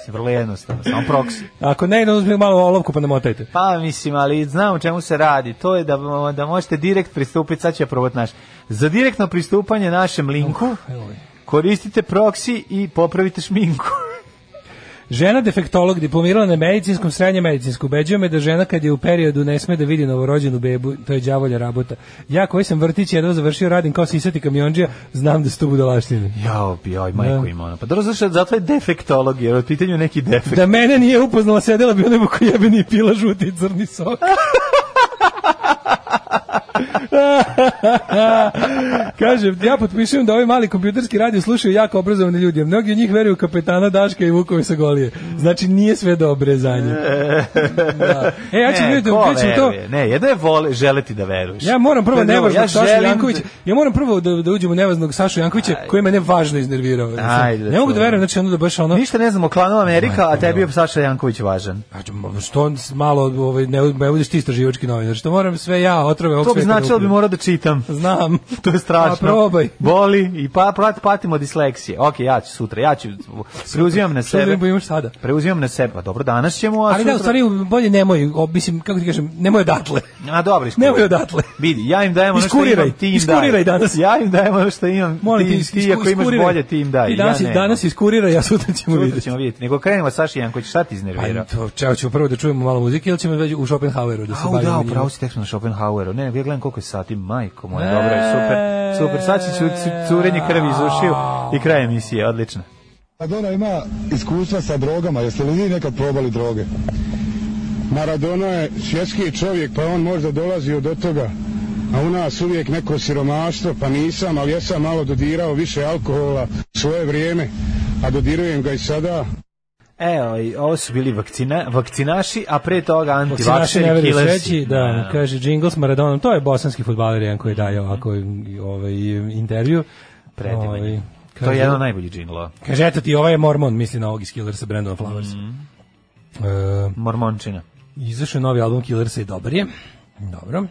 G: Mislim, Vrlo jednostavno, samo proxy.
F: Ako ne, da uzmem malo olovku pa namotajte.
G: Pa mislim, ali znam o čemu se radi. To je da, da možete direkt pristupiti, sad ću ja probati naš. Za direktno pristupanje našem linku
F: Evo je.
G: koristite proxy i popravite šminku.
F: Žena defektolog diplomirala na medicinskom srednje medicinsku. Ubeđuje me da žena kad je u periodu ne sme da vidi novorođenu bebu, to je đavolja rabota. Ja koji sam vrtić jedva završio radim kao sisati kamionđija, znam da su to budalaštine.
G: Jao, jao, majko ima ono. Pa dobro, zašto, zato je defektolog, jer je u pitanju neki defekt.
F: Da mene nije upoznala, sedela bi u nebu koji jebeni i pila žuti i crni sok. Kažem, ja potpisujem da ovi mali kompjuterski radio slušaju jako obrazovani ljudi, a mnogi od njih veruju u kapetana Daška i Vukovi sa Golije. Znači, nije sve dobre za njih. Da. E, ja ću
G: Ne,
F: vidjeti,
G: ko
F: uključim to.
G: veruje? Ne, jedno je vole, želeti da veruješ.
F: Ja moram prvo
G: To je drugo,
F: nevažnog
G: ja
F: Sašu
G: želim
F: Jankovića.
G: da-
F: Ja moram prvo da, da uđem u nevažnog Sašu Jankovića koji je mene važno iznervirao.
G: Ajde,
F: ne mogu da
G: čujem.
F: verujem, znači ono da baš ono...
G: Ništa ne znamo o klanu Amerika, a tebi je Saša Janković važan.
F: ono, Znači, što on s- malo ovaj, ne, ne budeš ti istraživački novinar, što moram sve ja otrove ovog
G: To bi
F: sveta da
G: značilo da bi morao da čitam.
F: Znam.
G: To je strašno.
F: A probaj.
G: Boli i pa prat, patimo od disleksije. Ok, ja ću sutra, ja ću, preuzimam na
F: Što
G: sebe.
F: da imaš sada?
G: Preuzimam na sebe. Pa dobro, danas ćemo, a
F: Ali da,
G: sutra...
F: u stvari, bolje nemoj, o, mislim, kako ti kažem, nemoj odatle.
G: A dobro, iskuriraj.
F: Nemoj odatle.
G: Vidi, ja im dajem ono što
F: Iskuriraj,
G: imam, ti im daj.
F: iskuriraj danas.
G: Ja im dajem ono što imam,
F: Molim
G: ti,
F: te,
G: ti, ako imaš
F: iskuriraj.
G: bolje, ti im daj.
F: Ti danas,
G: ja nemam.
F: danas iskuriraj, a sutra ćemo
G: Sutra
F: vidjeti.
G: ćemo vidjeti. Nego krenemo, Saši Janković, šta ti iznervira?
F: Pa, to, čao, ćemo prvo da čujemo malo muzike ili ćemo već u Schopenhaueru da se
G: Au,
F: bavimo
G: da,
F: njima?
G: upravo si tekst na Schopenhaueru. Ne, nego ja gledam koliko je sati, majko moja, dobro je, super, super. Sad će cu- cu- curenje krvi iz ušiju i kraj emisije, odlično.
J: Maradona Pa ima iskustva sa drogama, jeste li vi nekad probali droge? Maradona je svjetski čovjek, pa on možda dolazi od toga. A u nas uvijek neko siromaštvo, pa nisam, ali ja sam malo dodirao više alkohola u svoje vrijeme, a dodirujem ga i sada.
G: Evo, i E, ovo su bili vakcina, vakcinaši, a pre toga
F: Vakcinaši
G: antivakšeri,
F: ne veruju
G: killersi.
F: sreći, da, kaže Jingle s Maradonom, to je bosanski futbaler jedan koji daje ovako i- ovaj, intervju.
G: Predivan je.
F: Ovaj,
G: To je
F: kaže-
G: jedan od najboljih džinglova.
F: Kaže, eto ti, ovaj je Mormon, misli na ovog iz Killersa, Brandon Flowers.
G: Mhm.
F: E,
G: Mormončina.
F: Izašao je novi album Killersa i dobar je. Dobro.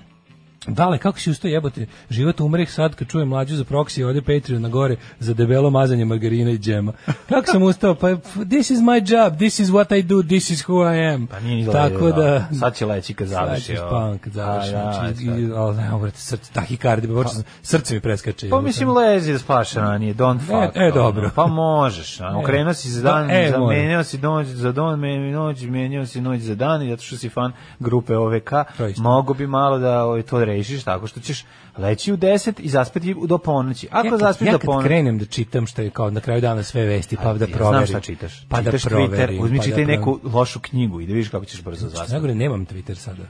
F: Dale, kako si usto jebote? Život umreh sad kad čujem mlađu za proksi i ode Patreon na gore za debelo mazanje margarina i džema. Kako sam ustao? Pa this is my job, this is what I do, this is who I am.
G: Pa nije izgledao.
F: Tako da...
G: Sad će leći kad završi.
F: Sad ćeš
G: ovo.
F: punk, završi.
G: A, da,
F: znači, i-
G: sad.
F: i- ali ne, obrate, srce, tahikardi, pa, srce mi preskače.
G: Pa mislim lezi da spaš ranije, don't fuck.
F: e,
G: ono.
F: dobro.
G: Pa možeš, a, okrenuo si za dan,
F: Da, e,
G: za,
F: moram.
G: menjao si noć za dan, menjao noć, menjao si noć za dan, i zato što si fan grupe OVK,
F: To je isto.
G: mogu bi malo da ovaj, to rešiš tako što ćeš leći u 10 i zaspati do ponoći. Ako
F: kad-
G: zaspiš do
F: ja kad
G: ponoći,
F: krenem da čitam što je kao na kraju dana sve vesti, pa da
G: Ja Znam
F: proverim.
G: šta čitaš.
F: Pa
G: čitaš
F: da proverim.
G: Twitter, uzmi
F: pa da Znači,
G: čitaj
F: proverim.
G: neku lošu knjigu i da vidiš kako ćeš brzo zaspati.
F: Najgore, nemam Twitter sada.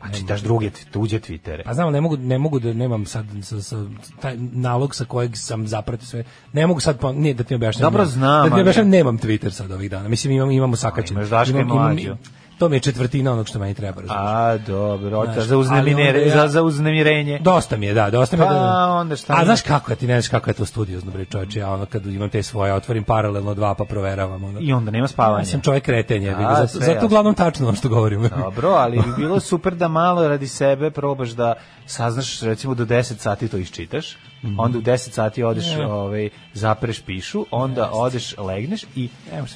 G: Pa čitaš druge, tuđe Twittere.
F: Pa znam, ne mogu, ne mogu da nemam sad sa, sa, taj nalog sa kojeg sam zapratio sve. Ne mogu sad, pa, nije da ti objašnjam.
G: Dobro,
F: nemam-
G: znam,
F: Da ti
G: ali-
F: objašnjam, nemam Twitter sad ovih dana. Mislim, imam, imamo sakačen.
G: Imaš Daška i Mlađu.
F: to mi je četvrtina onog što meni treba, razumiješ.
G: A, dobro,
F: Znaš,
G: hoćeš za,
F: ali
G: uznemire,
F: onda ja-
G: za, za uznemirenje.
F: Dosta mi je, da, dosta mi je.
G: Pa,
F: da-
G: onda šta
F: A
G: je?
F: znaš kako je, ti ne znaš kako je to studiozno, bre čoveče, ja ono kad imam te svoje, otvorim paralelno dva pa proveravam. Ono.
G: I onda nema spavanja.
F: Ja sam čovjek kreten, jebi ga,
G: A,
F: zato,
G: sve
F: zato
G: jasno.
F: uglavnom tačno ono što govorim.
G: Dobro, ali bi bilo super da malo radi sebe probaš da saznaš, recimo do 10 sati to iščitaš,
F: Mhm.
G: onda u 10 sati odeš, ovaj, zapreš pišu, onda odeš, legneš i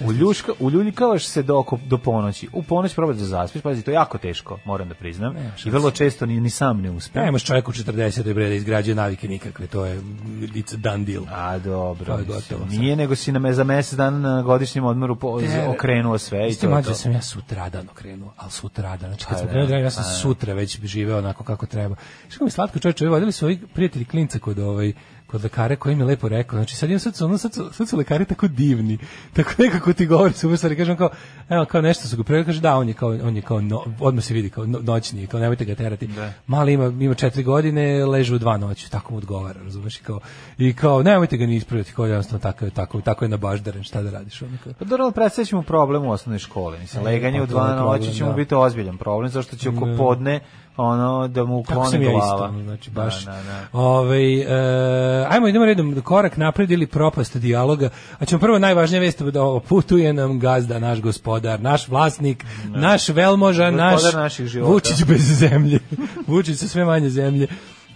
G: uljuška, uljuljkavaš se do, oko, do ponoći. U ponoć probaš da zaspiš, pazi, to je jako teško, moram da priznam, i vrlo često ni, ni sam ne uspem.
F: Ne možeš čovjek u 40. bre da izgrađuje navike nikakve, to je it's a done deal.
G: A dobro,
F: To je
G: mislim,
F: gotovo sad.
G: nije nego si na me za mesec dana na godišnjem odmoru po, okrenuo sve i
F: Isto
G: to je
F: mlađe
G: to.
F: da sam ja sutradan okrenuo, ali sutradan. Znači kad sam
G: da,
F: krenuo, da, ja sam
G: pa da.
F: sutra već živeo onako kako treba. Što kako mi je slatko čoveče, vodili su ovi prijatelji klinca kod ovaj kod lekara koji mi je lepo rekao, znači sad ja sad su, ono, sad, su, sad su lekari tako divni, tako nekako ti govori super stvari, kažem kao, evo kao nešto su ga pregledali, kaže da, on je kao, on je kao no, odmah se vidi kao no, noćni, kao nemojte ga terati. Mali ima, ima četiri godine, leže u dva noću, tako mu odgovara, razumeš, i kao, i kao nemojte ga ni ispraviti, kao jednostavno tako, je- tako, tako je na baždaren, šta da radiš, ono kao.
G: Pa dobro, ali predstavit ćemo problem u osnovnoj školi. Mislim, leganje
F: pa
G: u
F: to je
G: dva
F: problem,
G: noći će mu
F: da.
G: biti ozbiljan problem, zašto će oko podne ono, da mu
F: Kako sam
G: ukloni
F: ja
G: glava.
F: isto, znači baš.
G: Da, da, da.
F: Ovaj, e, ajmo idemo redom korak napred ili propast dijaloga. A ćemo prvo najvažnija vest da ovo putuje nam gazda, naš gospodar, naš vlasnik, naš velmoža, naš
G: Gospodar naših života.
F: Vučić bez zemlje. Vučić sa sve manje zemlje.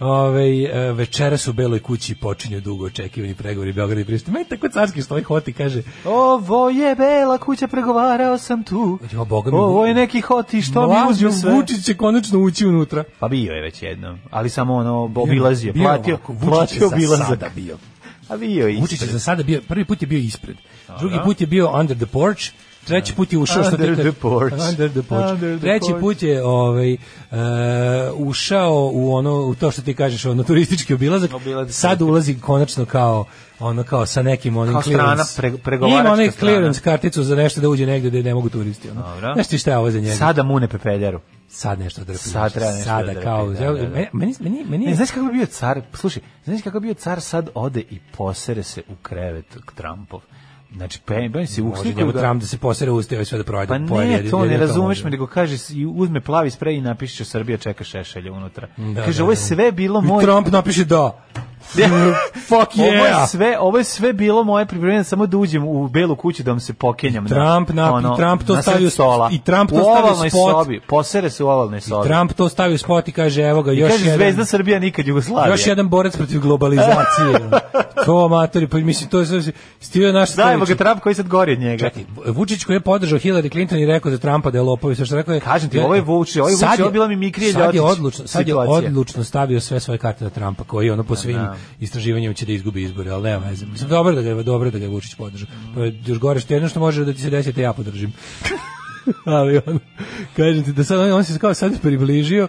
F: Ove, e, večeras u Beloj kući počinju dugo očekivani pregovori Beograda i Priština. Meni tako carski stoji hoti kaže
G: Ovo je bela kuća, pregovarao sam tu.
F: Jo, Boga mi,
G: Ovo je neki hoti, što mi
F: "Mlađo,
G: uzme sve.
F: Vučić će konačno ući unutra.
G: Pa bio je već jednom, ali samo ono, obilazio,
F: Bio je
G: platio,
F: ovako, Vučić je
G: platio
F: za
G: obilazak.
F: sada bio.
G: A bio je
F: Vučić je
G: ispred.
F: za sada bio, prvi put je bio ispred, drugi put je bio under the porch, treći put je ušao što ti
G: Under the
F: kaže-
G: porch.
F: under the porch.
G: Under the
F: treći
G: porch.
F: put je ovaj e, ušao u ono u to što ti kažeš ono turistički obilazak,
G: Obilazak.
F: sad ulazi konačno kao ono kao sa nekim onim
G: Kao strana,
F: clearance.
G: pre- pregovaračka
F: Ima onaj
G: strana.
F: clearance karticu za nešto da uđe negde gde ne mogu turisti. Ono.
G: Dobro.
F: Znaš ti šta je ovo za njega? Sad,
G: Sada mune pepeljaru.
F: nešto drpi.
G: Sad treba nešto
F: Sada
G: da drpi,
F: kao...
G: da, da, da.
F: Meni, meni, meni, meni je-
G: Ne, E, znaš kako bi bio car, slušaj, znaš kako bi bio car sad ode i posere se u krevet k Trumpov. Znači, pe, pe, se
F: Može
G: uslikuju
F: njemu
G: ga.
F: Trump da se posere usta i ovo sve da projede.
G: Pa ne,
F: pojede, jedino
G: to ne razumeš
F: može.
G: me, nego kaže, s- i uzme plavi sprej i napiše Srbija čeka šešelja unutra.
F: Da,
G: kaže,
F: da,
G: ovo je
F: da.
G: sve bilo Pa
F: I
G: moj... Pa
F: Trump napiše da. Fuck
G: Ovo je
F: yeah!
G: sve, ovo je sve bilo moje pripremljeno samo da uđem u belu kuću da vam se pokenjam. na-
F: Trump na- i Trump to
G: na sred
F: stavio-
G: stola.
F: i Trump to
G: u
F: stavio
G: ovalnoj
F: spot.
G: sobi. Posere se u ovalnoj sobi.
F: Trump to stavi u spot i kaže, evo ga,
G: I
F: još
G: kaže
F: jedan...
G: Zvezda Srbija nikad Jugoslavija.
F: Još jedan borac protiv globalizacije. to amatori, pa mislim, to je sve... Stio naš
G: Dajmo ga
F: stoličar.
G: Trump koji sad gori od njega.
F: Čekaj, Vučić koji je podržao Hillary Clinton i rekao za Trumpa da je lopov i sve što je rekao je...
G: Kažem ti, ovo je Vučić, ovo je Vučić,
F: Sad
G: ovo je bila Mikrija
F: Sad je
G: Ljotić
F: odlučno, sad je
G: situacija.
F: odlučno stavio sve svoje karte na Trumpa, koji ono po svim istraživanjima će da izgubi izbore, ali nema veze. Mislim, dobro da ga je, dobro da ga je Vučić podržao. To je još gore što jedno što može da ti se desi da te ja podržim. ali on, kažem ti da sad on, on se kao sad približio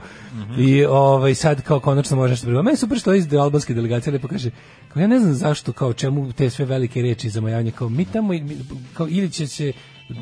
F: i ovaj sad kao konačno može nešto približio. Meni je super što iz albanske delegacije lepo kaže, kao ja ne znam zašto, kao čemu te sve velike reči za majavanje, kao mi tamo, mi- kao ili će se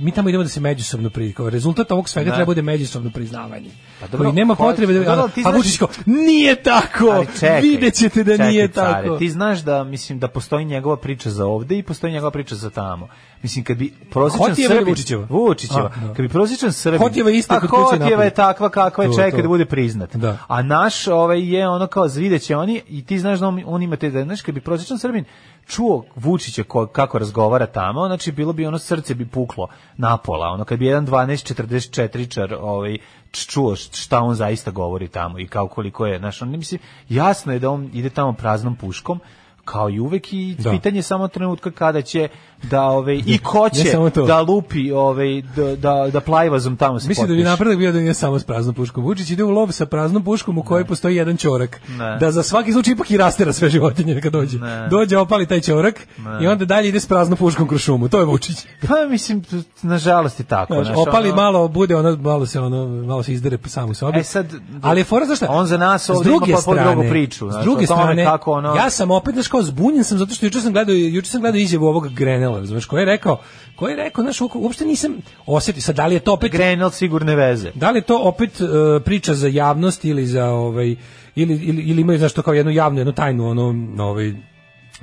F: mi tamo idemo da se međusobno pri kao rezultat ovog svega treba bude međusobno priznavanje. Pa
G: dobro,
F: nema
G: ko-
F: potrebe da
G: dobro, ali ti
F: a
G: znaš-
F: Vučić kao nije tako.
G: Ali čekaj,
F: Videćete da
G: čekaj,
F: nije
G: care,
F: tako.
G: Ti znaš da mislim da postoji njegova priča za ovde i postoji njegova priča za tamo. Mislim kad bi prosječan
F: Hotijeva ili
G: Srbin
F: Vučićeva?
G: Vučićeva.
F: A, da.
G: Kad bi prosječan Srbin.
F: Hotijeva je ista
G: A
F: kod kuće
G: Hotijeva
F: napolju.
G: je takva kakva je,
F: To,
G: čeka
F: to.
G: da bude priznat.
F: Da.
G: A naš ovaj je ono kao zvideće oni i ti znaš da on, on ima te da znaš kad bi prosječan Srbin čuo Vučića ko, kako razgovara tamo, znači bilo bi ono srce bi puklo napola, ono kad bi jedan 12 44 čar ovaj č- čuo š- šta on zaista govori tamo i kao koliko je, znaš, on mislim jasno je da on ide tamo praznom puškom kao i uvek i
F: Da.
G: pitanje je samo trenutka kada će da ovaj i ko
F: Ne
G: će
F: samo to.
G: da lupi ovaj da da, da plajvazom tamo se
F: Mislim da bi
G: potpiše.
F: napredak bio da nije samo s praznom puškom. Vučić ide u lov sa praznom puškom u kojoj postoji jedan ćorak.
G: Ne.
F: Da za svaki slučaj ipak i rastera sve životinje kad dođe.
G: Ne.
F: Dođe, opali taj ćorak i onda dalje ide s praznom puškom kroz šumu. To je Vučić.
G: Pa mislim, t- nažalost je tako.
F: Znaš,
G: znaš,
F: opali
G: ono-
F: malo, bude ono, malo se ono, malo se izdere sam u sobi.
G: E sad,
F: Ali je fora znaš šta?
G: on za nas
F: S
G: ovde
F: druge
G: ima potpuno
F: strane-
G: drugu priču,
F: S
G: znaš,
F: druge
G: o tome
F: strane,
G: kako ono-
F: ja sam opet, znaš, kao zbunjen sam zato što juče sam gledao, juče sam gledao izjavu ovog Grenela, znaš, koji je rekao, koji je rekao, znaš, uopšte nisam osjetio, sad da li je to opet
G: Grenell sigurne veze.
F: Da li je to opet e, priča za javnost ili za ovaj ili ili, ili imaju zašto kao jednu javnu, jednu tajnu ono ovaj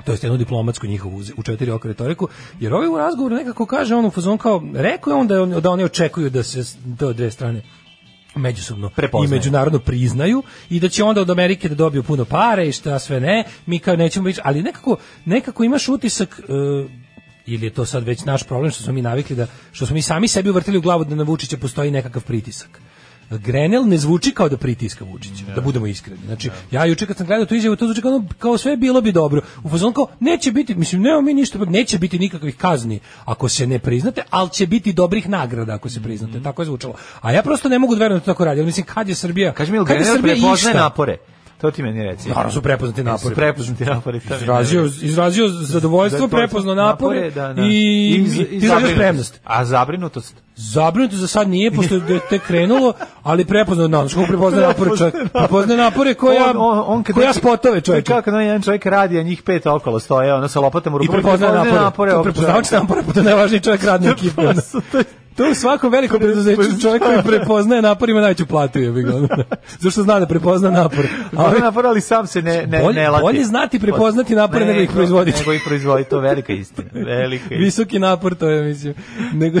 F: to jest jednu diplomatsku njihovu u četiri oka retoriku, jer ovaj u razgovoru nekako kaže on u fazon kao, rekao je on da, on- da oni očekuju da se s- te dve strane međusobno
G: Prepoznaju.
F: i međunarodno priznaju i da će onda od Amerike da dobiju puno pare i šta sve ne, mi kao nećemo biti, ali nekako, nekako imaš utisak e, ili je to sad već naš problem što smo mi navikli da što smo mi sami sebi uvrtili u glavu da na Vučića postoji nekakav pritisak. Grenel ne zvuči kao da pritiska Vučića, da budemo iskreni. Znači, ja juče kad sam gledao tu izjavu, to zvuči kao, ono- kao sve bilo bi dobro. U fazonu kao, neće biti, mislim, nema mi ništa, neće biti nikakvih kazni ako se ne priznate, ali će biti dobrih nagrada ako
G: Mhm.
F: se priznate. Tako je zvučalo. A ja prosto ne mogu da verujem da to tako radi. Ali mislim, kad je Srbija...
G: Kaži mi, jel
F: kad je
G: Grenell
F: Srbija
G: prepoznaje
F: išta-
G: napore? To ti meni reci.
F: Naravno su prepoznati napori.
G: Su prepoznati napore. to mi je
F: Izrazio,
G: nevjerojatno.
F: izrazio zadovoljstvo,
G: Zato-
F: prepoznao napore,
G: da, da.
F: i,
G: iz-
F: i izrazio
G: zabrinutost.
F: spremnost.
G: A zabrinutost?
F: Zabrinuto za sad nije, pošto je tek krenulo, ali prepoznao nam, što prepoznaje napore čovjek. Prepoznaje napore koja,
G: kad
F: koja
G: neki-
F: spotove čovjek.
G: Kako kad onaj jedan čovjek radi, a njih pet okolo stoje, ono sa lopatom u
F: I
G: rukom.
F: Pa prepoznaje napore. napore to
G: ovog
F: prepoznavač napore, pa to je najvažniji čovjek radne ekipe. ono. To je u svakom velikom preduzeću čovjek koji prepoznaje napor ima najveću platu. Je, ono. Zašto zna da prepozna napor.
G: Ali napor, ali sam se ne, ne,
F: Bolje-
G: ne lati.
F: bolje znati prepoznati napore nego ih proizvoditi.
G: Nego ih proizvoditi, to je velika istina. Velika istina.
F: Visoki napor to je, mislim. Nego...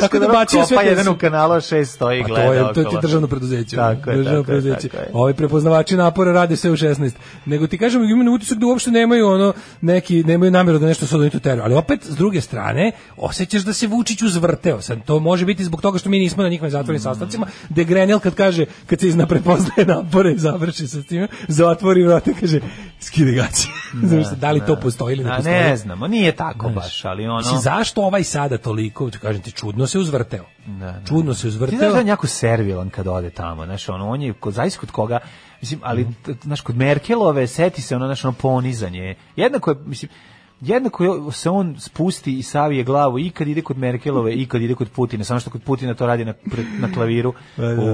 F: Tako da
G: Dobro,
F: bacio
G: kopa
F: sve te-
G: jedan u kanalu, a šest stoji i
F: Pa
G: gleda
F: to je, to ti
G: okolo.
F: je državno preduzeće. ono,
G: Tako je,
F: državno
G: tako je,
F: preduzeće.
G: tako je.
F: Ovi prepoznavači napora rade sve u 16. Nego ti kažem, imaju utisak da uopšte nemaju ono neki nemaju namjeru da nešto sad oni tu teru. Ali opet s druge strane, osjećaš da se Vučić uzvrteo. Sad to može biti zbog toga što mi nismo na njihovim zatvorenim
G: Mm.
F: sastancima, gde Grenell kad kaže kad se izna prepoznaje napore i završi sa tim, zatvori vrata i kaže skide gaće. Znaš, da li to postoji ili ne
G: A
F: postoji?
G: ne znamo, nije tako baš, ali ono...
F: Mislim, zašto ovaj sada toliko, kažem ti, čudno se uzvrteo. Čudno
G: Ti
F: se
G: znaš
F: uzvrteo.
G: da je on jako servilan kad ode tamo, znaš, ono, on je, kod, zavis kod koga, mislim,
F: Mhm.
G: ali, t- znaš, kod Merkelove seti se ono, znaš, ono, ponizanje, jednako je, mislim, jednako je- se on spusti i savije glavu i kad ide kod Merkelove i kad ide kod Putina, samo što kod Putina to radi na, pr- na klaviru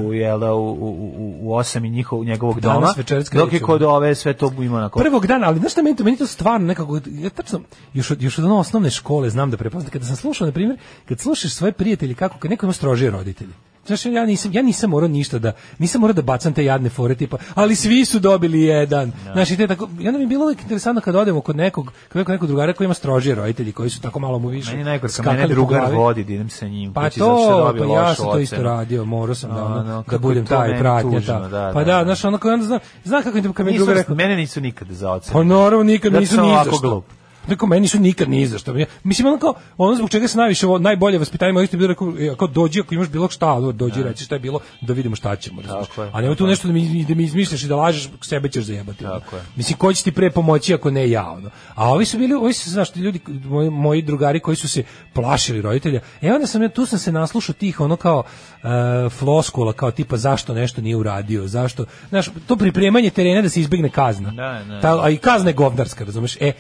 G: u, jel, da, u, u, u, u osam i njihov, njegovog
F: Danas
G: doma,
F: večeras kad
G: dok je
F: idete-
G: kod ove sve to ima onako...
F: Prvog dana, ali znaš šta meni to, meni to stvarno nekako, ja tačno, još od, još od ono osnovne škole znam da prepoznam, kada sam slušao, na primjer, kad slušaš svoje prijatelje kako, kad neko ima strožije roditelje, Znaš, ja nisam, ja nisam morao ništa da, nisam morao da bacam te jadne fore tipa, ali svi su dobili jedan. Znaš, i te tako, i onda mi je bilo uvijek interesantno kad odemo kod nekog, kod nekog, nekog drugara koji ima strožije roditelji, koji su tako malo mu više
G: Meni najgore, kad mene
F: skakali po
G: drugar
F: glavi.
G: vodi, da idem sa njim.
F: Pa
G: kući, zato što je
F: to,
G: dobio
F: pa ja
G: lošu
F: sam to isto
G: ocenu.
F: radio, morao sam da,
G: No,
F: ono,
G: no,
F: da
G: kako
F: budem
G: je to
F: taj
G: meni
F: pratnja.
G: tužno,
F: ta.
G: da,
F: pa
G: da,
F: da,
G: da.
F: znaš, ono kad onda znam, znam kako mi, kad mi
G: Nisu,
F: drugar rekao,
G: mene nisu nikada za ocenu.
F: pa naravno nikad
G: Zato
F: nisu
G: sam
F: ni
G: ovako
F: za što.
G: glup.
F: Rekao, meni su nikad ni za što. Mislim, ono kao, ono zbog čega se najviše, ovo, najbolje vaspitanje mojih bilo, rekao, e, ako dođi, ako imaš bilo šta, ono, dođi i reći šta je bilo, da vidimo šta ćemo. razumeš.
G: Tako je.
F: A nema tu nešto da mi, da mi izmišljaš i da lažeš, sebe ćeš zajebati. ono.
G: Tako je.
F: Mislim, ko će ti pre pomoći ako ne ja? Ono. A ovi su bili, ovi su, znaš, ti ljudi, moji, moji drugari koji su se plašili roditelja. E onda sam ja, tu sam se naslušao tih, ono kao e, floskula, kao tipa zašto nešto nije uradio, zašto, znaš, to pripremanje terena da se izbegne kazna.
G: Da, da.
F: Ta, a i kazna je govnarska, razumeš? E,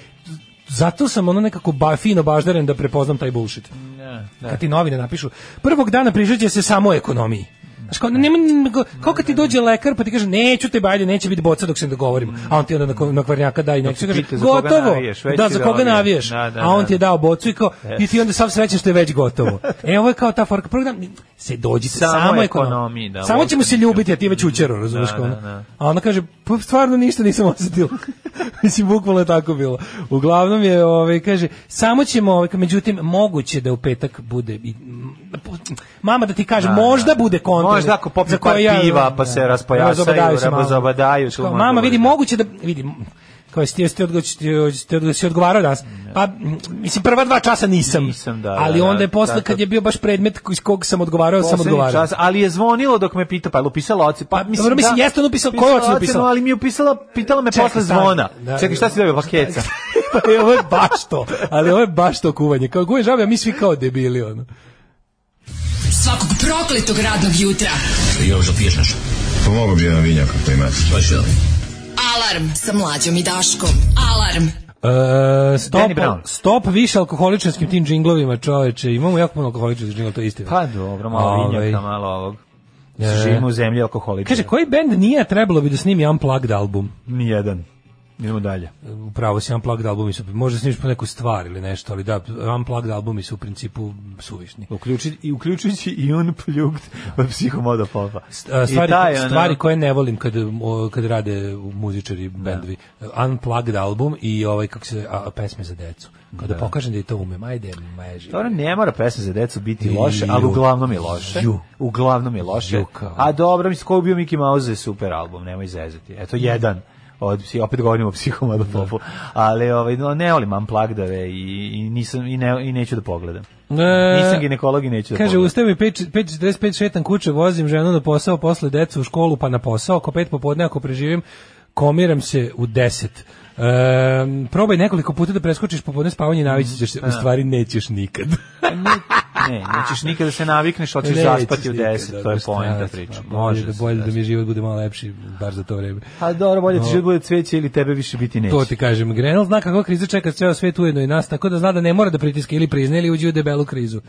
F: zato sam ono nekako ba, fino baždaren da prepoznam taj bullshit.
G: Ne,
F: Kad ti novine napišu, prvog dana pričat će se samo o ekonomiji. Znaš, kao, nema, nema- kao kad ti dođe lekar pa ti kaže neću te balje, neće biti boca dok se ne dogovorimo. A on ti onda na, ko- na kvarnjaka da i neću.
G: ti
F: Kaže,
G: pita za koga
F: gotovo.
G: navijaš, već
F: da,
G: si
F: za koga
G: dobio.
F: navijaš.
G: Da, da,
F: A on
G: da.
F: ti je dao bocu i kao, i ti
G: Yes.
F: onda sav srećan što je već gotovo. e, ovo je kao ta forka. Prvog dana, se dođi
G: Samo
F: samo o
G: ekonomiji, da,
F: samo ćemo
G: uopšte
F: se
G: ništa.
F: ljubiti, a ti već učero, razumeš
G: Da,
F: kao ono.
G: da, da.
F: A ona kaže, pa stvarno ništa nisam osetila. Mislim, bukvalno je tako bilo. Uglavnom je, ovaj, kaže, samo ćemo, ovaj, međutim, moguće da u petak bude, i- m, mama da ti kaže,
G: Da,
F: možda
G: da.
F: bude kontra.
G: Možda ako popiju
F: za koje
G: par piva, pa se raspojasaju,
F: razobadaju se malo.
G: razobadaju, tu
F: Kao,
G: možda
F: mama,
G: bude
F: vidi,
G: tako."
F: moguće da, vidi, m, kao jeste jeste odgo- ste- ste odgo- si odgovarao danas. Pa m, mislim prva dva časa nisam.
G: Nisam, da, da,
F: ali
G: da,
F: onda je posle
G: tako.
F: kad je bio baš predmet iz kog sam odgovarao, sam
G: Poslednji
F: odgovarao.
G: čas, ali je zvonilo dok me pita, pa je li upisala ocenu?
F: Pa, dobro, mislim, jeste on upisala- koju ocenu upisala?
G: Ali mi je upisala, pitala me
F: Čekaj,
G: posle
F: stani.
G: zvona.
F: Da,
G: Čekaj, šta si dobio, pakeca?
F: pa je, ovo je baš to. Ali ovo je baš to kuvanje. Kao guje žabe, a mi svi kao debili. Ono.
E: Svakog prokletog radnog jutra.
D: Još da piješ nešto? Pomogu bi jedan vinjak ako imate. Pa će da.
E: Alarm sa mlađom i Daškom. Alarm.
F: E, stop,
G: Danny Brown.
F: stop više alkoholičarskim tim džinglovima, čoveče. Imamo jako puno alkoholičarskih džinglova, to je istina.
G: Pa dobro, malo
F: Ovaj.
G: vinjaka, malo ovog.
F: E.
G: Živimo u zemlji alkoholiča.
F: Kaže, koji bend nije trebalo bi da snimi Unplugged album?
G: Nijedan. Idemo dalje.
F: Upravo si Unplugged albumi su, možda snimiš po neku stvar ili nešto, ali da, Unplugged albumi su u principu suvišni.
G: Uključi, i uključujući i on pljugt od psihomoda popa.
F: St- stvari,
G: I taj, ono,
F: stvari koje ne volim kad, o, kad rade muzičari bendovi. Unplugged album i ovaj, kako se, a, pesme za decu. Kada pokažem da i to umem, ajde, maži.
G: Dobro, ne mora pesma za decu biti
F: Ju.
G: loše, ali uglavnom je loše.
F: Ju.
G: Uglavnom je loše.
F: Ju, kao.
G: A dobro, mislim, ko je bio Mickey Mouse je super album, nemoj zezati. Eto, jedan od psi- opet govorimo o psihomadu popu, ali ovaj no, ne volim amplagdave i, i nisam i, ne, i neću da pogledam.
F: E,
G: nisam ginekolog i neću da
F: Kaže,
G: pogledam.
F: ustaje mi 5.45, šetam kuće, vozim ženu na posao, posle decu u školu, pa na posao, oko pet popodne, ako preživim, komiram se u 10. Ehm, probaj nekoliko puta da preskočiš popodne spavanje i navići ćeš se, u stvari nećeš nikad.
G: Ne, nećeš nikada se navikneš, hoćeš
F: Nećeš
G: zaspati u
F: nikad,
G: 10, to
F: dobro,
G: je poenta
F: strašno.
G: priče.
F: Bolje da,
G: se
F: bolje da
G: desiti.
F: mi život bude malo lepši, bar za to vreme.
G: Pa dobro, bolje ti život bude cveće ili tebe više biti neće.
F: To ti kažem, Grenell zna kako kriza čeka ceo svet ujedno i nas, tako da zna da ne mora da pritiska ili prizne ili uđe u debelu krizu.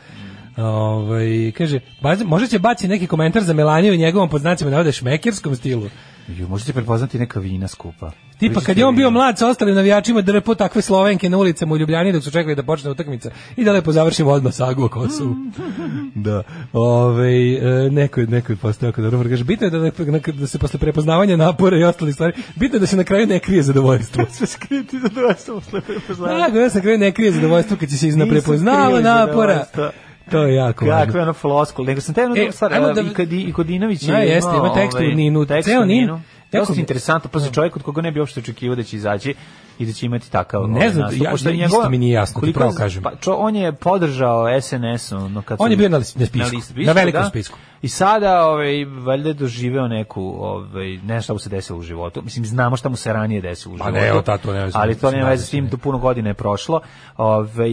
F: Ovaj kaže, bazi- možda će baci neki komentar za Melaniju i njegovom pod znacima navode šmekerskom stilu.
G: Ju, možete prepoznati neka vina skupa.
F: Tipa
G: Vidite
F: kad je on bio
G: vina.
F: mlad sa ostalim navijačima drpo takve Slovenke na ulicama u Ljubljani dok su čekali da počne utakmica i da lepo završimo odmah sagu o Kosovu. da. Ovaj e, neko je neko je postao jako dobro kaže bitno je da, ne- da se posle prepoznavanja napora i ostalih stvari bitno je da se na kraju ne krije zadovoljstvo.
G: sve skriti za dva sam posle prepoznavanja.
F: Da, da se krene ne krije zadovoljstvo kad će se izna
G: Nisam
F: prepoznava
G: krio
F: napora.
G: zadovoljstva.
F: To je jako
G: Kakve
F: važno.
G: ono floskul, nego sam te jednu
F: E,
G: drugu stvar,
F: ajmo
G: a,
F: da-
G: i, kad, i kod Inović
F: Da, jeste, ima tekst u Ninu,
G: tekst
F: ceo
G: u
F: Nin.
G: Ninu.
F: Jako
G: Dosta
F: mi-
G: interesantno, pa za čovjek od koga ne bi uopšte očekivao da će izaći i da će imati takav
F: Ne
G: ovaj
F: znam,
G: nastup,
F: ja-
G: pošto je
F: isto mi nije jasno, ti
G: koliko
F: pravo
G: je-
F: kažem.
G: Pa, čo, on je podržao SNS, ono kad
F: On
G: su-
F: je bio na lis- na spisku, na velikom
G: da.
F: spisku.
G: I sada ovaj valjda je doživeo neku ovaj ne šta mu se desilo u životu. Mislim znamo šta mu se ranije desilo u
F: Pa ne,
G: životu.
F: evo, ta to nema veze.
G: Ali to nema
F: Mislim,
G: veze s tim, tu puno godina je prošlo. Ovaj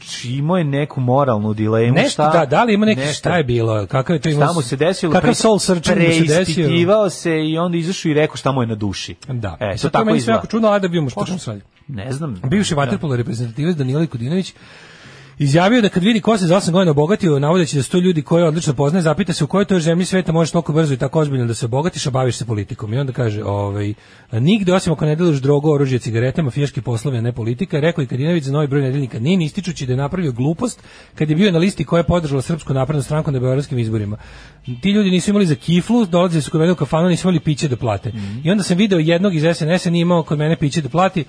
G: čimo je neku moralnu dilemu
F: Nešto,
G: šta.
F: da, da li ima neki,
G: nešto-
F: šta je bilo, kakav je to imao,
G: šta mu se desilo,
F: kakav
G: pre-
F: soul searching mu se desio.
G: preispitivao se i onda izašao i rekao šta mu je na duši.
F: Da.
G: E,
F: Sad
G: to
F: je
G: tako
F: meni sve
G: izgleda.
F: jako čudno, ajde da vidimo šta ćemo sad.
G: Ne znam.
F: Bivši pa
G: Da.
F: vaterpolo reprezentativac Danilo Kudinović Izjavio da kad vidi ko se za 8 godina obogatio, navodeći da su to ljudi koje odlično poznaje, zapita se u kojoj toj zemlji sveta možeš toliko brzo i tako ozbiljno da se obogatiš, a baviš se politikom. I onda kaže, ovaj, nigde osim ako ne deluješ drogo, oružje, cigarete, mafijaški poslovi, a ne politika, rekao i Kadinović za novi broj nedeljnika Nin, ističući da je napravio glupost kad je bio na listi koja je podržala Srpsku naprednu stranku na beogradskim izborima. Ti ljudi nisu imali za kiflu, dolazili su kod mene u kafanu, nisu imali piće da plate. I onda sam video jednog iz SNS-a, nije imao kod mene piće da plati,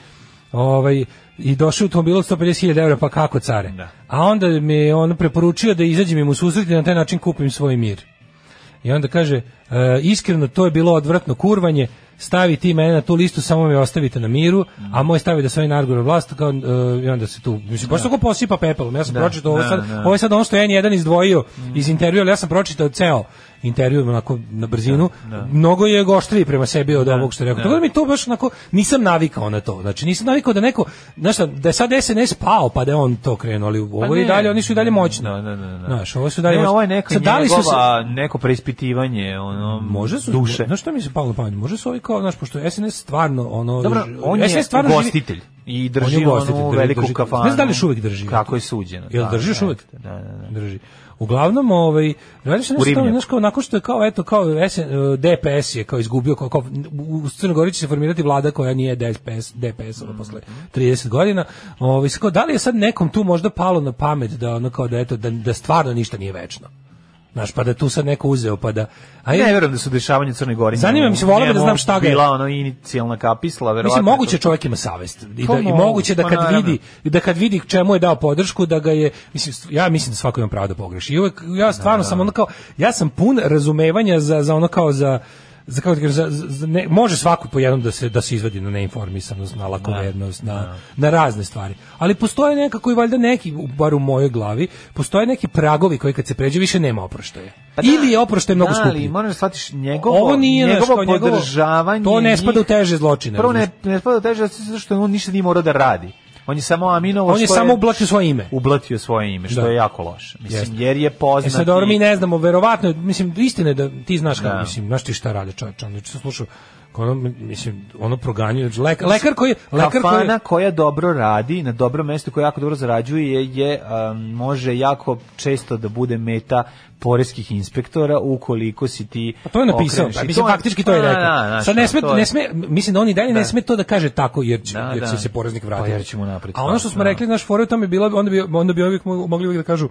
F: ovaj, i došao u automobilu 150.000 evra, pa kako care? A onda mi je on preporučio da izađem im u susret i na taj način kupim svoj mir. I onda kaže, e, iskreno, to je bilo odvratno kurvanje, stavi ti mene na tu listu, samo me ostavite na miru, a moj stavi da se ovaj nargura vlast, kao, e, i onda se tu, mislim, baš tako posipa pepelom, ja sam pročitao ovo
G: da,
F: sad,
G: da.
F: ovo je sad ono što je N1 izdvojio iz intervjua, ali ja sam pročitao ceo intervju onako na brzinu, mnogo je goštriji prema sebi od ovog što je rekao. Tako da mi to baš onako, nisam navikao na to, znači nisam navikao da neko, znaš šta, da je sad SNS pao, pa da je on to krenuo, ali ovo
G: Pa
F: i
G: ne.
F: dalje, oni su i dalje moćni.
G: Da, da, da, da.
F: Znaš, ovo su i dalje
G: Ne,
F: moćni.
G: ovo je neka
F: Sad, da li su se-
G: njegova, neko preispitivanje, ono,
F: Može su
G: duše.
F: Znaš šta mi se palo na pamet? Može su ovi kao, znaš, pošto je SNS stvarno ono
G: Dobro,
F: drži-
G: on je
F: SNS stvarno živi-
G: gostitelj i drži
F: On je ugostitelj,
G: onu
F: drži-
G: veliku
F: drži-
G: kafanu.
F: Ne znam da li još uvijek drži.
G: Kako je suđeno.
F: Jel
G: da,
F: držiš
G: da,
F: uvijek?
G: Da, da, da.
F: Drži. Uglavnom, ovaj, radiš se
G: U
F: nešto
G: Rivnjaku.
F: znaš, kao, nakon što je kao, eto, kao SN, e, DPS je kao izgubio, kao, kao, u Crnogori će se formirati vlada koja nije DPS, DPS
G: Mm.
F: ova posle 30 godina, ovaj, sad kao, da li je sad nekom tu možda palo na pamet da ono kao, da eto, da, da stvarno ništa nije večno? Znaš, pa da tu sad neko uzeo, pa da... A
G: Ne
F: je-
G: verujem da su dešavanja u Crnoj Gori.
F: Zanima me, mislim, volio bi da
G: njemu
F: znam šta ga je-
G: Bila ono inicijalna kapisla, verovatno.
F: Mislim moguće čovjek ima savest i,
G: Pa
F: da, i
G: mogu,
F: moguće da
G: pa
F: kad
G: naravno.
F: vidi da kad vidi čemu je dao podršku da ga je mislim st- ja mislim da svako ima pravo da pogreši. I uvek ja stvarno sam ono kao ja sam pun razumevanja za za ono kao za za kako ti kažem, za- za- ne, može svako po jednom da se da se izvadi na neinformisanost, na lakovernost, na, na razne stvari. Ali postoje nekako i valjda neki u- bar u mojoj glavi, postoje neki pragovi koji kad se pređe više nema oproštaja.
G: Pa da.
F: Ili je oproštaj mnogo
G: da,
F: skuplji.
G: Ali moraš da shvatiš njegovo,
F: Ovo nije ono znaš,
G: njegovo
F: kao njegovo-
G: podržavanje.
F: to ne
G: njih-
F: spada u teže zločine,
G: Prvo ne, ne spada u teže zato što on ništa nije morao da radi. On je samo Aminovo
F: On je
G: što
F: samo ublačio svoje ime.
G: ublatio svoje ime, što
F: Da.
G: je jako loše. Mislim,
F: Jeste.
G: jer je
F: E
G: poznat.
F: sad dobro,
G: i-
F: mi ne znamo, verovatno, mislim, istina je da ti znaš kako,
G: Da.
F: mislim, znaš ti šta rade čovječe, ono, sam slušao, kao ono, mislim, ono proganjuje, znači, lek- lekar koji, lekar koji,
G: Kafana koja dobro radi, na dobrom mestu, koja jako dobro zarađuje, je, um, može jako često da bude meta poreskih inspektora ukoliko si ti
F: Pa to je napisao,
G: okreneš.
F: pa
G: I
F: mislim,
G: je-
F: faktički to je
G: Pa, da,
F: rekao.
G: da, znaš,
F: Sad ne
G: to
F: sme,
G: je-
F: ne sme, mislim da on i dalje ne sme to da kaže tako, jer će,
G: Da,
F: jer će
G: da.
F: se poreznik vratiti.
G: Pa jer će mu napred
F: A ono što
G: stati,
F: smo
G: da.
F: rekli, naš fora u tome je bila, onda bi, onda bi uvijek mo- mogli uvijek da kažu,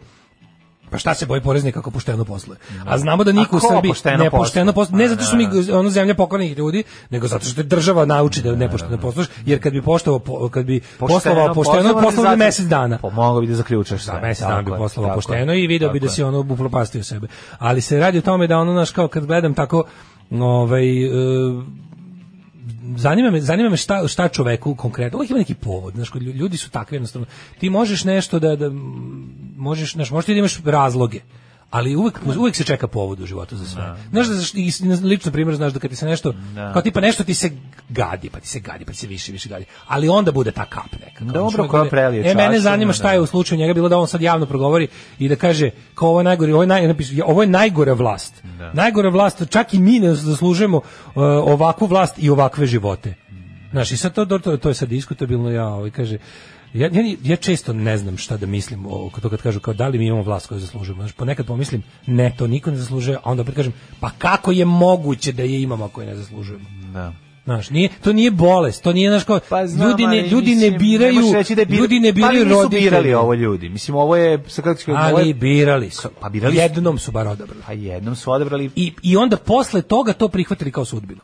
F: Pa šta se boji poreznik ako pošteno posluje? A znamo da niko
G: A
F: u
G: ko
F: Srbiji
G: pošteno
F: ne
G: posluje?
F: pošteno posluje, ne
G: Pa,
F: zato što
G: da,
F: mi ono zemlja pokornih ljudi, nego zato što je država nauči da nepošteno posluješ, jer kad bi poštovao po- kad bi poslovao pošteno,
G: bi
F: poslovao
G: zato-
F: bi mesec dana.
G: Pa mogao bi da zaključaš sve.
F: Da, mesec dana
G: Tako
F: bi
G: je,
F: poslovao
G: tako
F: pošteno
G: je,
F: i video bi
G: tako
F: da
G: je.
F: si ono upropastio sebe. Ali se radi o tome da ono, naš, kao kad gledam tako, ovaj, e, zanima me, zanima me šta, šta čoveku konkretno, uvijek ima neki povod, znaš, kod lju- ljudi su takvi jednostavno, ti možeš nešto da, da mm, možeš, znaš, možeš ti da imaš razloge, ali uvek, uvek se čeka povod u životu za sve. Znaš da, zaš- i s- na ličnom primjeru znaš da kad ti se nešto, kao tipa nešto ti se gadi, pa ti se gadi, pa ti se više, više gadi, ali onda bude ta kap neka. Kao,
G: Dobro,
F: znaš, uvek
G: koja
F: bude-
G: prelije
F: E, mene
G: čašu,
F: zanima
G: da,
F: šta
G: da.
F: je u slučaju njega bilo da on sad javno progovori i da kaže kao ovo je najgore, ovo je, naj, napišu, ja, ovo je najgora vlast. Najgora vlast, čak i mi ne zaslužujemo e, ovakvu vlast i ovakve živote. Znaš, i sad to, to, to je sad diskutabilno, ja ovaj, kaže, ja, ja, ja često ne znam šta da mislim o, to kad kažu kao da li mi imamo vlast koju zaslužujemo. Znaš, ponekad pomislim, ne, to niko ne zaslužuje, a onda opet kažem, pa kako je moguće da je imamo ako je ne zaslužujemo?
G: Da.
F: Znaš, nije, to nije bolest, to nije, znaš, kao,
G: Pa znam,
F: ljudi, ne,
G: ali
F: ljudi
G: mislim,
F: ne
G: ne
F: biraju,
G: možeš reći da je bir-
F: ljudi ne biraju
G: ali nisu
F: roditelje.
G: birali ovo ljudi. Mislim, ovo je, sa kako ću kažem, ovo
F: Ali
G: je,
F: birali su.
G: Pa birali su.
F: Jednom su bar odabrali.
G: pa jednom su odebrali
F: I, I onda posle toga to prihvatili kao sudbinu.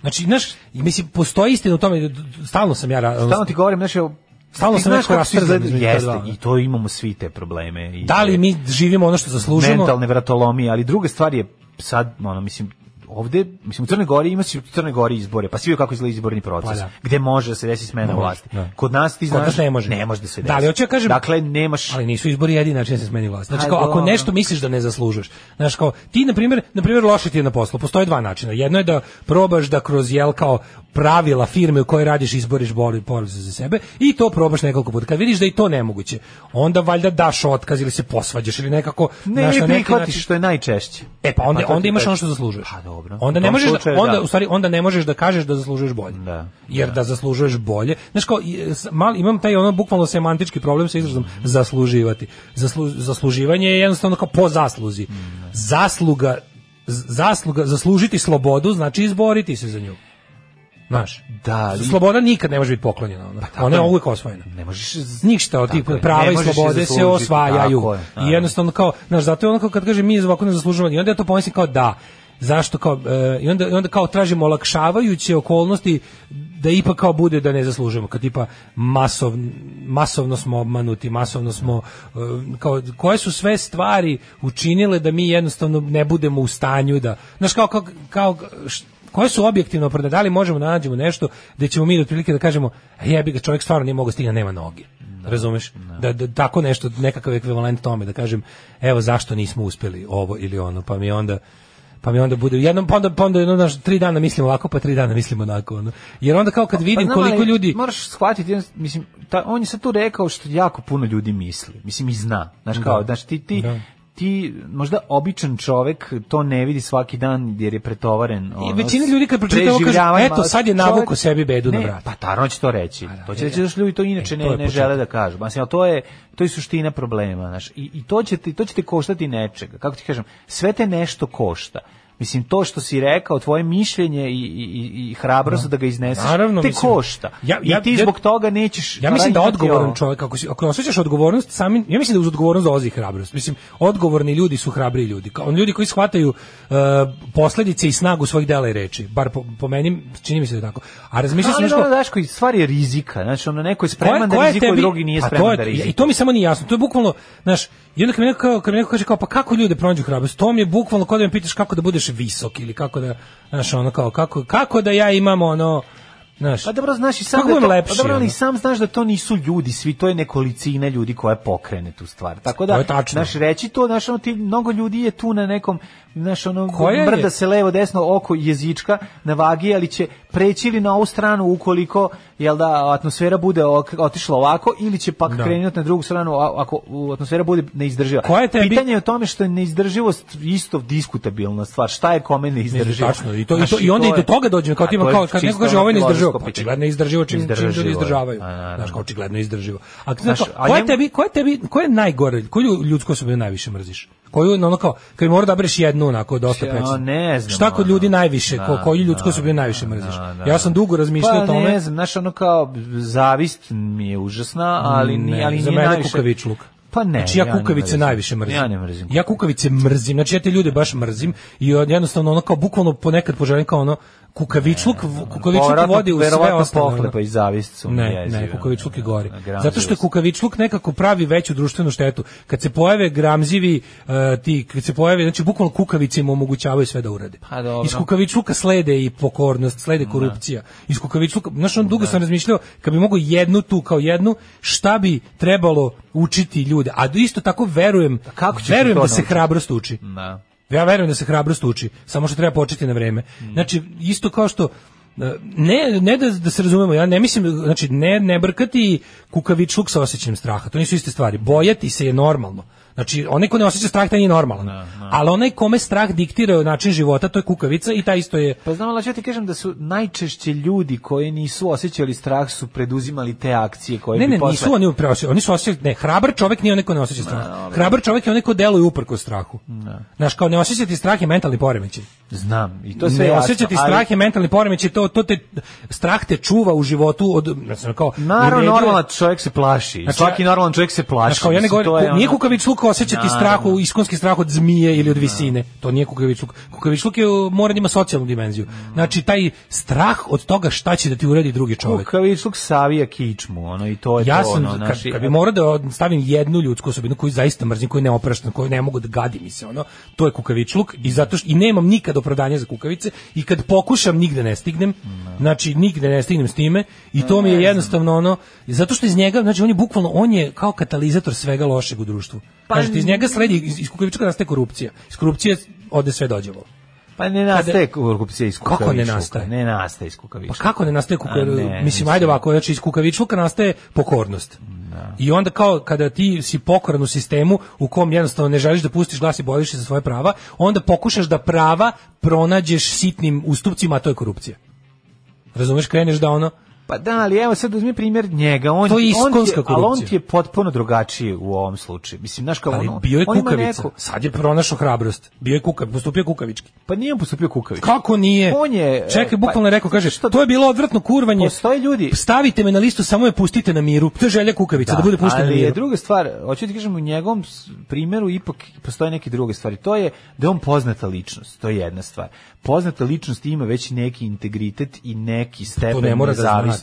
F: Znači, znaš, mislim, postoji istina u tome, d- d- stalno sam ja... ra-
G: Stalno ti govorim, znaš, evo,
F: Stalno
G: ti
F: sam
G: znaš
F: nekako
G: kako su
F: rastrzan
G: izgleda-
F: između ta
G: Jeste,
F: dva.
G: i to imamo svi te probleme. I
F: Da li mi živimo ono što zaslužimo?
G: Mentalne vratolomije, ali druga stvar je sad, ono, mislim, ovde, mislim, u Crnoj Gori ima se u Crnoj Gori izbore, pa svi vide kako izgleda izborni proces,
F: Pa da.
G: gde može da se desi smena
F: Može,
G: vlasti.
F: da.
G: Kod nas ti
F: Kod
G: znaš,
F: nas ne može.
G: da se desi.
F: Da, ali hoću ja kažem-
G: Dakle, nemaš...
F: Ali nisu izbori jedini način da se smeni vlast. Znači
G: Pa
F: kao ako
G: dobro.
F: nešto misliš da ne zaslužuješ. Znači kao ti na primjer, na primjer loše ti je na poslu. Postoje dva načina. Jedno je da probaš da kroz jel kao pravila firme u kojoj radiš izboriš boli porodicu za sebe i to probaš nekoliko puta. Kad vidiš da je i to nemoguće, onda valjda daš otkaz ili se posvađaš ili nekako
G: ne,
F: znaš, na
G: ne
F: neki
G: prihvatiš
F: način-
G: što je najčešće.
F: E pa onda,
G: Pa to ti
F: onda imaš
G: kažem.
F: ono što zaslužuješ.
G: Pa dobro, Dobro.
F: Onda
G: U
F: ne
G: tom
F: možeš
G: slučaju,
F: da, onda
G: da.
F: u stvari onda ne možeš da kažeš da zaslužuješ bolje.
G: Da.
F: Jer da zaslužuješ bolje, znaš kao i, s- mal, imam taj ono bukvalno semantički problem sa izrazom
G: Mhm.
F: zasluživati. Zaslu, zasluživanje je jednostavno kao po zasluzi.
G: Mhm,
F: Zasluga z- zasluga zaslužiti slobodu znači izboriti se za nju. Znaš,
G: Da, ali-
F: sloboda nikad ne može biti poklonjena. Ona,
G: tako
F: ona je
G: je.
F: uvijek osvojena.
G: Ne možeš z-
F: Ništa od tih
G: Tako je.
F: prava
G: Ne
F: i
G: možeš ih
F: slobode se
G: zaslužiti.
F: osvajaju.
G: Tako je,
F: I
G: naravno.
F: jednostavno kao, znaš, zato je ono kao kad kaže mi iz ovako ne zaslužujemo i onda ja to pomislim kao da, zašto kao, e, i, onda, i onda kao tražimo olakšavajuće okolnosti da ipak kao bude da ne zaslužujemo, kad tipa masov, masovno smo obmanuti, masovno smo, e, kao, koje su sve stvari učinile da mi jednostavno ne budemo u stanju da, znaš, kao, kao, kao š- koje su objektivno opravdane, da li možemo da nađemo nešto gde ćemo mi otprilike da kažemo "E, jebi ga čovjek stvarno nije mogao stigne nema noge razumeš da, da tako nešto nekakav ekvivalent tome da kažem evo zašto nismo uspjeli ovo ili ono pa mi onda pa mi onda bude jednom pa onda pa onda jedno, znaš, tri dana mislimo ovako pa tri dana mislimo onako ono. jer onda kao kad vidim
G: Pa znam,
F: koliko
G: ali
F: ljudi
G: Moraš shvatiti, jednostavno, mislim, ta, on je sad tu rekao što jako puno ljudi misli. Mislim, i zna. Znaš, kao,
F: Da.
G: znaš, ti, ti,
F: Da.
G: ti možda običan čovek to ne vidi svaki dan jer je pretovaren ono,
F: većina ljudi kad pročita ovo kaže,
G: preživljavanjem,
F: "Eto,
G: ali
F: sad je
G: čovek-
F: navukao sebi bedu na
G: Ne,
F: vrat."
G: pa tačno će to reći to će reći da su ljudi to inače
F: E,
G: ne,
F: to je
G: ne
F: početak.
G: žele da kažu mislim ali to je to je suština problema znaš i, i to će ti to će te koštati nečega kako ti kažem sve te nešto košta Mislim, to što si rekao, tvoje mišljenje i, i, i- i hrabrost da ga izneseš,
F: Naravno,
G: te
F: mislim,
G: košta.
F: ja- ja-
G: I ti
F: ja-
G: zbog toga nećeš...
F: Ja mislim da
G: raditi Pa ovo.
F: odgovoran čovjek ako si ako osjećaš odgovornost sami ja mislim da uz odgovornost dolazi i hrabrost. Mislim odgovorni ljudi su hrabri ljudi. Kao oni ljudi koji shvataju e, posljedice i snagu svojih dela i reči. Bar po, po meni čini mi se da je tako. A razmišljao sam
G: Ali
F: nešto
G: ono, znaš, koji stvar je rizika. Znači, ono, neko je
F: koja-
G: spreman da
F: koja je
G: rizikuje,
F: tebi-
G: drugi nije
F: Pa
G: spreman
F: to je-
G: da rizikuje.
F: I to mi samo nije jasno. To je bukvalno, znaš, i onda kad mi neko, kao- kad mi neko kaže kao, pa kako ljude pronađu hrabrost? To mi je bukvalno kao da me pitaš kako da budeš visok ili kako da, znaš, ono kao, kako, kako da ja imam ono, znaš,
G: Pa dobro, znaš i sam
F: Kako
G: da
F: budem
G: to,
F: lepši,
G: pa dobro, ali
F: ono?
G: sam znaš da to nisu ljudi, svi to je nekolicina ljudi koja pokrene tu stvar. Tako da,
F: To je tačno.
G: znaš, reći to, znaš, ono, ti, mnogo ljudi je tu na nekom, znaš, ono,
F: Koja je-
G: brda se levo, desno, oko jezička na vagi, ali će preći ili na ovu stranu ukoliko, jel da, atmosfera bude ok- otišla ovako, ili će pak
F: Da.
G: krenuti na drugu stranu a- ako u, atmosfera bude neizdrživa.
F: Koja je tebi-
G: Pitanje je o tome što je neizdrživost isto diskutabilna stvar. Šta je kome neizdrživo?
F: Tačno, i to i
G: Znaš,
F: to i onda i
G: Znači, to
F: do
G: je-
F: toga dođemo kao
G: a
F: tima
G: to je
F: kao kad neko
G: čisto
F: kaže
G: ono
F: ovo je neizdrživo,
G: filozofsko
F: pa
G: pitanje.
F: očigledno je izdrživo čim čim ljudi
G: Izdrživo je.
F: izdržavaju.
G: A, naravno.
F: Znaš, kao očigledno je izdrživo. A znaš,
G: Znaš, a
F: koja
G: njemu-
F: tebi, koja tebi, koja je najgore, koju ljudsku osobinu najviše mrziš? Koju ono kao kad mora da bereš jednu onako dosta
G: Ja,
F: precizno.
G: ne znam,
F: Šta kod
G: ono.
F: ljudi najviše, ko,
G: Da,
F: koju ljudsku
G: da,
F: osobinu najviše mrziš? Ja sam dugo razmišljao
G: Pa
F: o tome.
G: ne znam, znaš, ono kao zavist mi je užasna, ali, ni, ali
F: za
G: nije
F: mene
G: najviše.
F: kukavičluk.
G: Pa ne,
F: Znači ja,
G: ne
F: kukavice
G: mrzim.
F: najviše mrzim.
G: Ja ne mrzim.
F: Ja kukavice mrzim, znači ja te ljude baš mrzim i od- jednostavno ono kao bukvalno ponekad poželim kao ono kukavičluk, kukavičluk
G: Pa, Verovatno-
F: vodi u sve
G: verovatno
F: ostalo. ono.
G: pohlepa i zavist su mi
F: Ne,
G: jezive,
F: ne, kukavičluk je
G: ono,
F: gori.
G: na- na
F: Zato što je
G: gramzivost.
F: kukavičluk nekako pravi veću društvenu štetu. Kad se pojave gramzivi, e, ti, kad se pojave, znači bukvalno kukavice im omogućavaju sve da urade.
G: Pa dobro.
F: Iz kukavičluka slede i pokornost, slede korupcija. Iz kukavičluka, znaš, on dugo sam razmišljao, kad bi mogao jednu tu kao jednu, šta bi trebalo učiti ljude. A isto tako verujem,
G: Pa kako ćeš
F: verujem
G: to
F: da se
G: naučiti? Mm.
F: hrabrost uči.
G: Da.
F: Ja verujem da se hrabrost uči, samo što treba početi na vreme. Znači, isto kao što e, ne, ne da, da se razumemo, ja ne mislim, znači ne, ne brkati kukavičluk sa osjećajem straha, to nisu iste stvari. Bojati se je normalno. Znači, onaj ko ne osjeća strah, taj nije normalan. Ali onaj kome strah diktira način života, to je kukavica i taj isto je...
G: Pa znam, ali ću ti kažem da su najčešće ljudi koji nisu osjećali strah su preduzimali te akcije koje
F: Ne,
G: bi
F: ne,
G: posle...
F: nisu oni upravo, oni su osjećali, ne, hrabar čovjek nije onaj ko ne osjeća strah. Hrabar čovjek je onaj ko deluje uprko strahu. Znaš, kao ne osjećati strah je mentalni poremećaj.
G: Znam, i to sve
F: ne
G: jasno,
F: osjećati
G: ali-
F: strah je mentalni poremećaj, to, to te, strah te čuva u životu od, znači, kao, u
G: Naravno,
F: redu je-
G: normalan čovjek se plaši.
F: Znači,
G: Svaki
F: ja-
G: normalan čovjek se plaši.
F: Znaš, kao, ja ne
G: Mislim, to je
F: govorim, ku- nije
G: ono-
F: kukavičluk osjećati
G: Naravno.
F: strah, u- iskonski strah od zmije ili od visine. To nije kukavičluk. Kukavičluk je, uh, mora da ima socijalnu dimenziju. Znači, taj strah od toga šta će da ti uradi drugi čovjek.
G: Kukavičluk savija kičmu, ono, i to je
F: ja
G: to,
F: sam,
G: ono,
F: kad,
G: znaš, i-
F: kad bi morao da od- stavim jednu ljudsku osobinu koju zaista mrzim, koju ne opraštam, koju ne mogu da gadi mi se, ono, to je kukavičluk i zato što, i nemam nikad opravdanja za kukavice i kad pokušam nigde ne stignem, znači nigde ne stignem s time i to mi je jednostavno ono, zato što iz njega, znači on je bukvalno, on je kao katalizator svega lošeg u društvu. Pa, Kažete, iz njega sledi, iz, iz kukavičluka nastaje korupcija, iz korupcije ode sve dođevo.
G: Pa ne nastaje korupcija iz
F: Pa Kako ne
G: kukavičluka.
F: nastaje?
G: Ne nastaje iz kukavičluka.
F: Pa kako ne nastaje
G: A
F: kukavičluk?
G: ne,
F: Mislim,
G: mislim.
F: ajde ovako, znači iz kukavičluka nastaje pokornost. I onda kao kada ti si pokoran u sistemu u kom jednostavno ne želiš da pustiš glas i boriš se za svoje prava, onda pokušaš da prava pronađeš sitnim ustupcima, a to je korupcija. Razumeš, kreneš da ono,
G: Pa da, ali evo sad uzmi primjer njega, on
F: To je
G: ti- on ti,
F: iskonska
G: ali on
F: korupcija.
G: ti je potpuno drugačiji u ovom slučaju. Mislim, znaš kao
F: ali
G: ono,
F: bio je
G: on ima
F: kukavica.
G: neku-
F: Sad je pronašao hrabrost. Bio je kukav, postupio kukavički.
G: pa nije on postupio kukavica.
F: Kako nije?
G: On je,
F: Čekaj,
G: e,
F: bukvalno
G: pa,
F: je rekao, kaže,
G: što-
F: to je bilo odvratno kurvanje.
G: Postoje ljudi-
F: Stavite me na listu, samo je pustite na miru. To je želja kukavica, da, bude pušten na
G: ali
F: miru.
G: je druga stvar, hoću ti kažem, u njegovom s- primjeru ipak postoje neke druge stvari. To je da je on poznata ličnost, to je jedna stvar. Poznata ličnost ima već neki integritet i neki stepen
F: ne mora da znači,
G: nezavisnosti.
F: mlađe.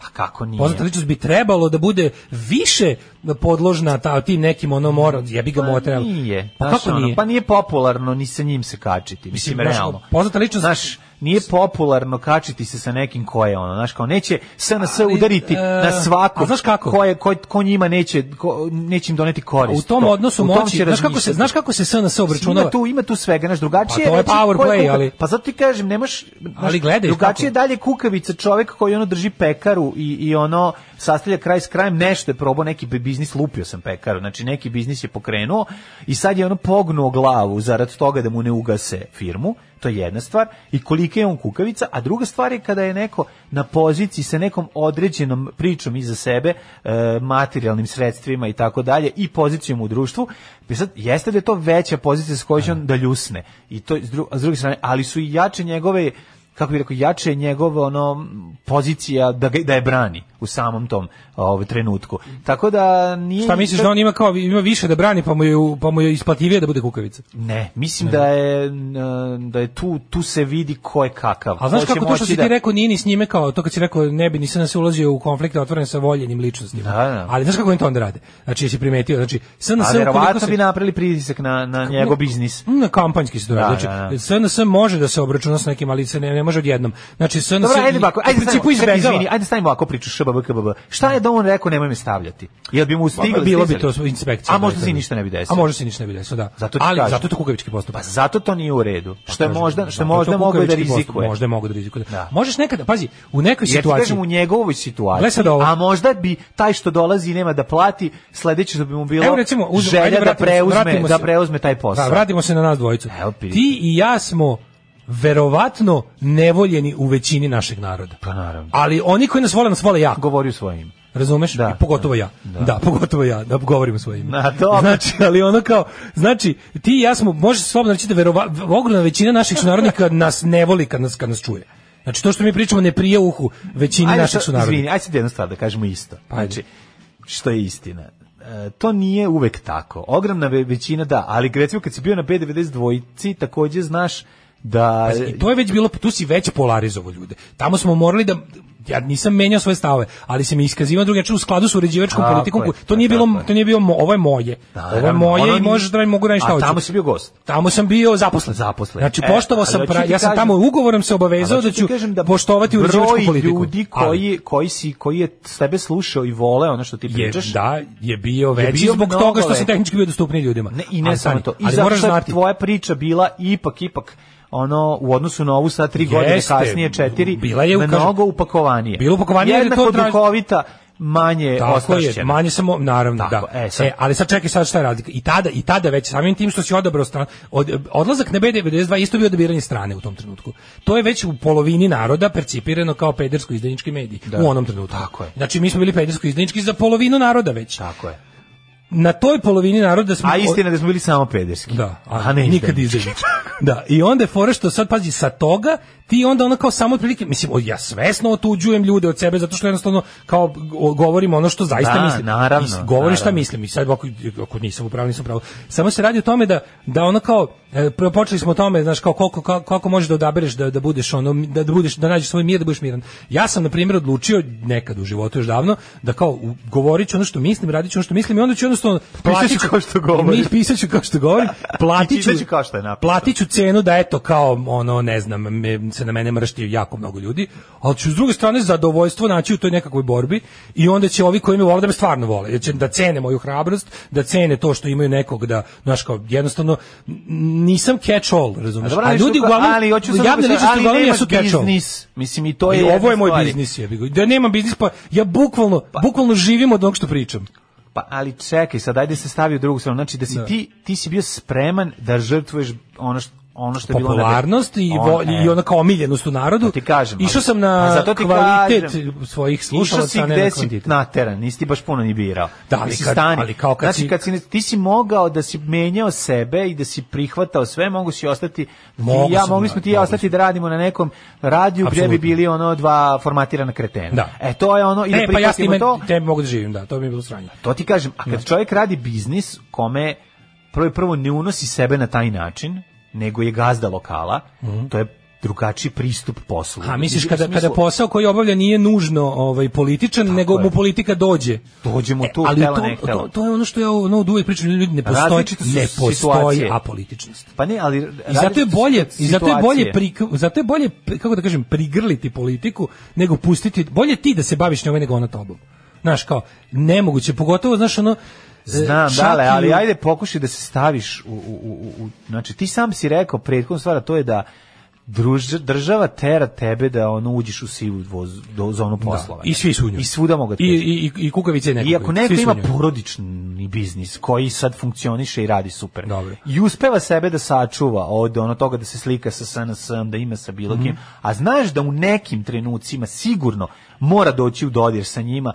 G: pa kako nije?
F: Poznata ličnost bi trebalo da bude više podložna ta, tim nekim ono mora, jebi ga mora
G: Pa
F: trebalo.
G: nije.
F: Pa
G: znaš,
F: kako
G: ono,
F: nije?
G: Pa nije popularno ni sa njim se kačiti, mislim,
F: Mislim, znaš, ono,
G: realno.
F: poznata ličnost-
G: Znaš, nije popularno kačiti se sa nekim ko je ono, znaš, kao neće SNS
F: Ali,
G: udariti
F: e,
G: na svako
F: a znaš kako?
G: ko, je, ko, ko njima neće, ko, neće im doneti korist.
F: u tom
G: To-
F: odnosu
G: u tom
F: moći,
G: će
F: znaš kako se
G: razmišljati.
F: znaš kako se SNS
G: Mislim,
F: obračunava.
G: Ima tu, ima tu svega, znaš, drugačije.
F: Pa to je
G: reći
F: power
G: ko
F: play,
G: kukav-
F: ali-
G: Pa zato ti kažem, nemaš... znaš,
F: Ali gledaj,
G: Drugačije je
F: kako?
G: dalje kukavica čovek koji ono drži pekaru i, i ono sastavlja kraj s krajem, nešto je probao, neki bi biznis, lupio sam pekaru, znači neki biznis je pokrenuo i sad je ono pognuo glavu zarad toga da mu ne ugase firmu, to je jedna stvar, i kolika je on kukavica, a druga stvar je kada je neko na poziciji sa nekom određenom pričom iza sebe, e, materijalnim sredstvima i tako dalje, i pozicijom u društvu, jer sad, jeste da je to veća pozicija s kojoj će on da ljusne, i to, s dru- a s druge strane, ali su i jače njegove kako bi rekao, jače je njegova ono, m, pozicija da, ga, da je brani u samom tom ovaj, trenutku. Tako da nije...
F: Šta misliš da on ima kao ima više da brani pa mu je u- pa mu je isplativije da bude kukavica?
G: Ne, mislim da je, n- da je tu, tu se vidi ko je kakav.
F: A znaš
G: Ko će
F: kako to što
G: moći
F: si
G: da-
F: ti rekao nije ni s njime kao to kad si rekao ne bi nisam se ulazio u konflikte otvoren sa voljenim ličnostima.
G: Da, da.
F: Ali znaš kako oni to onda rade? Znači jesi primetio, znači SNS
G: A
F: ukoliko
G: verovatno
F: se-
G: bi napravili pritisak na, na njegov biznis.
F: Mm, Na kampanjski se to radi.
G: Da, da,
F: Znači,
G: da.
F: SNS može da se obračuna sa nekim, ali se ne, ne može odjednom. Znači, SNS
G: Dobro, ajde
F: i-
G: ovako,
F: u
G: ajde
F: principu
G: stavimo, čekaj,
F: izbegava.
G: izvini, ajde stavimo ovako priču šbb, kbb. Šta je da on rekao nemoj me stavljati? Jel bi mu stigli?
F: Pa, bilo bi to
G: stizali?
F: inspekcija.
G: A možda
F: da,
G: se i
F: da.
G: ništa ne bi desilo.
F: A možda se i ništa ne bi desilo, da.
G: Zato ti
F: ali
G: kažem.
F: zato je to kukavički postupak.
G: Pa zato to nije u redu. Što je
F: Kažem,
G: možda, što je
F: zato je pa to
G: možda mogao da
F: kukavički postupak,
G: rizikuje.
F: Možda je mogao da rizikuje.
G: Da.
F: Možeš nekada, pazi, u nekoj
G: Jer ti
F: situaciji
G: kažem u njegovoj
F: Gle
G: situaciji,
F: sad ovo.
G: a možda bi taj što dolazi i nema da plati, sledeće što bi mu bilo
F: Evo recimo, uz,
G: želja
F: ajde,
G: da,
F: vratimo se-
G: preuzme,
F: vratimo se-
G: da preuzme taj posao.
F: Da, vratimo se na nas dvojicu.
G: Evo, pita.
F: Ti i ja smo verovatno nevoljeni u većini našeg naroda.
G: Pa naravno.
F: Ali oni koji nas vole, nas vole jako.
G: Govori u svojim.
F: Razumeš?
G: Da.
F: I pogotovo ja. Da. pogotovo ja, da govorim svoje ime.
G: Na, dobro.
F: Znači, ali ono kao, znači, ti i ja smo, možeš slobodno reći da verova, ogromna većina naših sunarodnika nas ne voli kad nas, kad nas čuje. Znači, to što mi pričamo ne prije uhu većini naših
G: sad, Izvini,
F: sunarodnika.
G: ajde sad jednu stvar da kažemo isto.
F: Pa ajde.
G: Znači, što je istina. E, to nije uvek tako. Ogromna ve- većina da, ali recimo kad si bio na B92 dvojici, takođe znaš da...
F: Pa I to je već bilo, tu si već polarizovao ljude. Tamo smo morali da, ja nisam menjao svoje stavove, ali sam iskazivao na drugi način u skladu sa uređivačkom
G: Tako
F: politikom.
G: je,
F: koju- to nije
G: tako
F: bilo,
G: je.
F: to nije bilo, mo- ovo je moje. ovo je
G: Naravno, ono
F: moje i
G: nije-
F: možeš da mogu raditi šta
G: A
F: hoću.
G: tamo si bio gost.
F: Tamo sam bio zaposlen.
G: Zaposlen.
F: Znači,
G: E,
F: poštovao
G: ali
F: sam,
G: hoću
F: pra-
G: ti
F: ja sam
G: kažem-
F: tamo ugovorom se
G: Ali
F: obavezao
G: hoću
F: da
G: ti
F: ću
G: kažem
F: poštovati uređivačku politiku.
G: Broj ljudi
F: Ali
G: koji, koji, si, koji je s tebe slušao i voleo ono što ti
F: je,
G: pričaš.
F: da, je bio veći
G: bio
F: zbog
G: mnogo
F: toga što
G: veći.
F: se tehnički bio dostupniji ljudima.
G: Ne, I ne
F: Ali
G: samo
F: stani,
G: to. I
F: ali
G: zato
F: moraš
G: što je
F: znati,
G: tvoja priča bila ipak, ipak, ono, u odnosu na ovu sa tri
F: Jeste,
G: godine kasnije, četiri,
F: bila je, kažem-
G: mnogo upakovanije.
F: Bila upakovanije jer je
G: Jednako
F: to traži-
G: duhovita, manje
F: Tako je,
G: ostrašćena.
F: manje samo naravno
G: Tako,
F: da.
G: e, sad-
F: ali sad čekaj sad šta je razlika. I tada i tada već samim tim što si odabrao stran, od, odlazak na B92 je isto bio odabiranje strane u tom trenutku. To je već u polovini naroda percipirano kao pedersko izdajnički mediji u onom trenutku.
G: Tako je.
F: Znači mi smo bili pedersko izdajnički za polovinu naroda već.
G: Tako je.
F: Na toj polovini naroda smo
G: A istina je da smo bili samo pederski.
F: Da, a,
G: ne
F: nikad
G: izdajnički.
F: izdajnički. Da, i onda je fora što sad pazi sa toga, ti onda ono kao samo otprilike, mislim, o, ja svesno otuđujem ljude od sebe zato što jednostavno kao o, govorim ono što zaista
G: Da,
F: mislim.
G: naravno,
F: Mislim, govorim šta
G: naravno.
F: mislim i sad ako, ako nisam u pravu, nisam u pravu. Samo se radi o tome da da ono kao e, prvo počeli smo o tome, znaš, kao koliko kako, kako možeš da odabereš da da budeš ono da, da budeš da nađeš svoj mir, da budeš miran. Ja sam na primjer odlučio nekad u životu još davno da kao u- govorit ću ono što mislim, radit ću ono što mislim i onda ću ono jednostavno
G: Pišeš
F: ću-
G: kao što govori.
F: Mi pisaću kao što govorim.
G: I
F: Platiću
G: čitaću kao što je napisano.
F: Platiću cenu da eto kao ono ne znam me, se na mene mršti jako mnogo ljudi, ali ću s druge strane zadovoljstvo naći u toj nekakvoj borbi i onda će ovi koji me vole da me stvarno vole, jer će da cene moju hrabrost, da cene to što imaju nekog da znaš kao jednostavno n- nisam catch all, razumeš?
G: dobro,
F: A
G: ali
F: ljudi
G: što-
F: uglavnom
G: ali hoću sad da
F: javne
G: kažem,
F: ličnosti
G: ali
F: uglavnom
G: nemaš
F: jesu catch all.
G: biznis. Mislim i to je
F: I ovo
G: jedna
F: je moj
G: stvar.
F: biznis, jebi ga. Da nemam biznis, pa ja bukvalno, bukvalno živim od onog što pričam.
G: Pa, ali čekaj, sad ajde se stavi u drugu stranu. Znači da si ti, ti si bio spreman da žrtvuješ ono što ono što je bilo na-
F: Popularnost i, vo,
G: On- e.
F: i ono ona kao omiljenost u narodu.
G: ti kažem,
F: Išao
G: ali-
F: sam na
G: a zato ti
F: kvalitet
G: kažem.
F: svojih
G: Išao si
F: slušalaca, a ne na
G: gde si
F: kvantitet.
G: nateran, nisi ti baš puno ni birao.
F: Da, ali
G: Mislim,
F: kad-
G: stani.
F: ali kao kad
G: znači,
F: si-
G: kad si, ne- ti si mogao da si menjao sebe i da si prihvatao sve, mogu si ostati,
F: Mogu
G: ti i ja,
F: sam,
G: mogli
F: da,
G: smo ti i ja
F: mogu
G: ostati da radimo na nekom radiju gdje bi
F: Apsolutno.
G: bili ono dva formatirana kretena.
F: Da.
G: E, to je ono, ili
F: E, pa ja s
G: prihvatimo
F: time,
G: to.
F: time mogu da živim, da, to mi je bilo sranje.
G: To ti kažem, a kad čovjek radi biznis kome prvo prvo ne unosi sebe na taj način, nego je gazda lokala, to je drugačiji pristup poslu.
F: A Mhm. misliš
G: U
F: kada kada
G: smislu,
F: posao koji obavlja nije nužno ovaj političan, nego
G: je.
F: mu politika dođe.
G: dođemo
F: E,
G: tu,
F: ali
G: htela,
F: to,
G: ne htela.
F: to, to je ono što ja ono od uvek pričam, ljudi ne postoji,
G: Različite su
F: ne postoji
G: situacije.
F: apolitičnost.
G: Pa ne, ali
F: I zato je bolje, i zato je bolje,
G: situacije.
F: pri, zato je bolje pri- kako da kažem, prigrliti politiku nego pustiti, bolje ti da se baviš njome nego ona tobom. Znaš, kao, nemoguće, pogotovo, znaš, ono, e,
G: Znam,
F: čak
G: dale,
F: i
G: ali
F: u-
G: ajde pokušaj da se staviš u, u, u, u- u- znači ti sam si rekao prethodno stvar, a to je da druž, država tera tebe da ono uđeš u sivu voz, do, zonu poslovanja.
F: I svi su u njoj.
G: I svuda mogu
F: I, i, i kukavice
G: I ako neko
F: svi su u
G: ima
F: njoj.
G: porodični biznis koji sad funkcioniše i radi super.
F: Dobro.
G: I uspeva sebe da sačuva od ono toga da se slika sa SNS-om, da ima sa bilo kim,
F: Mhm.
G: a znaš da u nekim trenucima sigurno mora doći u dodir sa njima,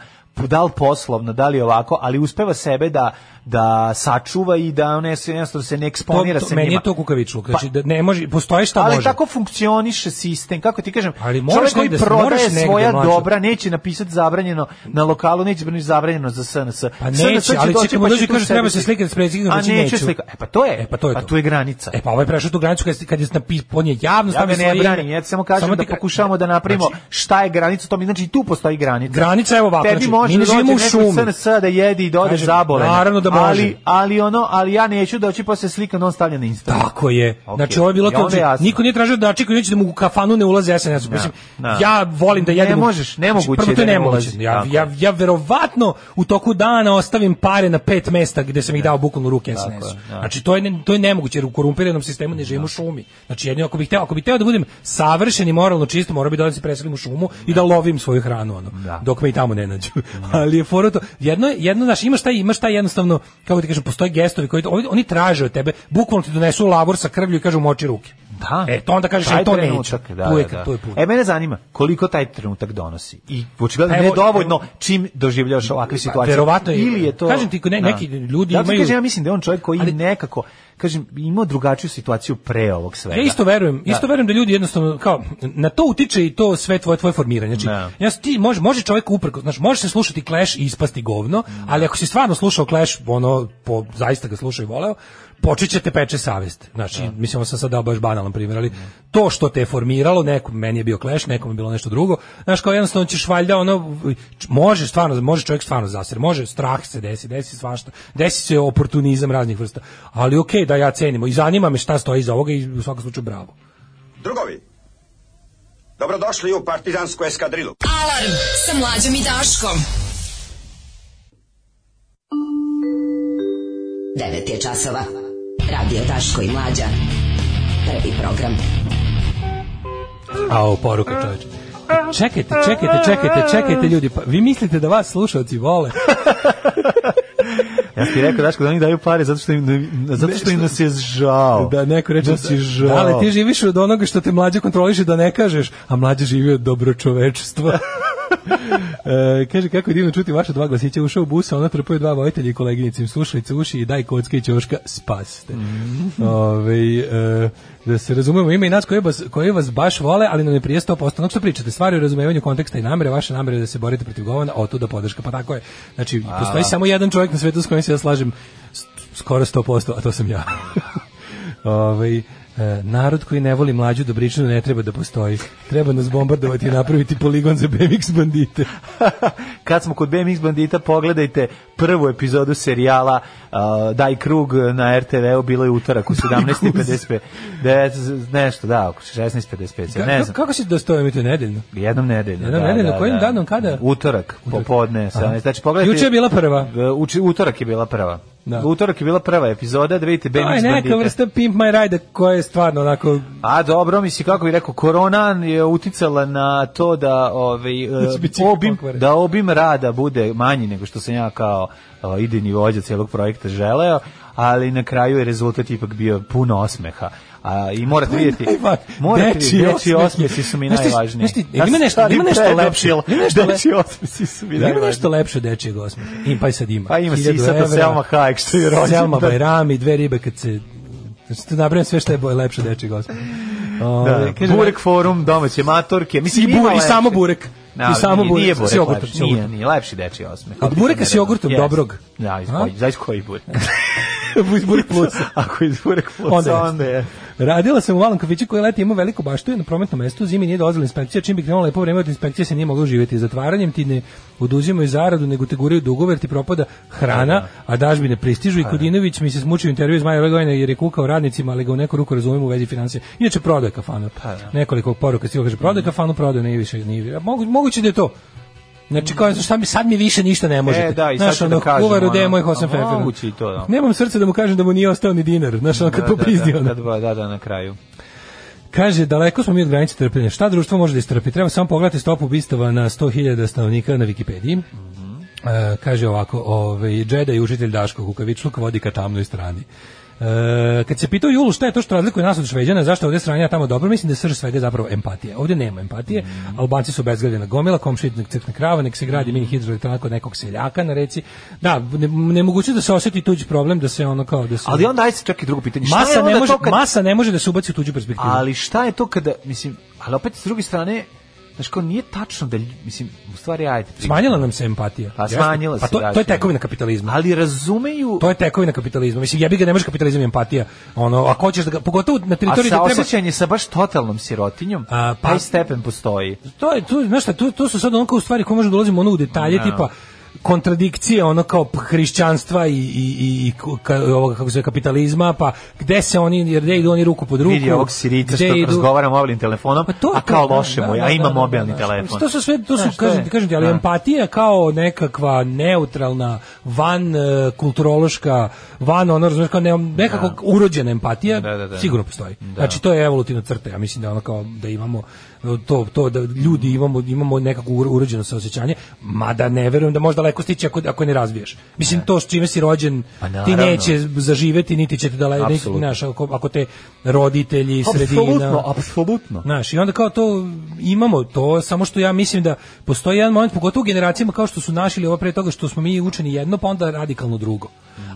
G: da li poslovno, da li ovako, ali uspeva sebe da, da sačuva i da ne, jednostavno se ne eksponira
F: to,
G: sa
F: meni
G: njima. Pa-
F: je to kukavičluk, znači da ne može, postoji šta
G: ali
F: može.
G: tako funkcioniše sistem, kako ti kažem,
F: Ali moraš
G: čovjek koji
F: negde-
G: prodaje
F: moraš negde,
G: svoja
F: mlađo.
G: dobra neće napisati zabranjeno na lokalu, neće biti zabranjeno za SNS.
F: Pa
G: SNS će
F: neće, ali
G: doći
F: čekaj,
G: pa
F: mu
G: će
F: dođe i
G: tu
F: kaže
G: sebe
F: treba se
G: slikati.
F: slikati s predsjednikom,
G: A
F: znači
G: neće
F: neću.
G: slika. E pa to je,
F: E pa to je
G: pa
F: to.
G: tu je granica.
F: E pa ovaj prešao tu granicu kad, kad je napi- on je javno
G: Ja ga
F: stavio
G: ne
F: svoje
G: branim,
F: ime.
G: ja ti samo kažem
F: Samo
G: da
F: ti ka-
G: pokušavamo da napravimo
F: Znači,
G: šta je granica, to mi znači i tu postoji granica.
F: granica je ovako,
G: Tebi
F: znači,
G: može
F: mi ne
G: da dođe
F: živimo u
G: neko iz
F: šumi.
G: SNS da jedi i da ode
F: Kažem,
G: zabolen.
F: naravno da može.
G: Ali, ali ono, ali ja neću doći posle slika non stavlja na Instagram.
F: Tako je.
G: Ok.
F: Znači ovo je bilo
G: I
F: to.
G: onda je jasno.
F: Niko nije tražio da znači koji neće da mu u kafanu ne ulaze SNS. Mislim,
G: da.
F: ja volim da
G: Ne
F: jedem. u-
G: možeš, nemoguće
F: Znači, prvo to
G: je da
F: je
G: ne
F: nemoguće.
G: ulazi.
F: Ja,
G: Tako je.
F: ja, ja verovatno u toku dana ostavim pare na pet mesta gde sam ih dao bukvalno u ruke SNS. Znači to je ne- to je nemoguće jer u korumpiranom sistemu ne živimo u šumi. Znači jedino ako bih hteo, ako bih hteo da budem savršen i moralno čist, morao bih da se preselim u šumu i da lovim svoju hranu ono
G: Da.
F: dok me i tamo ne nađu. Ali je fora to, jedno je- jedno znaš, imaš taj imaš taj jednostavno kako ti kažem, postoje gestovi koji oni, oni traže od tebe, bukvalno ti donesu labor sa krvlju i kažu moči ruke.
G: Da.
F: E to onda kažeš
G: Taj
F: aj to neću.
G: trenutak, da,
F: tu je,
G: da, da.
F: tu je put.
G: E, mene zanima koliko taj trenutak donosi. I očigledno
F: Pa evo,
G: ne dovoljno
F: evo-
G: čim doživljavaš ovakve situacije.
F: verovatno je-
G: Ili je to...
F: kažem ti, ne-
G: Da.
F: neki ljudi
G: Zato ti
F: imaju-
G: Kažem, ja mislim da je on čovjek koji
F: Ali-
G: nekako, kažem, imao drugačiju situaciju pre ovog svega.
F: Ja isto verujem, isto verujem da ljudi jednostavno kao na to utiče i to sve tvoje tvoje formiranje. Znači,
G: Da.
F: ja s- ti može može čovjek uprko, znači može se slušati Clash i ispasti govno, ali ako si stvarno slušao Clash, ono po zaista ga slušao i voleo, počeće te peče savest. Znači, mislim ovo sam sad dao baš banalan primjer, ali to što te je formiralo, nekom meni je bio Clash, nekom je bilo nešto drugo. Znaš, kao jednostavno ćeš valjda ono č- može stvarno, može čovjek stvarno zasir, može strah se desi, desi svašta. Desi se oportunizam raznih vrsta. Ali okej, da ja cenimo i zanima me šta stoji iza ovoga i u svakom slučaju bravo.
K: Drugovi, dobrodošli u partizansku eskadrilu.
E: Alarm sa mlađom i Daškom.
L: 9 je časova. Radio Daško i Mlađa. Prvi program.
F: A o poruka čoveče. Čekajte, čekajte, čekajte, čekajte ljudi, pa vi mislite da vas slušalci vole?
G: Ja ti rekao, Daško, da oni daju pare zato što im, zato što im nas je žao.
F: Da neko reče
G: Da si žao.
F: Da, ali ti živiš od onoga što te mlađe kontroliše da ne kažeš, a mlađe živi od dobročovečstva. e, kaže kako je divno čuti vaša dva glasića ušao u busa, ona trpaju dva vojitelja i koleginice im slušalice uši i daj kocka i ćoška spaste. Ovaj, e, da se razumemo, ima i nas koji vas, koji vas baš vole, ali nam ne prije 100% onog što pričate. Stvari u razumevanju konteksta i namere, vaše namere da se borite protiv govana, a otuda podrška, pa tako je. Znači, postoji samo jedan čovjek na svetu s kojim se ja slažem s- skoro 100%, a to sam ja. Ovaj E, narod koji ne voli mlađu Dobričinu ne treba da postoji. Treba nas bombardovati i napraviti poligon za BMX bandite.
G: Kad smo kod BMX bandita, pogledajte prvu epizodu serijala uh, Daj krug na RTV-u, bilo je utorak u 17.55. Nešto, da, oko 16.55. Ne znam.
F: Kako se dostoje mi to nedeljno?
G: Jednom nedeljno.
F: Jednom
G: da,
F: nedeljno,
G: da,
F: kojim
G: da.
F: danom, kada?
G: Utorak, popodne. Sa, znači, pogledajte, uh,
F: Juče je bila prva.
G: Uči, utorak je bila prva. Da. Utorak je bila prva epizoda, da vidite BMX
F: To je
G: bandite.
F: neka vrsta Pimp My Ride koja je stvarno onako...
G: A dobro, misli kako bih rekao, korona je uticala na to da ovaj
F: Da će
G: eh,
F: biti
G: obim
F: pokvare.
G: da obim rada bude manji nego što sam ja kao eh, idejni vođa celog projekta želeo, ali na kraju je rezultat ipak bio puno osmeha. A, i morate vidjeti
F: Pa Najva-
G: morate
F: dečiji
G: vidjeti dečiji
F: osmeh.
G: osmesi su mi
F: Znaš ti-
G: najvažniji
F: znaš ti,
G: Ja
F: ima
G: sam
F: nešto,
G: stari
F: ima nešto lepše.
G: pedofil,
F: Ima nešto lepše.
G: dečiji osmesi su mi
F: Ima
G: najvažniji
F: nešto lepše od dečijeg osmeha. Ima, pa i sad ima.
G: Pa ima
F: Hiljadu
G: sisata
F: evra,
G: Selma Hayek što je rođendan.
F: Selma Bajrami, dve ribe kad se... Znači, tu nabrajam sve što je boje lepše od dečijeg osmeha. O,
G: Da,
F: kaže-
G: burek forum, domaće matorke, mislim
F: I,
G: ima
F: bur, i
G: lepše.
F: samo burek.
G: Na,
F: I samo
G: nije-
F: burek.
G: Nije
F: s
G: burek,
F: jogurtom,
G: lepši,
F: s jogurtom.
G: Nije, nije lepši dečiji osmeh.
F: Od bureka s jogurtom,
G: Jeste.
F: dobrog.
G: Da, iz
F: A?
G: koji, znaš koji burek.
F: Iz burek plusa.
G: Ako iz burek plusa,
F: Onda
G: onda,
F: jeste.
G: je.
F: Radila sam u malom kafiću koji leti imao veliku baštu i na prometnom mestu, zimi nije dolazila inspekcija, čim bi krenula lepo vreme od inspekcije se nije moglo živjeti. Zatvaranjem ti ne oduzimaju zaradu, nego te guraju dugove jer ti propada hrana, a dažbine pristižu
G: Pa
F: i Kodinović mi se smučio u intervju iz maja ove godine jer je kukao radnicima, ali ga u neku ruku razumijem u vezi financija. Inače prodaje kafanu.
G: Pa
F: Nekoliko poruka stiglo kaže
G: Mhm.
F: prodaje kafanu, prodaje nije više, nije. Mogu- Moguće da je to. Znači kao šta mi sad mi više ništa ne možete.
G: Mhm. E, da, i sad
F: Znaš,
G: ću
F: ono,
G: da kažem,
F: kuvaru, gde je
G: ono,
F: moj Hosen
G: a
F: Fefer?
G: moguće i to, da.
F: Nemam srca da mu kažem da mu nije ostao ni dinar, znaš, ono kad
G: Da, da,
F: popizdio. ono.
G: Da, da, da, da, na kraju.
F: Kaže, daleko smo mi od granice trpljenja. Šta društvo može da istrpi? Treba samo pogledati stopu ubistava na 100.000 stanovnika na Wikipediji.
G: Mhm.
F: E, kaže ovako, ovaj, Džeda i učitelj Daško Kukavičluk vodi ka tamnoj strani. E, kad se pitao Julu šta je to što razlikuje nas od Šveđana, zašto je ovdje stranja tamo dobro, mislim da je srž svega zapravo empatija. Ovdje nema empatije,
G: Mhm.
F: Albanci su bezgledena gomila, komšitnik crkne krava, nek se gradi mini hidroelektrana kod nekog seljaka na reci. Da, ne, nemoguće da se osjeti tuđi problem, da se ono kao da se...
G: Ali onda ajde se čekaj drugo pitanje. Šta je
F: masa,
G: onda
F: ne može,
G: to kad-
F: masa ne može da se ubaci u tuđu perspektivu.
G: Ali šta je to kada, mislim, ali opet s druge strane, znaš kao nije tačno da, lj- mislim, u stvari ajde.
F: Smanjila nam se empatija.
G: Pa
F: Jeste?
G: smanjila
F: pa
G: se,
F: to,
G: da,
F: to je
G: sigurno.
F: tekovina kapitalizma.
G: Ali razumeju...
F: To je tekovina kapitalizma. Mislim, ja bi ga ne možeš kapitalizam i empatija. Ono, ako hoćeš da ga, pogotovo na
G: A
F: teritoriji da treba...
G: saosećanje sa baš totalnom sirotinjom,
F: A, pa-
G: taj stepen postoji.
F: To je, tu, znaš šta, tu, tu su sad ono kao stvari koje možemo da ulazimo ono u detalje,
G: Da.
F: tipa kontradikcije ono kao p- hrišćanstva i, i, i, i ko- ka, ovoga, kako se zove, kapitalizma, pa gde se oni, jer gde idu oni ruku pod ruku.
G: Vidi ovog Sirica
F: gde
G: što
F: idu-
G: razgovara mobilnim telefonom,
F: Pa to je
G: a
F: to,
G: kao
F: da,
G: loše
F: da,
G: mu je,
F: da,
G: a ima
F: da, da,
G: mobilni
F: da.
G: telefon.
F: To su sve, to su,
G: Znaš, to
F: kažem,
G: je-
F: kažem ti, ali
G: da.
F: empatija kao nekakva neutralna, van e, kulturološka, van ono, razumiješ, kao ne, nekako urođena empatija,
G: Da, da, da.
F: sigurno postoji. Znači, to je evolutivna crta, ja mislim da ono kao da imamo e, to, to da ljudi imamo imamo nekako uro- urođeno saosećanje, mada ne verujem da možda daleko stići ako, ako ne razviješ. Mislim, to s čime si rođen,
G: Pa
F: ti
G: naravno.
F: neće zaživeti, niti će te daleko, niti,
G: Apsolutno.
F: znaš, ako, ako te roditelji, sredina...
G: Apsolutno, apsolutno.
F: Znaš, i onda kao to imamo to, samo što ja mislim da postoji jedan moment, pogotovo u generacijama kao što su naši ili ovo pre toga što smo mi učeni jedno, pa onda radikalno drugo.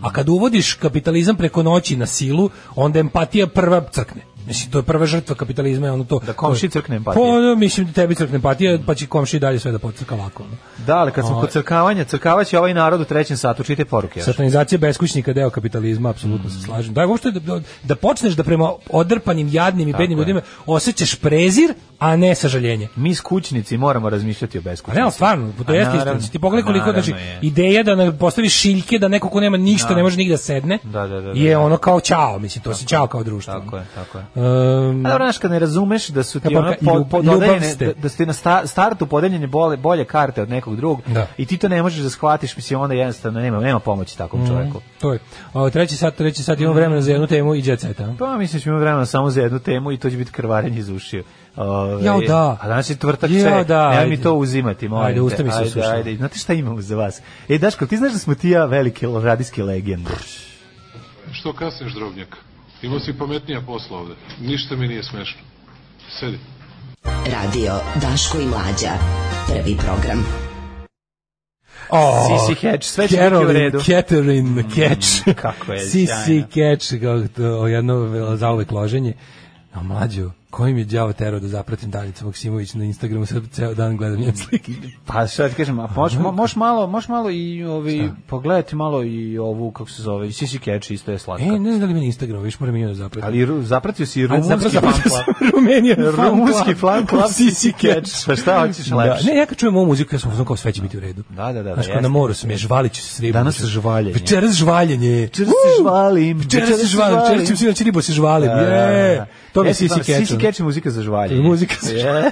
F: A kad uvodiš kapitalizam preko noći na silu, onda empatija prva crkne. Mislim, to je prva žrtva kapitalizma, je ono to. Da
G: komšiji crkne empatija.
F: Pa, da, mislim da tebi crkne empatija, pa će komši dalje sve da pocrka lako. ono.
G: Da, ali kad smo kod crkavanja, crkavaće ovaj narod u trećem satu, čite poruke. još.
F: Satanizacija beskućnika deo kapitalizma, apsolutno se slažem. Da, uopšte da, da počneš da prema odrpanim, jadnim i
G: je.
F: bednim ljudima osjećaš prezir, a ne sažaljenje.
G: Mi skućnici moramo razmišljati o
F: Pa
G: beskućnicima.
F: ne, ali stvarno, to
G: A
F: jeste
G: naravno, Pa
F: istina. Ti pogledaj koliko,
G: naravno
F: znači,
G: je.
F: ideja da na- postaviš šiljke, da neko ko nema ništa, ne može nigde da sedne,
G: Da, da, da, da,
F: je
G: da.
F: ono kao čao, mislim, to se čao kao društvo.
G: Tako je, tako je.
F: Ehm,
G: A dobro, znaš, kad ne razumeš da su ti
F: Kako
G: ono
F: ka-
G: po,
F: ljub-
G: po,
F: ljubav
G: dodeljene-
F: ste.
G: da, da su ti na sta- startu podeljene bolje, bolje karte od nekog drugog
F: Da.
G: i ti to ne možeš da shvatiš, mislim, onda jednostavno nema, nema pomoći takvom
F: Mhm.
G: čovjeku.
F: to je. A, treći sat, treći sat, imamo vremena za jednu temu i jet seta.
G: Pa mislim da ćemo imati vremena samo za jednu temu i to će biti krvarenje iz ušiju. Ove,
F: Jao, da.
G: A danas je tvrtak
F: Jao,
G: sve,
F: da,
G: nemoj
F: ajde.
G: mi to uzimati, molim
F: Ajde,
G: te.
F: usta mi se
G: Ajde,
F: osušila.
G: ajde. Znate šta imamo za vas? E, Daško, ti znaš da smo ti i ja velike radijske legende?
M: Što kasniš, drobnjak? Imao si pametnija posla ovde. Ništa mi nije smešno. Sedi.
L: Radio Daško i Mlađa. Prvi program.
F: O,
G: Sisi Catch, sve će biti u
F: Caroline,
G: redu. Mm,
F: Catherine Catch.
G: kako je
F: Sisi
G: sjajno.
F: e, Catch, kao to, jedno zauvek loženje. A mlađo, kojim je đavo terao da zapratim Danicu Maksimović na Instagramu sad ceo dan gledam njene slike.
G: Pa šta ti kažem, a možeš mo, možeš malo, možeš malo i ovi pogledati malo i ovu kako se zove, i Sisi Catch isto je slatka.
F: E, ne znam da li mi na Instagramu, viš moram i nju da zapratim.
G: Ali ru, zapratio si i rumunski fan
F: zapratio
G: club.
F: Rumenija
G: Rumunski fan club Sisi Catch. Pa šta hoćeš lepše?
F: Da, ne, ja kad čujem ovu muziku, ja sam uzmano kao sve će biti u redu.
G: Da, da, da.
F: Znaš,
G: da,
F: kao na
G: jeste.
F: moru sam je, žvalit ću se s ribom.
G: Danas se žvaljenje.
F: Večeras žvaljenje.
G: Večeras se žvalim.
F: Večeras se žvalim. Večeras ću sinoć ribu se žvalim.
G: Da, da, da.
F: Je. To mi je
G: Jeste,
F: Sisi
G: stvarno,
F: Catch.
G: Sisi Catch je muzika za žvaljenje.
F: Muzika za
G: žvaljenje.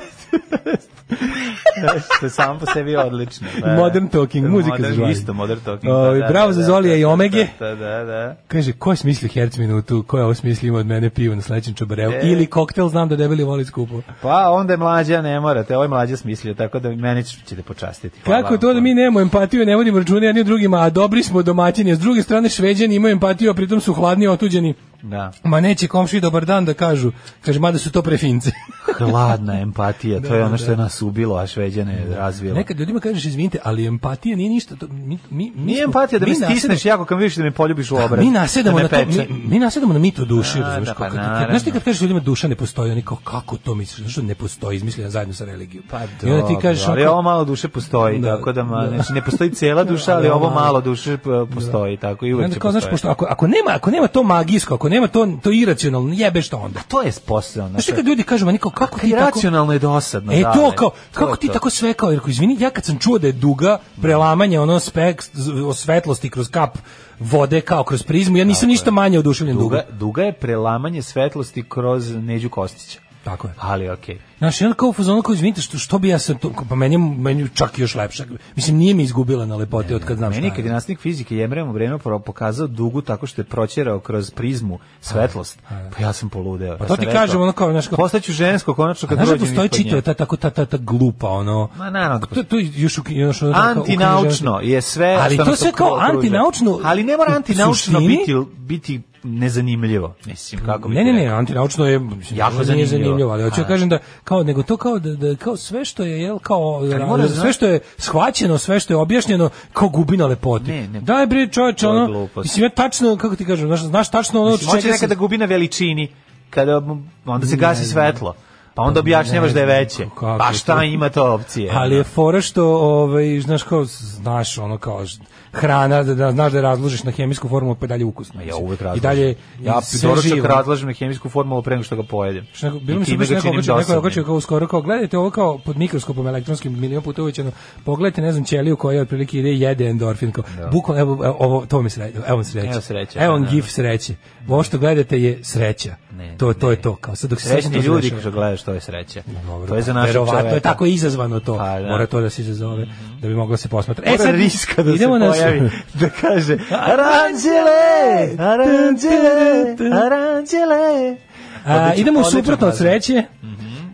G: Što je samo po sebi odlično. da.
F: Modern talking, muzika za
G: Modern-
F: žvaljenje.
G: Isto, modern talking.
F: Ovi, bravo za Zolija i Omege.
G: Da, da, da.
F: Kaže, ko je smislio herc minutu, ko je ovo smislio ima od mene pivo na sledećem čobareu,
G: E.
F: ili koktel, znam da debeli voli skupo.
G: Pa onda je mlađa, ne morate, ovo je mlađa smislio, tako da meni će- ćete počastiti. Hvala
F: Kako
G: vam.
F: to da mi nemamo empatiju, i ne vodimo računa jedni o drugima, a dobri smo domaćini, a s druge strane šveđani imaju empatiju, a pritom su hladni i otuđeni.
G: Da.
F: Ma neće komši dobar dan da kažu, kaže, mada su to prefince.
G: Hladna empatija, to
F: Da,
G: je
F: da,
G: ono što je
F: da.
G: nas ubilo, a Šveđane je razvilo.
F: Nekad ljudima kažeš, izvinite, ali empatija nije ništa. To, mi, mi, mi
G: Nije
F: smo-
G: empatija da me
F: mi nasedamo- Pa,
G: stisneš jako kad vidiš da me poljubiš u obraz.
F: Mi nasedamo
G: da
F: na
G: me
F: to,
G: peče.
F: mi, mi nasedamo na mit o duši,
G: Da,
F: razumeš,
G: da,
F: kao
G: pa
F: kad- kad-
G: naravno.
F: znaš ti kad kažeš ljudima duša ne postoji, oni kao kako to misliš, znaš što ne postoji, izmišljena zajedno sa religijom. Pa I onda ti
G: Dobro,
F: kažeš,
G: ali
F: onako-
G: ovo malo duše postoji,
F: Da,
G: tako da, ma,
F: da.
G: znači, ne postoji cijela duša, ali ovo malo duše p- postoji, tako i
F: I
G: uvek
F: onda
G: će
F: kao, znaš,
G: postojati.
F: pošto ako, ako, nema, ako nema to magijsko, ako nema to, to iracionalno, jebe što onda.
G: To je posao,
F: Znaš
G: znači.
F: ti kad ljudi kažu, meni kao, kako ti tako...
G: Racionalno je dosadno.
F: E
G: da,
F: to
G: ne,
F: kao, kako
G: je
F: ti
G: to.
F: tako sve kao, jer ako, izvini, ja kad sam čuo da je duga prelamanje ono spek z- o svetlosti kroz kap vode kao kroz prizmu, ja nisam ništa manje oduševljen duga.
G: Duga, duga je prelamanje svetlosti kroz Neđu Kostića.
F: Tako je.
G: Ali okej.
F: Znaš, jedan kao u fazonu kao, izvinite, što, što bi ja sam to, pa meni, je- meni je čak još lepše. Mislim, nije mi izgubila na lepoti od kad znam
G: Meni
F: šta
G: kad
F: je.
G: je nastavnik fizike Jemrem Obrenov pro- pokazao dugu tako što je proćerao kroz prizmu svetlost, pa ja sam poludeo.
F: Pa
G: ja
F: to
G: sam
F: ti
G: rekao,
F: kažem, ono kao, znaš, kao-
G: Postaću žensko konačno
F: A
G: kad
F: znaš da
G: prođem
F: postoji
G: ispod nje.
F: čitava ta, tako, ta, ta, ta glupa, ono...
G: Ma naravno da
F: To, to je još, u, još ono, kao u
G: antinaučno
F: književnosti.
G: je sve
F: ali
G: što
F: to
G: nas
F: sve kao
G: okružuje.
F: antinaučno
G: ali ne mora
F: u
G: antinaučno
F: suštini-
G: biti biti nezanimljivo mislim kako bi
F: ne
G: ti
F: ne ne
G: rekao.
F: antinaučno je mislim,
G: Jako
F: jako zanimljivo,
G: zanimljivo.
F: zanimljivo ali hoću
G: A.
F: da kažem da kao nego to kao da, da kao sve što je jel kao
G: moraš
F: sve
G: znati-
F: što je shvaćeno sve što je objašnjeno kao gubi na lepoti
G: Ne, ne.
F: daj bre čoveče
G: To je
F: ono
G: glupost.
F: mislim ja tačno kako ti kažem znaš, znaš tačno ono
G: Mislim, hoće
F: čega sam-
G: nekada gubi na veličini kada mu- onda se gasi
F: Ne, ne.
G: svetlo pa onda
F: Pa,
G: objašnjavaš
F: ne
G: da je
F: znam
G: veće
F: kako
G: pa
F: je
G: šta
F: to.
G: ima to opcije
F: Ali je fora što, ovaj, znaš kao, znaš ono kao, ž- hrana, da, da, znaš da je razložiš na hemijsku formulu, pa je dalje ukusno.
G: Ma ja
F: mislim.
G: uvek
F: I
G: razlažem.
F: dalje,
G: ja
F: sve
G: doručak
F: živo.
G: razlažem na hemijsku formulu pre nego što ga pojedem.
F: Što neko, bilo
G: I
F: mi se
G: time
F: baš
G: ga
F: neko
G: činim
F: okačio, neko
G: dosadnim.
F: okačio kao skoro kao gledajte ovo kao pod mikroskopom elektronskim milion puta uvećano. Pogledajte ne znam ćeliju koja otprilike ide i jede endorfin kao. Bukvalno evo evo, ovo to mi sreće. Evo vam sreće.
G: Evo sreće,
F: Evo vam
G: da, da.
F: gif sreće. Ovo što gledate je sreća.
G: Ne,
F: to to je to kao sad dok se
G: Srećni
F: sećam to
G: ljudi
F: zgrešava.
G: što gledaš to je sreća.
F: Dobro,
G: To je za
F: da.
G: našeg
F: Verovatno je
G: čoveka.
F: tako izazvano to.
G: Pa, da. Mhm.
F: Mora to da se izazove da bi moglo da se posmatra.
G: Mora riska da se
F: E na-
G: pojavi, da kaže aranđele, aranđele, aranđele.
F: A,
G: Odličan-
F: idemo u
G: odličan
F: suprotno od
G: fazon.
F: sreće.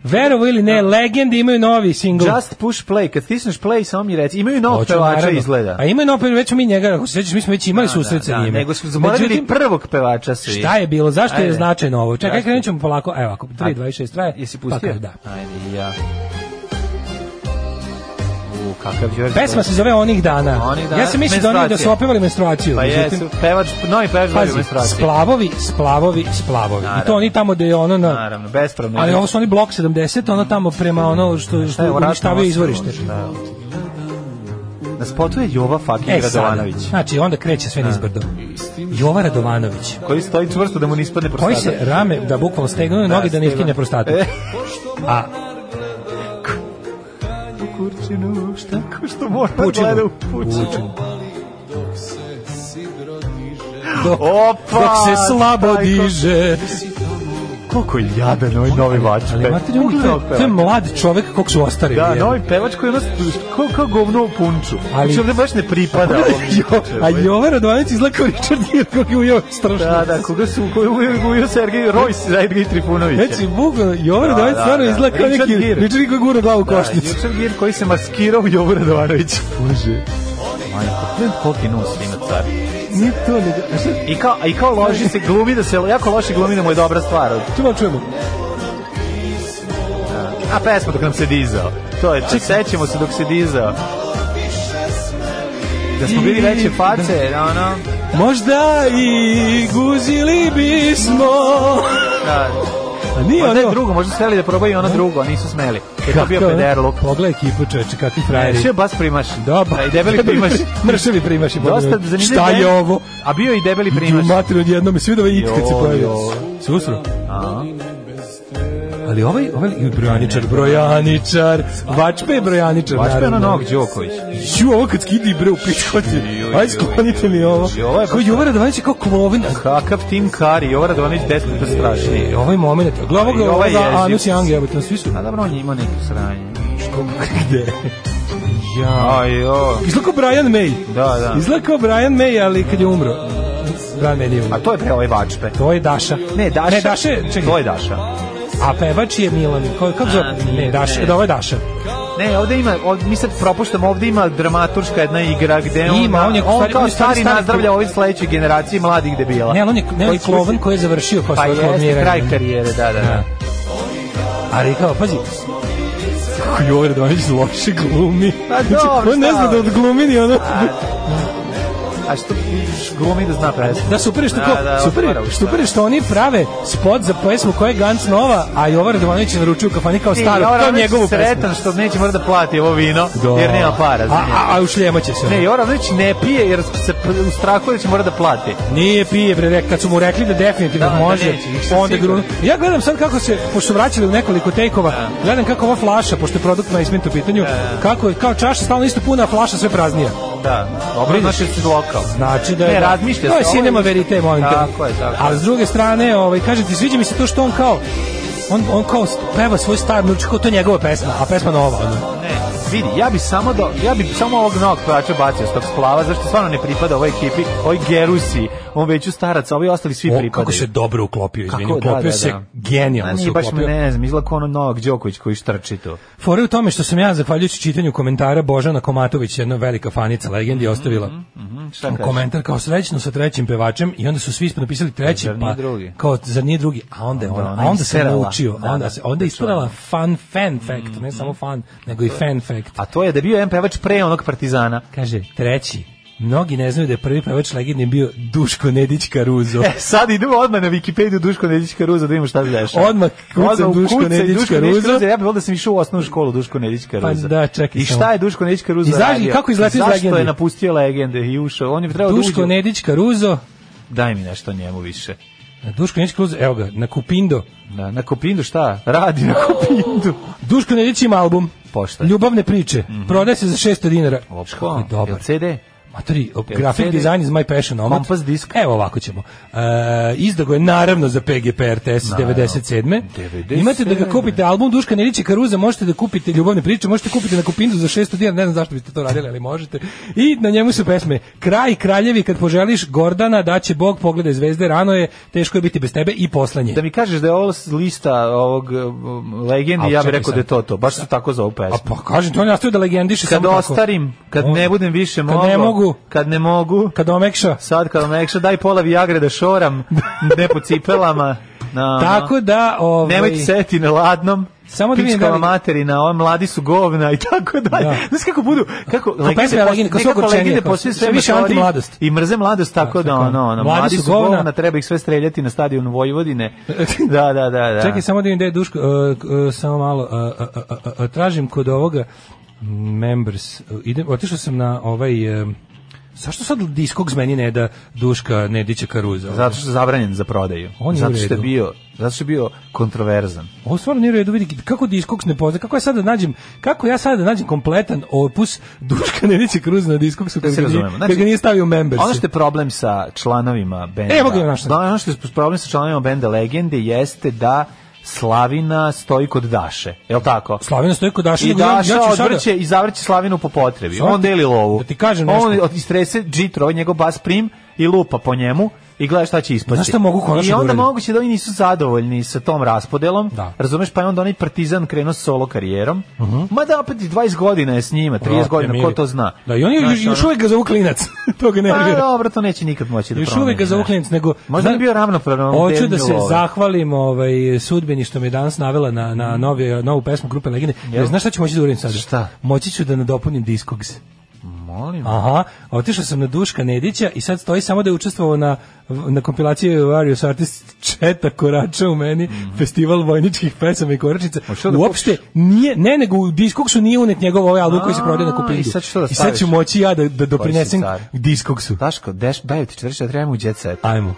F: Verovo ili ne, legende imaju novi singl.
G: Just push play, kad stisneš play samo mi reci, imaju novog
F: Hoću,
G: pevača
F: naravno.
G: izgleda.
F: A imaju novi, već smo mi njega, ako se sećaš, mi smo već imali susret sa
G: Da,
F: njime.
G: nego su zaboravili
F: Međutim,
G: prvog pevača svi.
F: Šta je bilo? Zašto je
G: Ajde.
F: značajno ovo? Čekaj,
G: Zašto?
F: krenut ćemo polako. Evo, ako 3.26 traje.
G: Jesi
F: pa
G: pustio?
F: kad da.
G: Ajde, ja. U, kakav Đorđe.
F: Pesma se zove Onih dana.
G: Onih dana,
F: Ja sam mislio da oni da su
G: menstruacija.
F: opevali menstruaciju.
G: Pa
F: međutim,
G: jesu, pevač, novi pevač
F: Pazi,
G: Pazi, menstruacije.
F: splavovi, splavovi, splavovi. I to
G: Naravno.
F: oni tamo da je ono na...
G: Naravno, bespravno.
F: Ali ovo su oni blok 70, ono tamo prema ono što,
G: Šta je
F: što
G: ovo, ratno
F: uništavaju
G: ostrvo?
F: izvorište.
G: Da. Na spotu je Jova fucking
F: E, sada,
G: Radovanović.
F: znači onda kreće sve nizbrdo. Jova Radovanović.
G: Koji stoji čvrsto da mu ne ispadne prostata.
F: Koji se rame da bukvalno stegnu i noge da ne iskine prostata.
G: E.
F: A
G: U kurčinu, šta ko što mora
F: Pučinu.
G: gleda u pučinu.
F: Pučinu. dok,
G: Opa!
F: dok se
G: Pa,
F: slabo
G: taj ko-
F: diže.
G: Koliko je jadan ovaj novi vač.
F: Ali imate ljudi, to, je- to je mlad čovek kog su ostari.
G: Da, novi pevač koji je nas kao, kao govno u punču.
F: Ali-
G: Ali... Znači ovde baš ne pripada ovom čoveče.
F: A Jova Radovanović izgleda kao Richard Gere, kog je ujeo strašno.
G: ovaj. Da, da, koga su, koga je uvijek Sergej Rojs, Sergej Trifunović.
F: Znači, bukvalno, Jova
G: Da,
F: Radovanović
G: da,
F: stvarno
G: da.
F: izgleda kao
G: Richard
F: neki
G: Gere.
F: Richard Gere koji gura glavu u košnicu.
G: Da, Jučer Gir koji se maskirao u Jovu Radovanović. Bože. Majko, gledaj koliki nos ima car.
F: Nije to, nego... a šta-
G: I kao, a i kao loži se, glumi da se, jako loše glumi da mu je dobra stvar.
F: Čemo, čujemo.
G: A pesma dok nam se dizao. To je, to, sećemo se dok se dizao. Da smo bili veće face, da ono,
F: Možda i guzili bismo
G: da,
F: A nije
G: Onda je
F: ono-
G: drugo, možda su hteli da probaju ono drugo, a nisu smeli. Jer to
F: Kako
G: bio
F: ono?
G: pederluk.
F: Pogledaj ekipu čoveče, kakvi frajeri.
G: Ne, sve bas primaš.
F: Da, ba.
G: Da, i debeli primaš.
F: Mršavi primaš. i
G: Dosta
F: pogledaj,
G: zanimljiv
F: Šta je
G: band.
F: ovo?
G: A bio i debeli
F: Idu
G: primaš.
F: mater odjednom i svi da ovaj it kad se
G: Joj,
F: pojavi.
G: joj.
F: Se usro.
G: A.
F: Ali ovaj, ovaj i brojaničar, brojaničar, Vačpe je brojaničar,
G: Vačpe je ono
F: naravno.
G: Novak Đoković.
F: Ju, ovo kad skidi bre u pičkoti,
G: Joj,
F: aj
G: joj,
F: sklonite mi ovo.
G: joj, znači, ovo je
F: Ko
G: baš-
F: Jovara Radovanović je kao klovina.
G: Kakav Tim Kari, Jovo Radovanović deset puta strašniji.
F: Ovaj moment, glavo
G: I
F: ga
G: ovaj Znači,
F: ovaj
G: jeziv.
F: Anus i Ange, evo, to svi su.
G: A dobro, on je imao neke sranje.
F: Gde? Ja.
G: Ajo.
F: Izlako Brian May.
G: Da, da.
F: Izlako Brian May, ali kad je umro. Brian May nije umro.
G: A to je pre ovaj vačpe.
F: To je Daša.
G: Ne, Daša.
F: Ne, Daša je- čekaj.
G: To je Daša.
F: A pevač je Milan. Ko, kako zove?
G: A, nije,
F: Ne, Daša.
G: ne.
F: Da, ovo je Daša.
G: Ne, ovde ima, ovde, mi sad propuštamo, ovde ima dramaturška jedna igra gde on,
F: Ima, on je-
G: on
F: stari- on
G: kao
F: je stari-
G: stari
F: stari-
G: nazdravlja ovih sledećoj generaciji mladih debila.
F: Ne, ali on je, ne, on je klovan koji je završio kao
G: Pa
F: svoje
G: jeste,
F: kloviranje.
G: kraj karijere, da, da, da.
F: Ali kao, pazi, kako Jovan Radovanović loše glumi.
G: Pa
F: Znači,
G: dobro,
F: on ne
G: šta
F: zna da
G: je?
F: odglumi ni ono.
G: A što glumi da zna pesmu?
F: Da, super je što,
G: Da,
F: kao,
G: da,
F: super, je-
G: otvara usta.
F: super je što oni prave spot za pesmu koja je Gantz nova, a Jovan Radovanović je naručio u kafani kao
G: Ti,
F: staru,
G: Jovan
F: kao
G: Radovanović
F: njegovu pesmu.
G: Sretan što neće mora da plati ovo vino,
F: Da.
G: jer nema para za
F: A,
G: njega.
F: a, a ušljemaće se. ono.
G: Ne, Jovan Radovanović ne pije jer se p- u strahu je da će mora da plati.
F: Nije pije, bre, rek- kad su mu rekli da definitivno
G: Da, da
F: može,
G: neće, nisam
F: onda
G: siguran.
F: grunu. Ja gledam sad kako se, pošto su vraćali u nekoliko tejkova, gledam kako ova flaša, pošto je produkt placement u pitanju, kako je, kao čaša stalno isto puna, a flaša sve praznija.
G: Da, dobro,
F: Vidiš?
G: znači da si lokal.
F: Znači da je...
G: Ne,
F: da-
G: razmišlja
F: To je
G: se, ovo
F: cinema
G: je-
F: verite, molim te.
G: Tako je, tako je.
F: Ali s druge strane, ovaj, kažem ti, sviđa mi se to što on kao, on, on kao peva svoj star mruč, kao to je njegova pesma, a pesma nova. Ono.
G: Ne, vidi, ja bi samo do, ja bi samo ovog novog pevača bacio s tog splava, zašto stvarno ne pripada ovoj ekipi, ovoj Gerusi, on veću staraca, ovi ostali svi
F: O,
G: pripadaju.
F: kako se dobro uklopio, izvini,
G: Kako, da,
F: uklopio
G: da,
F: se
G: da. A
F: genijalno se
G: nije baš,
F: uklopio.
G: ne znam, izgleda kao ono Novak Đoković koji štrči to.
F: Fora je u tome što sam ja, zahvaljujući čitanju komentara Božana Komatović, jedna velika fanica
G: Mhm,
F: legendi, ostavila Mhm,
G: Šta kažeš?
F: komentar kao srećno sa trećim pevačem i onda su svi napisali treći,
G: Zar nije
F: pa
G: drugi?
F: kao zar nije drugi, a onda je
G: Onda
F: ona,
G: ona
F: a onda se
G: isterala.
F: naučio,
G: Da,
F: a onda
G: da, Mhm.
F: se onda je istorala fun fan fact, ne samo fun, nego i fan fact.
G: A to je da je bio jedan pevač pre onog Partizana.
F: Kaže, treći, mnogi ne znaju da je prvi pevač legendi bio Duško Nedić Karuzo.
G: E, sad idemo odmah na Wikipediju Duško Nedić Karuza da vidimo šta se dešava.
F: Odmah kucam
G: Odmah
F: Duško
G: ukucaj
F: Nedić Karuza.
G: Ja bih volio da sam išao u osnovnu školu Duško Nedić Karuza.
F: Pa da, čekaj
G: I
F: samo.
G: šta je Duško Nedić Karuza
F: I zašto-
G: radio?
F: kako izletio iz
G: Zašto je
F: legende?
G: napustio legende i ušao? On je trebao da
F: Duško
G: uđe-
F: Nedić Karuzo,
G: Daj mi nešto o njemu više.
F: Duško Nedić Karuzo, evo ga, na Kupindo.
G: Na, na Kopindu šta? Radi na Kopindu.
F: Duško Nedić ima album.
G: Pošta. Mhm.
F: Ljubavne priče. Prodaje se za 600 dinara. Kako
G: Opa,
F: je dobar.
G: jel CD?
F: Matori, op-
G: Jel
F: graphic
G: CD?
F: design is my passion. omot.
G: Kompas disk?
F: Evo ovako ćemo. E, izdago je naravno za PGP RTS
G: Naravno.
F: 97.
G: 97..
F: Imate da ga kupite album Duška Nedića i Karuza, možete da kupite ljubavne priče, možete kupiti na Kupindu za 600 dinara, ne znam zašto biste to radili, ali možete. I na njemu su pesme Kraj, Kraljevi, kad poželiš, Gordana, daće Bog, poglede zvezde, rano je, teško je biti bez tebe i poslanje.
G: Da mi kažeš da je ovo lista ovog um, legendi,
F: Al,
G: ja bih
F: čekaj
G: rekao
F: sad.
G: da je to to. Baš su tako za ovu pesmu.
F: A pa kažem, to on nastoji da legendiše
G: kad
F: samo tako.
G: ostarim, kad ne budem više
F: Kad
G: mogao,
F: ne mogu.
G: kad ne mogu,
F: Kad omekša.
G: sad kad me ekša, daj pola viagre da šoram, ne po cipelama, na,
F: Tako da, ovaj,
G: Nemojte seti na ladnom.
F: Samo
G: Samo
F: da
G: da
F: vidim da li-
G: materina, ova mladi su govna i tako dalje.
F: Da.
G: Da. Znaš kako budu, kako legende
F: pesme
G: pos-
F: Legende, kao sve
G: nekako
F: ogorčenije,
G: legende
F: kao
G: posle
F: sve
G: sve
F: više
G: metodi
F: antimladost.
G: I mrze mladost tako
F: Da,
G: da,
F: tako je.
G: ono, ono,
F: Mladi
G: mladi,
F: su
G: su
F: govna.
G: govna. treba ih sve streljati na stadion Vojvodine. Da, da, da, da.
F: Čekaj samo da vidim gde je Duško, uh, uh, samo malo, uh, uh, uh, uh, uh, tražim kod ovoga members. Uh, idem, otišao sam na ovaj um, Zašto sad Discogs meni ne da Duška Nedića Karuza?
G: Zato što je zabranjen za prodaju.
F: On je u
G: zato što je
F: redu.
G: bio, zato što je bio kontroverzan.
F: Ovo stvarno nije u redu, vidi kako Discogs ne pozna, kako ja sad da nađem, kako ja sad da nađem kompletan opus Duška Nedića Karuza na Discogsu
G: Da
F: kad,
G: se
F: ga nije-
G: razumemo. Znači,
F: kad ga nije stavio u members.
G: Ono što je problem sa članovima benda.
F: Evo ga, našao sam.
G: Da, ono što je problem sa članovima benda Legende jeste da Slavina stoji kod Daše. Je li tako?
F: Slavina stoji kod Daša,
G: I
F: nego ja-
G: Daša
F: ja ću sada-
G: odvrće i zavrće Slavinu po potrebi.
F: Svaki-
G: On deli lovu.
F: Da ti kažem
G: On
F: nešto.
G: od- istrese džitro, ovaj njegov bas prim i lupa po njemu i gleda šta će ispasti.
F: Znaš šta mogu konačno
G: I
F: da
G: onda
F: urade?
G: moguće da oni nisu zadovoljni sa tom raspodelom.
F: Da. Mhm.
G: Razumeš, pa je onda onaj partizan krenuo s solo karijerom. Ma da, opet i 20 godina je s njima, 30
F: Brate,
G: godina, ko
F: mili.
G: to zna.
F: Da, i on je
G: Znaš,
F: još,
G: ono-
F: još uvek ga zovu klinac. to ga
G: pa
F: nervira.
G: dobro, to neće nikad moći da
F: Još
G: promeni,
F: uvek ga za
G: znaš.
F: uklinec, nego...
G: Možda
F: Znam-
G: bi bio ravnopravan ovom
F: Hoću da
G: temelju
F: se
G: love.
F: zahvalim ovaj, sudbini što me je danas navela na, na novi, novu pesmu Grupe Legende. Jer, znaš šta ću moći da uradim sada?
G: Mm. Šta?
F: Moći ću da nadopunim Discogs.
G: Molim.
F: Aha, otišao sam na Duška Nedića i sad stoji samo da je učestvovao na, na kompilaciji Various Artist Četa Korača u meni, festival vojničkih pesama i koračnica.
G: šta Mhm. da
F: Uopšte nije, ne, nego u diskoksu nije unet njegov ovaj album koji se prodaje na
G: A,
F: kupinju.
G: i sad što da
F: I sad ću
G: staviš?
F: moći ja da, da doprinesem
G: car?
F: diskoksu.
G: Daško, deš, daj ti 44, ajmo u jet set.
F: Ajmo.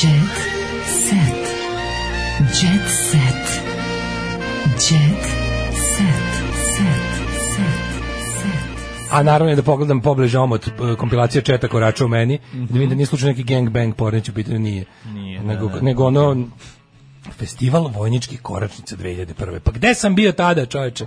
E: Jet set. Jet set. Jet set. Set. Set. Set.
F: A naravno je da pogledam pobliže omot e, kompilacija Četa Korača u meni, da vidim da nije slučajno neki gangbang pornić u pitanju, nije.
G: Nije,
F: nego,
G: da, da.
F: nego ono festival vojničkih koračnica 2001. Pa gde sam bio tada, čoveče?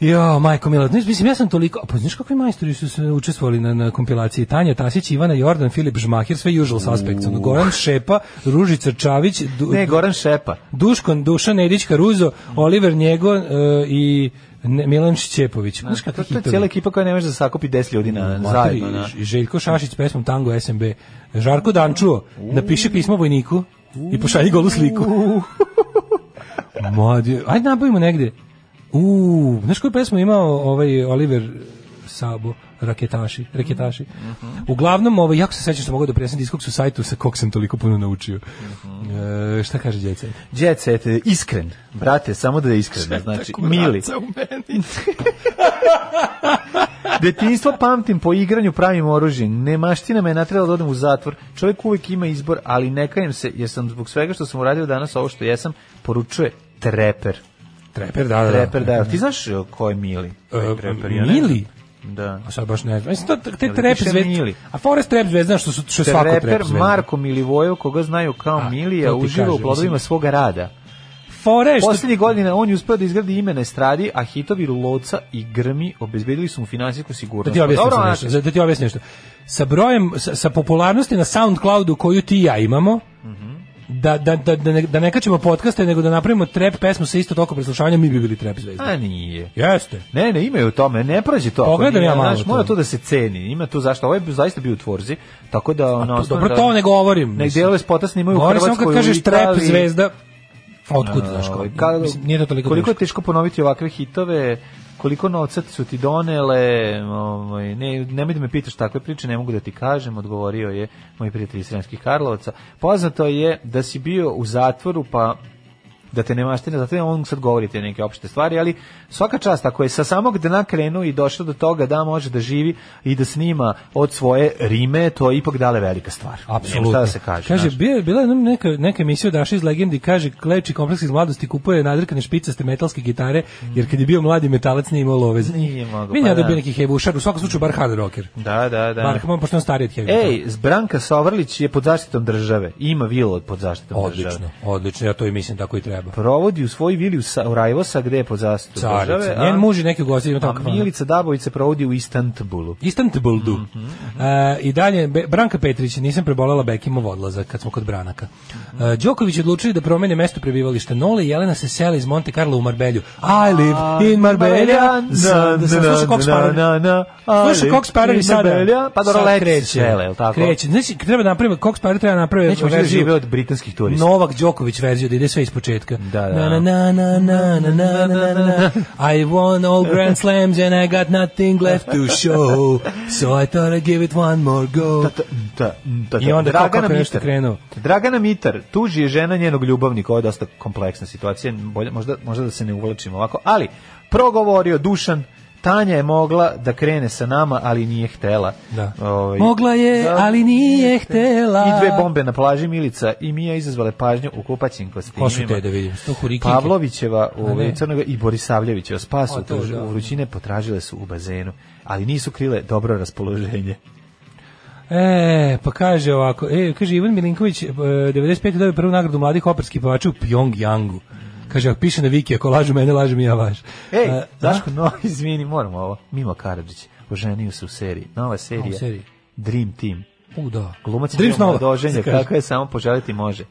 F: Jo, majko mila, znaš, mislim, ja sam toliko... Pa znaš kakvi majstori su se učestvovali na, na kompilaciji? Tanja Tasić, Ivana Jordan, Filip Žmahir, sve usual suspects. Ono, Goran Šepa, Ružica Čavić, Du-
G: Ne, Goran Šepa.
F: Duškon, Dušan Edić Karuzo, Oliver Njego e, i ne, Milan Šćepović. Znaš
G: To,
F: kakvi
G: to je
F: hitovi?
G: cijela ekipa koja ne može da sakupi 10 ljudi na,
F: Materi,
G: E, zajedno. Na.
F: i Željko Šašić s pesmom Tango SMB. Žarko Dančuo, napiši pismo vojniku i pošalji golu sliku. Mladi, ajde nabavimo negde. U, znaš koju pesmu je imao ovaj Oliver Sabo? raketaši, raketaši.
G: Mhm.
F: Uglavnom, ovaj, jako se sećam što mogu da prinesem diskog su sajtu sa kog sam toliko puno naučio.
G: Mhm.
F: E, šta kaže djeca?
G: Jet set, e, iskren. Brate, samo da je iskren. Znači, mili. Detinjstvo pamtim, po igranju pravim oružje. Nemaština me je natrela da odem u zatvor. Čovjek uvijek ima izbor, ali ne kajem se, jer sam zbog svega što sam uradio danas, ovo što jesam, poručuje treper.
F: Treper, da, da.
G: Treper, da. Ti znaš e, ko je Mili? Taj
F: E,
G: treper, ja ne znam.
F: Mili?
G: Da.
F: A sad baš ne znam. Mislim, to, te
G: Jel
F: trep
G: piše
F: zvezda-
G: Mili?
F: A Forest trep zvezda, što, su, što je svako trep
G: Treper
F: zvezda.
G: Marko Milivojev, koga znaju kao
F: A,
G: Milija,
F: to ti
G: uživa u
F: kažem,
G: plodovima
F: mislim.
G: svoga rada.
F: Fore, što
G: Poslednjih godina on je uspeo da izgradi ime na estradi, a hitovi Loca i Grmi obezbedili su mu finansijsku
F: Da
G: sigurnost. Pa
F: ti objasnim
G: Dobro,
F: sad
G: onako,
F: nešto, za- da ti objasnim nešto. Sa brojem, sa, sa popularnosti na Soundcloudu koju ti i ja imamo, da, da, da, da, ne, da ne kačemo podcaste, nego da napravimo trap pesmu sa isto toliko preslušavanja, mi bi bili trap zvezda.
G: A nije.
F: Jeste.
G: Ne, ne, ima je u tome, ne prođe to. ako
F: Pogledam
G: nije,
F: ja malo
G: znaš,
F: to.
G: Mora to da se ceni, ima tu zašto. Ovo je zaista bio u tvorzi, tako da... Ono,
F: Pa,
G: osnovno
F: Dobro,
G: da-
F: to ne govorim.
G: Nek
F: mislim.
G: delove spota snimaju u
F: Govorim
G: Hrvatskoj,
F: samo kad kažeš
G: u Italiji.
F: trap zvezda, a otkud, znaš,
G: Ovaj,
F: kao,
G: ka-
F: mislim, nije to toliko
G: koliko
F: teško.
G: je teško ponoviti ovakve hitove, koliko novca su ti donele, ovaj, ne, nemoj da me pitaš takve priče, ne mogu da ti kažem, odgovorio je moj prijatelj iz Sremskih Karlovaca. Poznato je da si bio u zatvoru, pa da te nemaština, zato je on sad govori te neke opšte stvari, ali svaka čast, ako je sa samog dna krenuo i došao do toga da može da živi i da snima od svoje rime, to je ipak dale velika stvar. Nema Šta da se kaže.
F: Kaže,
G: znaš.
F: bio, bila je jednom neka, neka emisija od Daša iz legendi, kaže, Klevči kompleks iz mladosti kupuje nadrkane špicaste metalske gitare, jer kad je bio mladi metalac nije imao lovez.
G: Nije mogao,
F: Vidim
G: pa
F: ja da bi
G: da.
F: neki hevušar, u svakom slučaju bar hard rocker.
G: da, da, da.
F: Bar, pošto je on stariji od heavy.
G: Ej, Branka Sovrlić je pod zaštitom države. Ima vilu od pod zaštitom
F: odlično,
G: države.
F: odlično, ja to i mislim tako i treba.
G: Pa, Provodi u svoj vili u, Sa, u Rajvosa gde je pod zaštitom države.
F: Carica.
G: a-
F: Njen muž ono. i neki gosti ima
G: A
F: tamo kafanu.
G: Milica Dabović se provodi u Istanbulu.
F: Istanbuldu.
G: Mhm,
F: E, I dalje, Be- Branka Petrić, nisam prebolela Bekimov odlazak kad smo kod Branaka. E, Đoković odlučili da promene mesto prebivališta. Nole i Jelena se sele iz Monte Carlo u Marbelju. I live in Marbelja. Za- da se Sluša Cox Parody. Sluša Cox Parody sada.
G: Pa dobro,
F: Sad
G: leti
F: kreće.
G: svele, jel tako?
F: Kreće. Znači, treba napraviti, Cox Parody treba napraviti
G: Nećemo živjeti žive od britanskih turista.
F: Novak Đoković verziju da ide sve ispočetka.
G: Da, da.
F: Na, na, na, na, na, na, na, na, na, na. I won all Grand Slams and I got nothing left to show. So I thought I'd give it one more go.
G: Ta, ta, ta, ta.
F: I onda kako-
G: Dragana
F: kako je nešto
G: Mitar.
F: krenuo?
G: Dragana Mitar, tuži je žena njenog ljubavnika, ovo je dosta kompleksna situacija, bolje, možda, možda da se ne uvlačimo ovako, ali progovorio Dušan, Tanja je mogla da krene sa nama, ali nije htela.
F: Da.
G: Ovaj,
F: Mogla je,
G: da.
F: ali nije htela.
G: I dve bombe na plaži Milica i Mija izazvale pažnju u kupaćim kostimima.
F: Ko su te da vidim? Sto hurikinke.
G: Pavlovićeva
F: A
G: ovaj,
F: ne.
G: Crnoga i Borisavljevićeva spasu
F: O, to
G: tuž-
F: da.
G: vrućine potražile su u bazenu, ali nisu krile dobro raspoloženje.
F: E, pa kaže ovako, e, kaže Ivan Milinković, e, 95. dobio prvu nagradu mladih operskih pevača u Pjongjangu. Kaže, ako piše na Viki, ako lažu mene, lažem i ja vaš.
G: Ej,
F: E,
G: Daško, no, izvini, moramo ovo. Mimo Karadžić, oženio se u seriji. Nova serija.
F: A, u seriji.
G: Dream Team.
F: U, da.
G: Glumac Dream
F: Dream
G: Team
F: Snova,
G: doženje,
F: se kaže.
G: kako je samo poželiti može.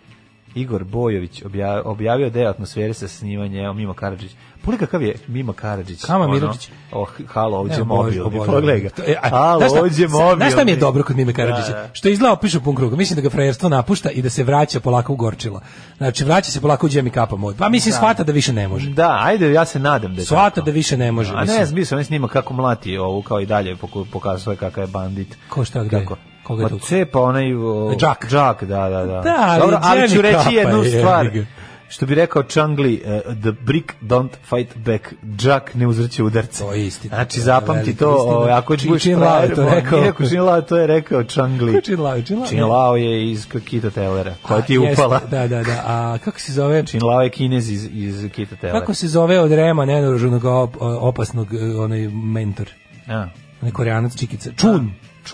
G: Igor Bojović obja- objavio deo atmosfere sa snimanjem Mima Karadžić. Pogledaj kakav je Mima Karadžić.
F: Kama Miradžić.
G: Ono, oh, halo, ovdje
F: Evo,
G: je
F: Bože,
G: mobilni.
F: Bože.
G: Pogledaj ga.
F: To- e, a,
G: Halo,
F: znaš šta-
G: ovdje je
F: znaš šta
G: mobilni.
F: mi je dobro kod Mime Karadžića?
G: Da, da.
F: Što je izgledao piše pun krug. Mislim da ga frajerstvo napušta i da se vraća polako u gorčilo. Znači, vraća se polako u džemi kapa mod. Pa mislim,
G: Da.
F: shvata da više ne može.
G: Da, ajde, ja se nadam da je
F: Shvata da više ne može.
G: A
F: Znači, mislim.
G: ne, zbio sam ja snima kako mlati ovu, kao i dalje poku- pokazuje kakav je bandit.
F: Ko šta, gde?
G: Kako?
F: Koga
G: Pa
F: je tukao?
G: cepa onaj... O,
F: Džak.
G: Džak, da, da, da.
F: Da, ali
G: Dobro, ali
F: Jerry
G: ću reći
F: Kapa,
G: jednu
F: jebi
G: stvar.
F: ga.
G: Što bi rekao Čangli, eh, the brick don't fight back. Džak ne uzreće udarce. To je istina. Znači,
F: je
G: zapamti
F: velika
G: to,
F: istina.
G: ovaj, ako ćeš
F: Čin-
G: budeš
F: Čin Lao je to
G: frajer, pa
F: rekao.
G: nije rekao Čin Lao, to je rekao Čangli.
F: Čin Lao, Čin Lao.
G: Čin Lao je iz Kita Tellera, koja
F: A,
G: ti je
F: jeste,
G: upala.
F: Da, da, da. A kako se zove?
G: Čin Lao je kinez iz, iz Kita Tellera.
F: Kako se zove od Rema nenaruženog op- opasnog e, onaj mentor?
G: A.
F: Onaj koreanac čikica. Čun.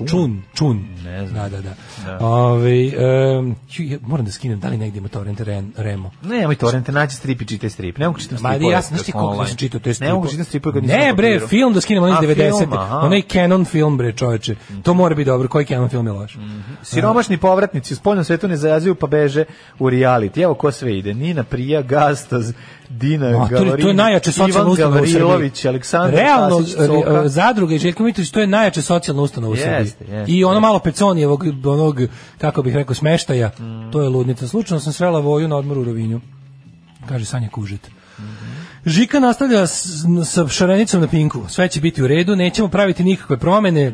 F: Čun. Čun.
G: Ne
F: znam. Da, da,
G: Da.
F: da. Ove, em, ću- ja moram da skinem, da li negdje ima torrent Ren- Remo?
G: Ne, nemoj torrente, nađi strip i čitaj strip. Ne mogu čitam
F: Ma
G: stripove.
F: ja sam znaš
G: kad
F: ti
G: smo
F: koliko
G: online.
F: sam čitao te stripove.
G: Ne mogu čitam stripove kad nisam
F: Ne
G: na
F: bre,
G: papiru.
F: film da skinemo onaj iz
G: A, film,
F: 90-te.
G: aha. Mhm.
F: Onaj Canon film bre, čoveče. To mora biti dobro, koji Canon film je loš.
G: Siromašni povratnici u spoljnom svetu ne zarazuju pa beže u reality. Evo ko sve ide. Nina Prija, Gastaz, Dina
F: Ma, to, je-
G: Gavarin,
F: to je najjače
G: Ivan
F: socijalna ustanova u Srbiji.
G: Gavrilović, Aleksandar
F: Realno,
G: Tasić, Coka.
F: e, zadruga i Željko Mitrović, to je najjače socijalna ustanova u
G: Jeste,
F: Srbiji.
G: jeste,
F: I ono malo peconijevog, onog, kako bih rekao, smeštaja, to je ludnica. Slučajno sam srela voju na odmoru u Rovinju. Kaže Sanja Kužet. Žika nastavlja s- sa šarenicom na pinku. Sve će biti u redu, nećemo praviti nikakve promene.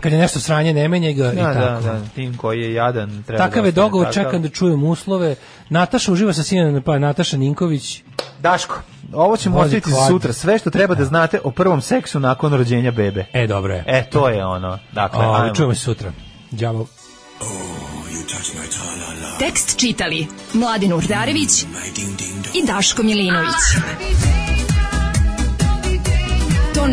F: Kad je nešto sranje, ne menjaj ga i
G: Da, da,
F: tako.
G: da, tim koji je jadan. Treba
F: Takav
G: da
F: je
G: ostane
F: dogovor,
G: takav.
F: čekam da čujem uslove. Nataša uživa sa sinem, pa Nataša Ninković.
G: Daško, ovo ćemo
F: Vozi
G: ostaviti za
F: klad.
G: sutra. Sve što treba da znate o prvom seksu nakon rođenja bebe.
F: E, dobro je.
G: E, to je ono. Dakle,
F: A,
G: ajmo.
F: Ovaj, čujemo se sutra. Đavo.
E: Tekst čitali Mladin Urdarević i Daško Milinović. Ton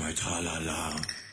D: my tra-la-la.